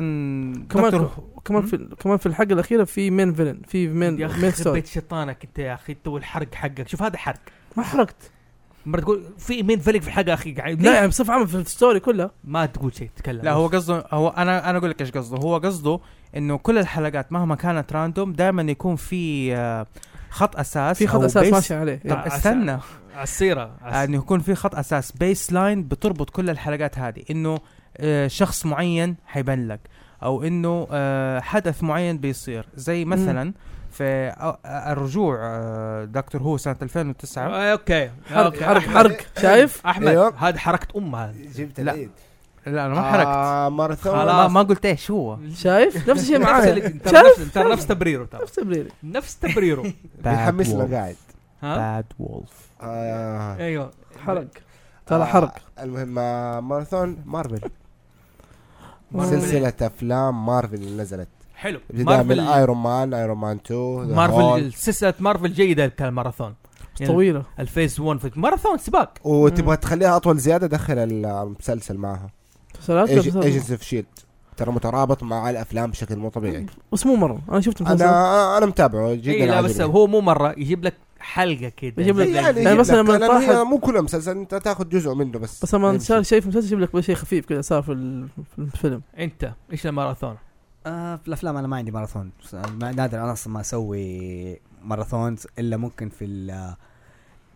Speaker 1: دكتور
Speaker 5: كمان
Speaker 1: هو-
Speaker 5: كمان في كمان في الحلقه الاخيره في مين فيلن في مين
Speaker 3: يا
Speaker 5: مين
Speaker 3: اخي
Speaker 5: ستوري
Speaker 3: بيت شيطانك انت يا اخي تو الحرق حقك شوف هذا حرق
Speaker 5: ما حرقت
Speaker 3: مرة تقول في مين فلك في الحلقه اخي قاعد
Speaker 5: لا
Speaker 3: ليه؟
Speaker 5: يعني بصفه عامه في الستوري كلها
Speaker 3: ما تقول شيء تتكلم
Speaker 1: لا هو قصده هو انا انا اقول لك ايش قصده هو قصده انه كل الحلقات مهما كانت راندوم دائما يكون في آه، خط اساس
Speaker 5: في خط
Speaker 1: أو
Speaker 5: اساس
Speaker 1: base-
Speaker 5: ماشي عليه يعني
Speaker 1: طب
Speaker 3: على أساس.
Speaker 1: استنى
Speaker 3: على السيره على
Speaker 1: انه يكون في خط اساس بيس لاين بتربط كل الحلقات هذه انه آه، شخص معين حيبان لك او انه آه، حدث معين بيصير زي مثلا في أ- أ- الرجوع آه، دكتور هو سنه 2009
Speaker 3: آه، اوكي
Speaker 5: حرق
Speaker 3: أوكي.
Speaker 5: حرق
Speaker 3: أحمد-
Speaker 5: حرق شايف
Speaker 3: احمد
Speaker 1: إيه.
Speaker 2: أيوه.
Speaker 3: هذا حركه ام هذا
Speaker 2: جبت
Speaker 1: لا.
Speaker 2: العيد
Speaker 1: لا انا ما حركت
Speaker 2: آه ماراثون
Speaker 3: خلاص.
Speaker 1: ما, ما قلت ايش هو
Speaker 5: شايف نفس الشيء
Speaker 3: نفس
Speaker 5: معايا
Speaker 3: اللي- ترى
Speaker 5: شايف؟
Speaker 3: نفس- ترى نفس تبريره ترى
Speaker 5: نفس تبريري
Speaker 3: نفس تبريره
Speaker 2: بيحمسنا قاعد
Speaker 3: ها
Speaker 1: باد وولف
Speaker 2: آه
Speaker 3: ايوه
Speaker 5: حرق طلع
Speaker 2: آه،
Speaker 5: حرق
Speaker 2: المهم آه، ماراثون مارفل
Speaker 5: مارفل.
Speaker 2: سلسلة افلام مارفل اللي نزلت
Speaker 3: حلو
Speaker 2: بداية من
Speaker 3: مارفل
Speaker 2: ايرون مان ايرون مان 2 The
Speaker 3: مارفل
Speaker 2: Hulk.
Speaker 3: سلسله مارفل جيده كالماراثون يعني
Speaker 5: طويله
Speaker 3: الفيز 1 في ماراثون سباق
Speaker 2: وتبغى تخليها اطول زيادة دخل المسلسل معها
Speaker 5: مسلسلات مسلسلات.
Speaker 2: ايجنس اوف شيلد E ترى مترابط مع الافلام بشكل مو طبيعي
Speaker 5: بس مو مره انا شفت المسلسل
Speaker 2: انا انا متابعه
Speaker 3: اي
Speaker 2: جدا
Speaker 3: إيه، لا بس
Speaker 2: عاجبني.
Speaker 3: هو مو مره يجيب لك حلقه كده
Speaker 5: يجيب لك-
Speaker 2: إيه، يعني,
Speaker 5: يعني
Speaker 2: يعني
Speaker 5: مثلا لما
Speaker 2: هي
Speaker 5: طاحت-
Speaker 2: مو كل مسلسل انت تاخذ جزء منه بس
Speaker 5: بس لما
Speaker 2: يمشي.
Speaker 5: صار شيء في المسلسل يجيب لك شيء خفيف كذا صار في ال- في الفيلم
Speaker 3: انت ايش الماراثون؟
Speaker 4: آه في الافلام انا ما عندي ماراثون بس ما- نادر انا اصلا ما اسوي ماراثون الا ممكن في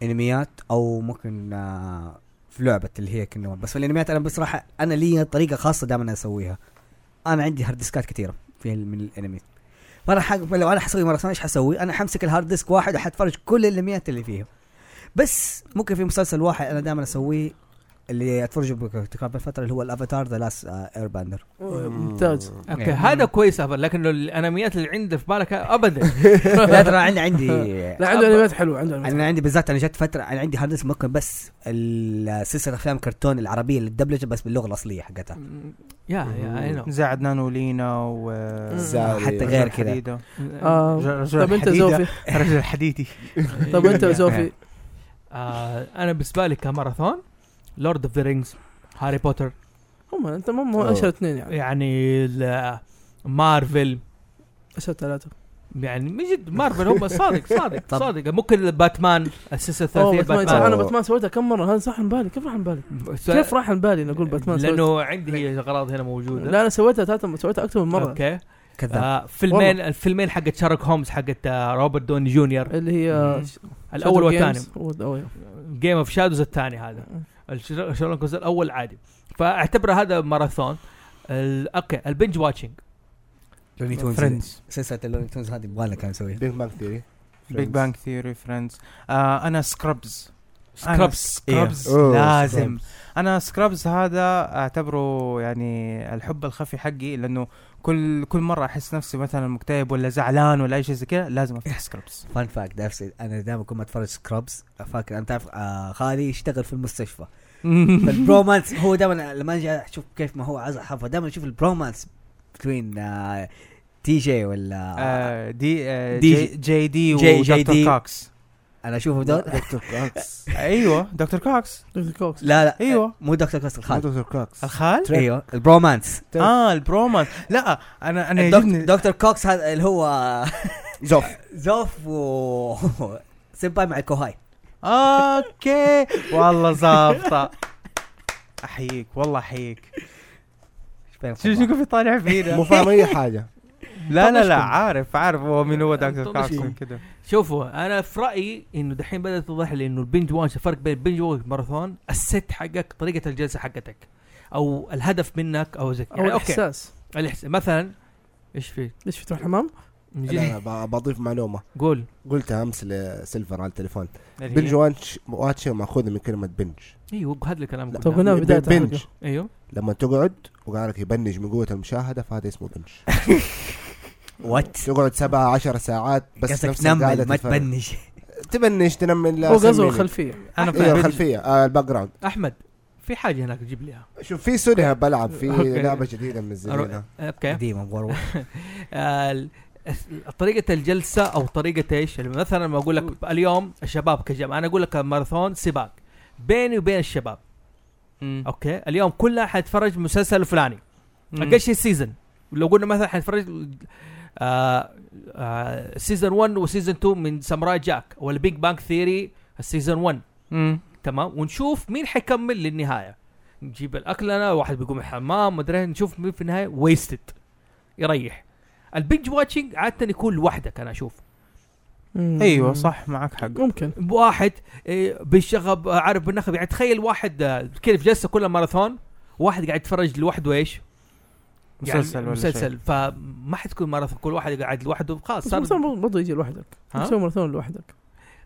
Speaker 4: الانميات او ممكن آه في لعبه اللي هي كنوم بس في الانميات انا بصراحه انا لي طريقه خاصه دائما اسويها انا عندي هارد ديسكات كثيره في ال- من الانمي فانا حق لو انا حسوي ماراثون ايش حسوي؟ انا حمسك الهارد ديسك واحد وحتفرج كل الانميات اللي فيها بس ممكن في مسلسل واحد انا دائما اسويه اللي اتفرج بكتاب الفتره اللي هو الافاتار ذا لاست اير باندر
Speaker 5: ممتاز
Speaker 1: يعني
Speaker 3: اوكي
Speaker 4: إيه.
Speaker 3: هذا كويس أفضل، لكن الانميات اللي عندك في بالك ابدا
Speaker 4: لا ترى عندي عندي
Speaker 5: لا عنده
Speaker 3: أب-
Speaker 5: انميات حلوه عنده انميات
Speaker 4: انا عندي بالذات انا جت فتره انا عندي هاردس ممكن بس السلسله افلام كرتون العربيه اللي الدبلجه بس باللغه الاصليه حقتها
Speaker 3: يا يا اي نو
Speaker 1: زعد نانو لينا و آه،
Speaker 2: زعد
Speaker 4: حتى غير كذا
Speaker 1: حديدة.
Speaker 5: آه، طيب،
Speaker 1: رجل
Speaker 5: طب انت
Speaker 1: الحديدة.
Speaker 5: زوفي
Speaker 1: رجل حديدي
Speaker 5: طب انت زوفي
Speaker 3: آه، انا بالنسبه لي كماراثون لورد اوف ذا رينجز هاري بوتر
Speaker 5: هم انت مو مو
Speaker 2: أوه.
Speaker 5: اشهر اثنين يعني
Speaker 3: يعني ال- مارفل
Speaker 5: اشهر ثلاثه
Speaker 3: يعني من جد مارفل هم صادق صادق
Speaker 4: طب.
Speaker 3: صادق ممكن باتمان السلسله
Speaker 5: اوه
Speaker 3: الثلاثيه
Speaker 5: باتمان صح،
Speaker 3: باتمان
Speaker 5: انا باتمان سويتها كم مره هذا صح عن بالي كيف راح عن بالي
Speaker 3: س-
Speaker 5: كيف راح عن بالي نقول باتمان سويتها؟
Speaker 3: لانه عندي هي اغراض هنا موجوده
Speaker 5: لا انا سويتها ثلاثة سويتها اكثر من مره
Speaker 3: اوكي
Speaker 4: كذاب
Speaker 3: آه فيلمين الفيلمين حقت شارك هومز حقت آه روبرت دوني جونيور
Speaker 5: اللي هي
Speaker 1: مم.
Speaker 3: الاول والثاني
Speaker 5: والثاني
Speaker 3: جيم اوف شادوز الثاني هذا الشر- شارك هومز الاول عادي فاعتبره هذا ماراثون ال- اوكي البنج واتشنج
Speaker 4: لوني
Speaker 1: Friends.
Speaker 4: سلسله اللوني تونز هذه يبغى لها كان نسويها
Speaker 2: بيج بانك ثيري
Speaker 1: بيج بانج ثيوري فريندز انا سكربز
Speaker 3: سكرابس
Speaker 1: سكربز
Speaker 2: إيه. أوه،
Speaker 1: لازم انا سكربز هذا اعتبره يعني الحب الخفي حقي لانه كل كل مره احس نفسي مثلا مكتئب ولا زعلان ولا اي شيء زي كذا لازم افتح سكربز
Speaker 4: فان فاكت انا دائما كنت اتفرج سكرابز فاكر انت تعرف آه خالي يشتغل في المستشفى
Speaker 1: آه،
Speaker 4: فالبرومانس هو دائما لما اجي اشوف كيف ما هو عايز احفظ دائما اشوف البرومانس بين آه تي جي ولا آه
Speaker 1: آه، دي آه،
Speaker 4: دي
Speaker 1: جي جي دي
Speaker 4: جي- جي دي.
Speaker 1: ودكتور كوكس
Speaker 4: انا اشوفهم دول
Speaker 2: دكتور كاكس
Speaker 1: ايوه دكتور كوكس
Speaker 5: كوكس
Speaker 4: لا لا
Speaker 1: ايوه.
Speaker 4: إيه. مو دكتور كاس الخال
Speaker 2: دكتور كاكس
Speaker 1: الخال
Speaker 2: تريك.
Speaker 4: ايوه البرومانس
Speaker 1: اه البرومانس لا انا انا
Speaker 4: الدكتور-
Speaker 1: يعجبني
Speaker 4: دكتور كوكس هذا اللي هو
Speaker 2: زوف
Speaker 4: زوف و سيمباي مع الكوهاي
Speaker 1: اوكي والله ظابطه احييك والله احييك شوف شوف كيف يطالع
Speaker 2: مو
Speaker 1: فينا
Speaker 2: فاهم اي حاجه
Speaker 1: لا لا لا
Speaker 3: طنشكم.
Speaker 1: عارف عارف هو مين هو دكتور
Speaker 3: طنشكم.
Speaker 1: كاكسون كده
Speaker 3: شوفوا انا في رايي انه دحين بدات تتضح لي انه البنج واتش الفرق بين البنج والماراثون الست حقك طريقه الجلسه حقتك او الهدف منك او زي يعني
Speaker 5: او الاحساس
Speaker 3: الإحساس مثلا ايش في؟
Speaker 5: ليش في تروح الحمام؟
Speaker 2: لا، لا، ب- بضيف معلومه
Speaker 3: قول
Speaker 2: قلتها امس لسيلفر على التليفون
Speaker 3: إيه.
Speaker 2: بنج واتش واتش ماخوذه من كلمه بنج
Speaker 3: ايوه هذا الكلام
Speaker 2: لا.
Speaker 5: طب
Speaker 3: قلناه.
Speaker 5: قلنا بدايه
Speaker 2: بنج
Speaker 5: الحلقة.
Speaker 3: ايوه
Speaker 2: لما تقعد وقارك يبنج من قوه المشاهده فهذا اسمه بنج
Speaker 4: وات
Speaker 2: تقعد سبعة عشر ساعات بس
Speaker 4: قصدك
Speaker 2: نفسك قاعدة
Speaker 4: تنمل ما
Speaker 2: تتفرج.
Speaker 4: تبنج
Speaker 2: تبنج تنمل
Speaker 5: هو قصده الخلفيه
Speaker 1: انا في
Speaker 2: ايوه
Speaker 1: البنج
Speaker 2: الخلفيه آه الباك جراوند
Speaker 3: احمد في حاجه هناك جيب لي اياها
Speaker 2: شوف في سنها بلعب في
Speaker 3: أوكي.
Speaker 2: لعبه جديده منزلينها
Speaker 3: اوكي
Speaker 4: قديمه مره
Speaker 3: آه، ال- طريقة الجلسة أو طريقة إيش؟ يعني مثلا لما أقول لك اليوم الشباب كجماعة أنا أقول لك ماراثون سباق بيني وبين الشباب
Speaker 1: مم.
Speaker 3: أوكي اليوم كلنا حيتفرج مسلسل الفلاني
Speaker 1: مم.
Speaker 3: اقل شيء سيزون لو قلنا مثلا حنتفرج آه آه سيزون 1 وسيزون 2 من ساموراي جاك ولا بيج بانك ثيري السيزون 1
Speaker 1: مم.
Speaker 3: تمام ونشوف مين حيكمل للنهايه نجيب الاكلنا واحد بيقوم الحمام مدري إيه، نشوف مين في النهايه ويستد يريح البنج واتشنج عاده يكون لوحدك انا اشوف
Speaker 5: مم.
Speaker 3: أيوة،
Speaker 5: يعني
Speaker 1: ايوه صح معك حق
Speaker 5: ممكن
Speaker 3: واحد إيه، بالشغب آه، عارف بالنخب يعني تخيل واحد آه، كذا في جلسه كلها ماراثون واحد قاعد يتفرج لوحده ايش؟
Speaker 1: مسلسل
Speaker 3: يعني
Speaker 1: ولا
Speaker 3: مسلسل فما حتكون ماراثون كل واحد قاعد لوحده خلاص
Speaker 5: بس
Speaker 3: صار
Speaker 5: ماراثون برضه يجي لوحدك
Speaker 3: ها؟
Speaker 5: تسوي ماراثون لوحدك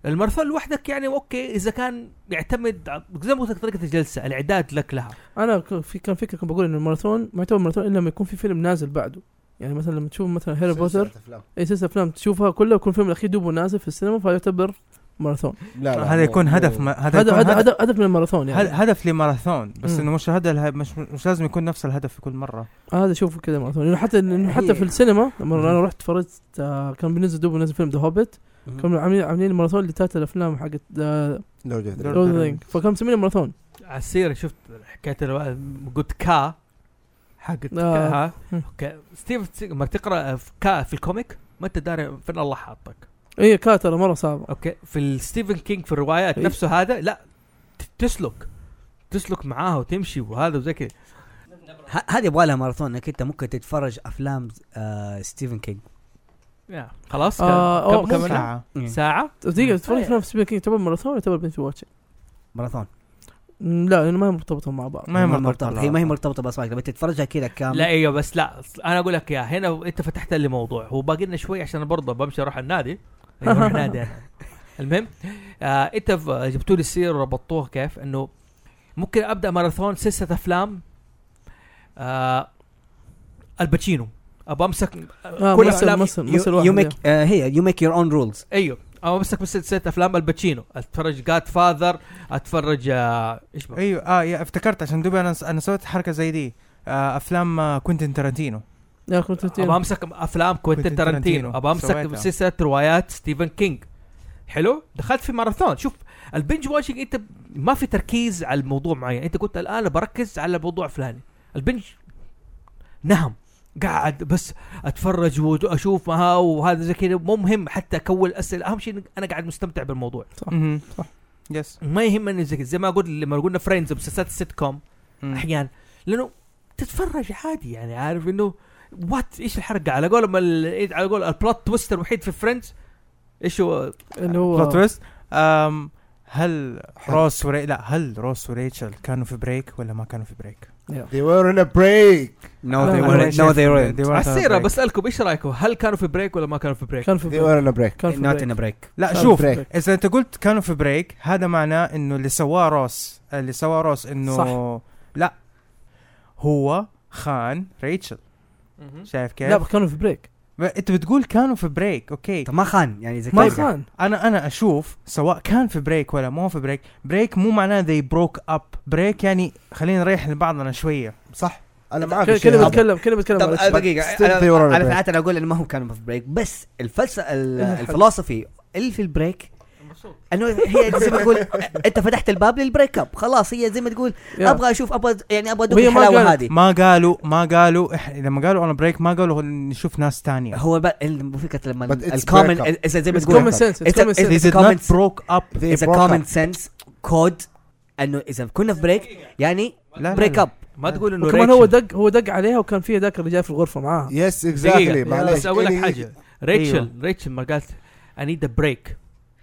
Speaker 3: الماراثون لوحدك يعني اوكي اذا كان يعتمد ع- زي ما قلت لك طريقه الجلسه الاعداد لك لها
Speaker 5: انا ك- في كان فكره كنت بقول انه الماراثون ما يعتبر ماراثون الا لما يكون في فيلم نازل بعده يعني مثلا لما تشوف مثلا هاري بوتر
Speaker 2: سلسلة أفلام.
Speaker 5: اي سلسله افلام تشوفها كلها ويكون الفيلم الاخير دوبه نازل في السينما فيعتبر ماراثون
Speaker 2: لا لا،
Speaker 1: هذا
Speaker 2: مو-
Speaker 1: يكون
Speaker 2: مو-
Speaker 1: هدف ما- هذا
Speaker 5: هذا
Speaker 1: يكون
Speaker 5: هذا
Speaker 1: هدف
Speaker 5: هذا هدف من الماراثون يعني
Speaker 1: هد- هدف لماراثون بس
Speaker 5: مم.
Speaker 1: انه مش هذا اله- مش مش لازم يكون نفس الهدف في كل مره
Speaker 5: آه، هذا شوفه كذا ماراثون لانه حتى لانه حتى في السينما لما انا رحت فرجت آه كان بينزل دوبه نزل فيلم ذا هوبيت كانوا عاملين عاملين ماراثون لثلاث الافلام حقت آه،
Speaker 2: لورد أوف ذا
Speaker 1: لورد-
Speaker 2: رينج.
Speaker 5: لورد رينج فكان مسمينه ماراثون
Speaker 3: على السيره شفت حكايه الو- قلت كا حقت
Speaker 5: آه.
Speaker 3: كا ها
Speaker 5: مم.
Speaker 3: اوكي ستيف سيج- ما تقرا في كا في الكوميك ما انت داري فين الله حاطك
Speaker 5: اي كاتره مره صعبه
Speaker 3: اوكي في الستيفن كينج في الروايات
Speaker 5: إيه.
Speaker 3: نفسه هذا لا ت- تسلك تسلك معاها وتمشي وهذا وزي كذا
Speaker 4: ه- هذه يبغى لها ماراثون انك انت ممكن تتفرج افلام آه ستيفن كينج
Speaker 3: يا، خلاص
Speaker 5: آه،
Speaker 3: كم-
Speaker 5: أوه،
Speaker 3: كم كم
Speaker 1: ساعه
Speaker 3: ساعه
Speaker 5: دقيقة
Speaker 3: آه.
Speaker 5: تتفرج في نفس سبيكينج تعتبر ماراثون ولا تعتبر بنت واتشنج؟
Speaker 4: ماراثون
Speaker 5: لا لانه ما هي مرتبطة مع بعض
Speaker 1: ما هي مرتبطه
Speaker 4: مرتبطه هي ما هي مرتبطه بس تبي تتفرجها كذا كامل
Speaker 3: لا ايوه بس لا انا اقول لك يا هنا انت فتحت لي موضوع هو باقي لنا شوي عشان برضه بمشي اروح النادي اروح نادي أنا. المهم آه انت ف- جبتوا لي السير وربطوها كيف انه ممكن ابدا ماراثون سلسله افلام آه الباتشينو ابى امسك
Speaker 5: آه
Speaker 3: كل
Speaker 5: كل
Speaker 3: أفلام-
Speaker 5: افلام مصر مصر
Speaker 4: يو
Speaker 5: واحد
Speaker 4: ميك آه، هي يو ميك يور اون رولز
Speaker 3: ايوه ابى امسك بس سلسله افلام الباتشينو اتفرج جاد فاذر اتفرج آه ايش بقى؟
Speaker 1: ايوه اه يا افتكرت عشان دوبي انا انا سويت حركه زي دي آه، افلام آه، كوينتين ترنتينو
Speaker 5: يا كنت
Speaker 3: ابى امسك افلام كوينتين
Speaker 1: كوينتين تارانتينو.
Speaker 3: تارانتينو ابى امسك
Speaker 1: سويتها.
Speaker 3: سلسله روايات ستيفن كينج حلو دخلت في ماراثون شوف البنج واتشنج انت ما في تركيز على الموضوع معين انت قلت الان أنا بركز على موضوع فلاني البنج نهم قاعد بس اتفرج واشوف ها وهذا زي كذا مو مهم حتى اكون اسئله اهم شيء إن انا قاعد مستمتع بالموضوع
Speaker 1: مهم. يس
Speaker 3: ما يهمني زي كذا. زي ما قلت لما قلنا فريندز ومسلسلات السيت كوم
Speaker 1: مم.
Speaker 3: احيانا لانه تتفرج عادي يعني عارف انه وات ايش الحرقه على قول ما ال- إيه، على قول البلوت تويست الوحيد في فريندز ايش هو
Speaker 5: اللي هو
Speaker 1: بلوت تويست أم، هل روس وري... لا هل روس وريتشل كانوا في بريك ولا ما كانوا في بريك؟
Speaker 2: they were on a break
Speaker 4: نو
Speaker 1: آه،
Speaker 5: لا،
Speaker 4: ذي
Speaker 5: لا،
Speaker 4: ورنت نو ذي ورنت
Speaker 1: They weren't on a
Speaker 3: السيره
Speaker 1: break.
Speaker 3: بسالكم ايش رايكم هل كانوا في بريك ولا ما كانوا في بريك؟
Speaker 5: كان في
Speaker 2: they
Speaker 5: بريك.
Speaker 2: were on a break
Speaker 5: كان في
Speaker 4: نوت
Speaker 5: بريك.
Speaker 4: ان بريك
Speaker 1: لا
Speaker 5: كان
Speaker 1: شوف
Speaker 5: في بريك.
Speaker 1: اذا انت قلت كانوا في بريك هذا معناه انه اللي سواه روس اللي سواه روس انه
Speaker 5: صح.
Speaker 1: لا هو خان ريتشل شايف كيف؟
Speaker 5: لا كانوا في بريك
Speaker 1: ب- انت بتقول كانوا في بريك اوكي
Speaker 4: طب ما خان يعني زي
Speaker 5: ما
Speaker 4: كذا
Speaker 5: كان
Speaker 1: انا انا اشوف سواء كان في بريك ولا مو في بريك بريك مو معناه they broke up بريك يعني خلينا نريح لبعضنا شويه
Speaker 2: صح انا معك
Speaker 5: كده- كده
Speaker 2: الشيء هذا.
Speaker 5: بتكلم كده بتكلم
Speaker 4: طب
Speaker 5: على الشيء.
Speaker 4: دقيقة
Speaker 2: Still they were on a
Speaker 4: أنا- أنا
Speaker 2: break.
Speaker 4: فعلت أنا أقول إنه ما هم كانوا في بريك بس الفلسفة ال-
Speaker 5: إنها
Speaker 4: الفلسفي اللي في البريك انه هي زي ما تقول انت فتحت الباب للبريك اب خلاص هي زي ما تقول
Speaker 5: يا.
Speaker 4: ابغى اشوف ابغى يعني ابغى ادوق
Speaker 5: وهي ما
Speaker 4: الحلاوه
Speaker 5: قالت.
Speaker 4: هذه
Speaker 1: ما قالوا ما قالوا إح... لما قالوا انا بريك ما قالوا نشوف ناس تانية
Speaker 4: هو بقى ال- فكره لما
Speaker 2: But it's
Speaker 4: الكومن
Speaker 2: break up.
Speaker 4: إذا زي ما
Speaker 5: It's
Speaker 4: تقول
Speaker 5: common sense. It's
Speaker 4: It's a-
Speaker 5: common
Speaker 4: it's a-
Speaker 5: sense.
Speaker 1: they did not
Speaker 4: comments-
Speaker 1: broke up
Speaker 2: they
Speaker 4: اذا
Speaker 2: broke up.
Speaker 4: كومن سنس كود انه اذا كنا في بريك يعني
Speaker 1: لا،
Speaker 4: بريك
Speaker 1: لا.
Speaker 4: اب
Speaker 3: ما تقول انه
Speaker 5: وكمان
Speaker 3: Rachel-
Speaker 5: هو دق هو دق عليها وكان في ذاك الرجال في الغرفه معاها
Speaker 2: يس اكزاكتلي
Speaker 3: دقيقة
Speaker 2: معلش
Speaker 3: بس اقول لك
Speaker 2: يعني-
Speaker 3: حاجة ريتشل
Speaker 1: أيوة.
Speaker 3: ريتشل ما قالت I need a break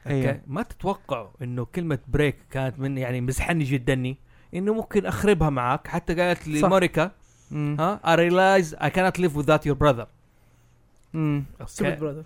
Speaker 1: أيوة.
Speaker 3: اوكي ما تتوقعوا انه كلمة بريك كانت من يعني مزحني جدني انه ممكن اخربها معاك حتى قالت لي
Speaker 5: صح.
Speaker 3: موريكا
Speaker 1: مم.
Speaker 3: ها I realize I cannot live without your brother
Speaker 1: مم.
Speaker 5: Stupid brother.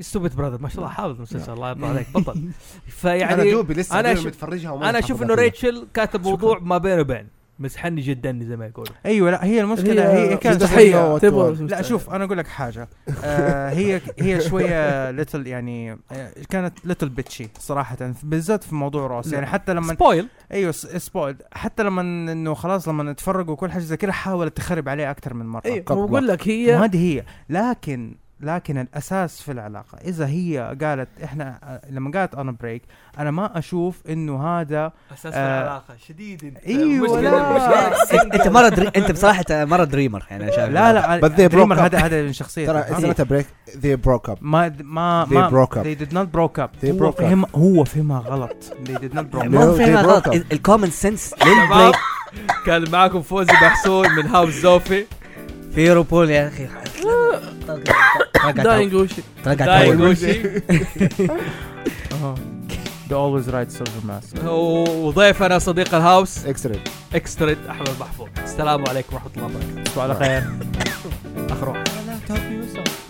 Speaker 3: ستوبت براذر ما شاء الله حافظ مسلسل الله يرضى عليك بطل
Speaker 2: انا
Speaker 3: فيعني
Speaker 2: دوبي لسه
Speaker 3: يعني أنا
Speaker 2: إيه، أنا
Speaker 3: أشوف-
Speaker 2: متفرجها وما
Speaker 3: انا اشوف
Speaker 2: متحفظها
Speaker 3: انه
Speaker 2: كلها.
Speaker 3: ريتشل كاتب موضوع ما بينه وبين مزحني جدني زي ما يقولوا
Speaker 1: ايوه لا هي المشكله هي, هي كانت شوية-
Speaker 5: مستحية
Speaker 2: شوية
Speaker 5: تبغى
Speaker 1: لا شوف انا اقول لك حاجه آه هي هي شويه ليتل يعني آه، كانت ليتل بيتشي صراحه بالذات في موضوع روس يعني حتى لما
Speaker 3: سبويل
Speaker 1: ايوه سبويل حتى لما انه خلاص لما اتفرقوا وكل حاجه زي كده حاولت تخرب عليه اكثر من مره
Speaker 5: ايوه
Speaker 2: قبلة.
Speaker 5: بقول لك هي
Speaker 1: وهذه هي لكن لكن الاساس في العلاقه اذا هي قالت احنا لما قالت انا بريك انا ما اشوف انه هذا
Speaker 3: اساس
Speaker 1: آه.
Speaker 3: العلاقه شديد انت
Speaker 1: أيوة،
Speaker 3: مشكلة-
Speaker 1: لا.
Speaker 3: مشكلة.
Speaker 4: انت انت مره دري... انت بصراحه مره دريمر يعني أنا شايف
Speaker 1: لا لا
Speaker 2: But they
Speaker 1: دريمر
Speaker 2: broke up.
Speaker 1: هذا هذا من شخصيته
Speaker 2: ترى
Speaker 1: ها؟
Speaker 2: اتس نوت بريك they broke up
Speaker 1: ما ما
Speaker 2: They
Speaker 1: ما
Speaker 2: broke up.
Speaker 1: they did not broke up
Speaker 2: They
Speaker 1: هو
Speaker 2: broke up.
Speaker 1: فهم هو فهمها غلط they did not broke
Speaker 4: ما
Speaker 1: up
Speaker 4: هو
Speaker 2: They
Speaker 4: فيها
Speaker 2: broke
Speaker 4: غلط
Speaker 2: up.
Speaker 4: الكومن سنس
Speaker 3: شباب،
Speaker 4: للبريك
Speaker 3: كان معاكم فوزي محسون من هاوس زوفي
Speaker 4: في روبول يا اخي
Speaker 5: داينج وش
Speaker 3: دايم
Speaker 4: ترقع
Speaker 3: غوشي
Speaker 1: أها. they always write silver mask
Speaker 3: وضيفنا صديق الهاوس
Speaker 2: اكسرين
Speaker 3: اكستريد احمد محفوظ السلام عليكم ورحمه الله وبركاته
Speaker 1: على خير
Speaker 3: اخر واحد
Speaker 1: I love top music.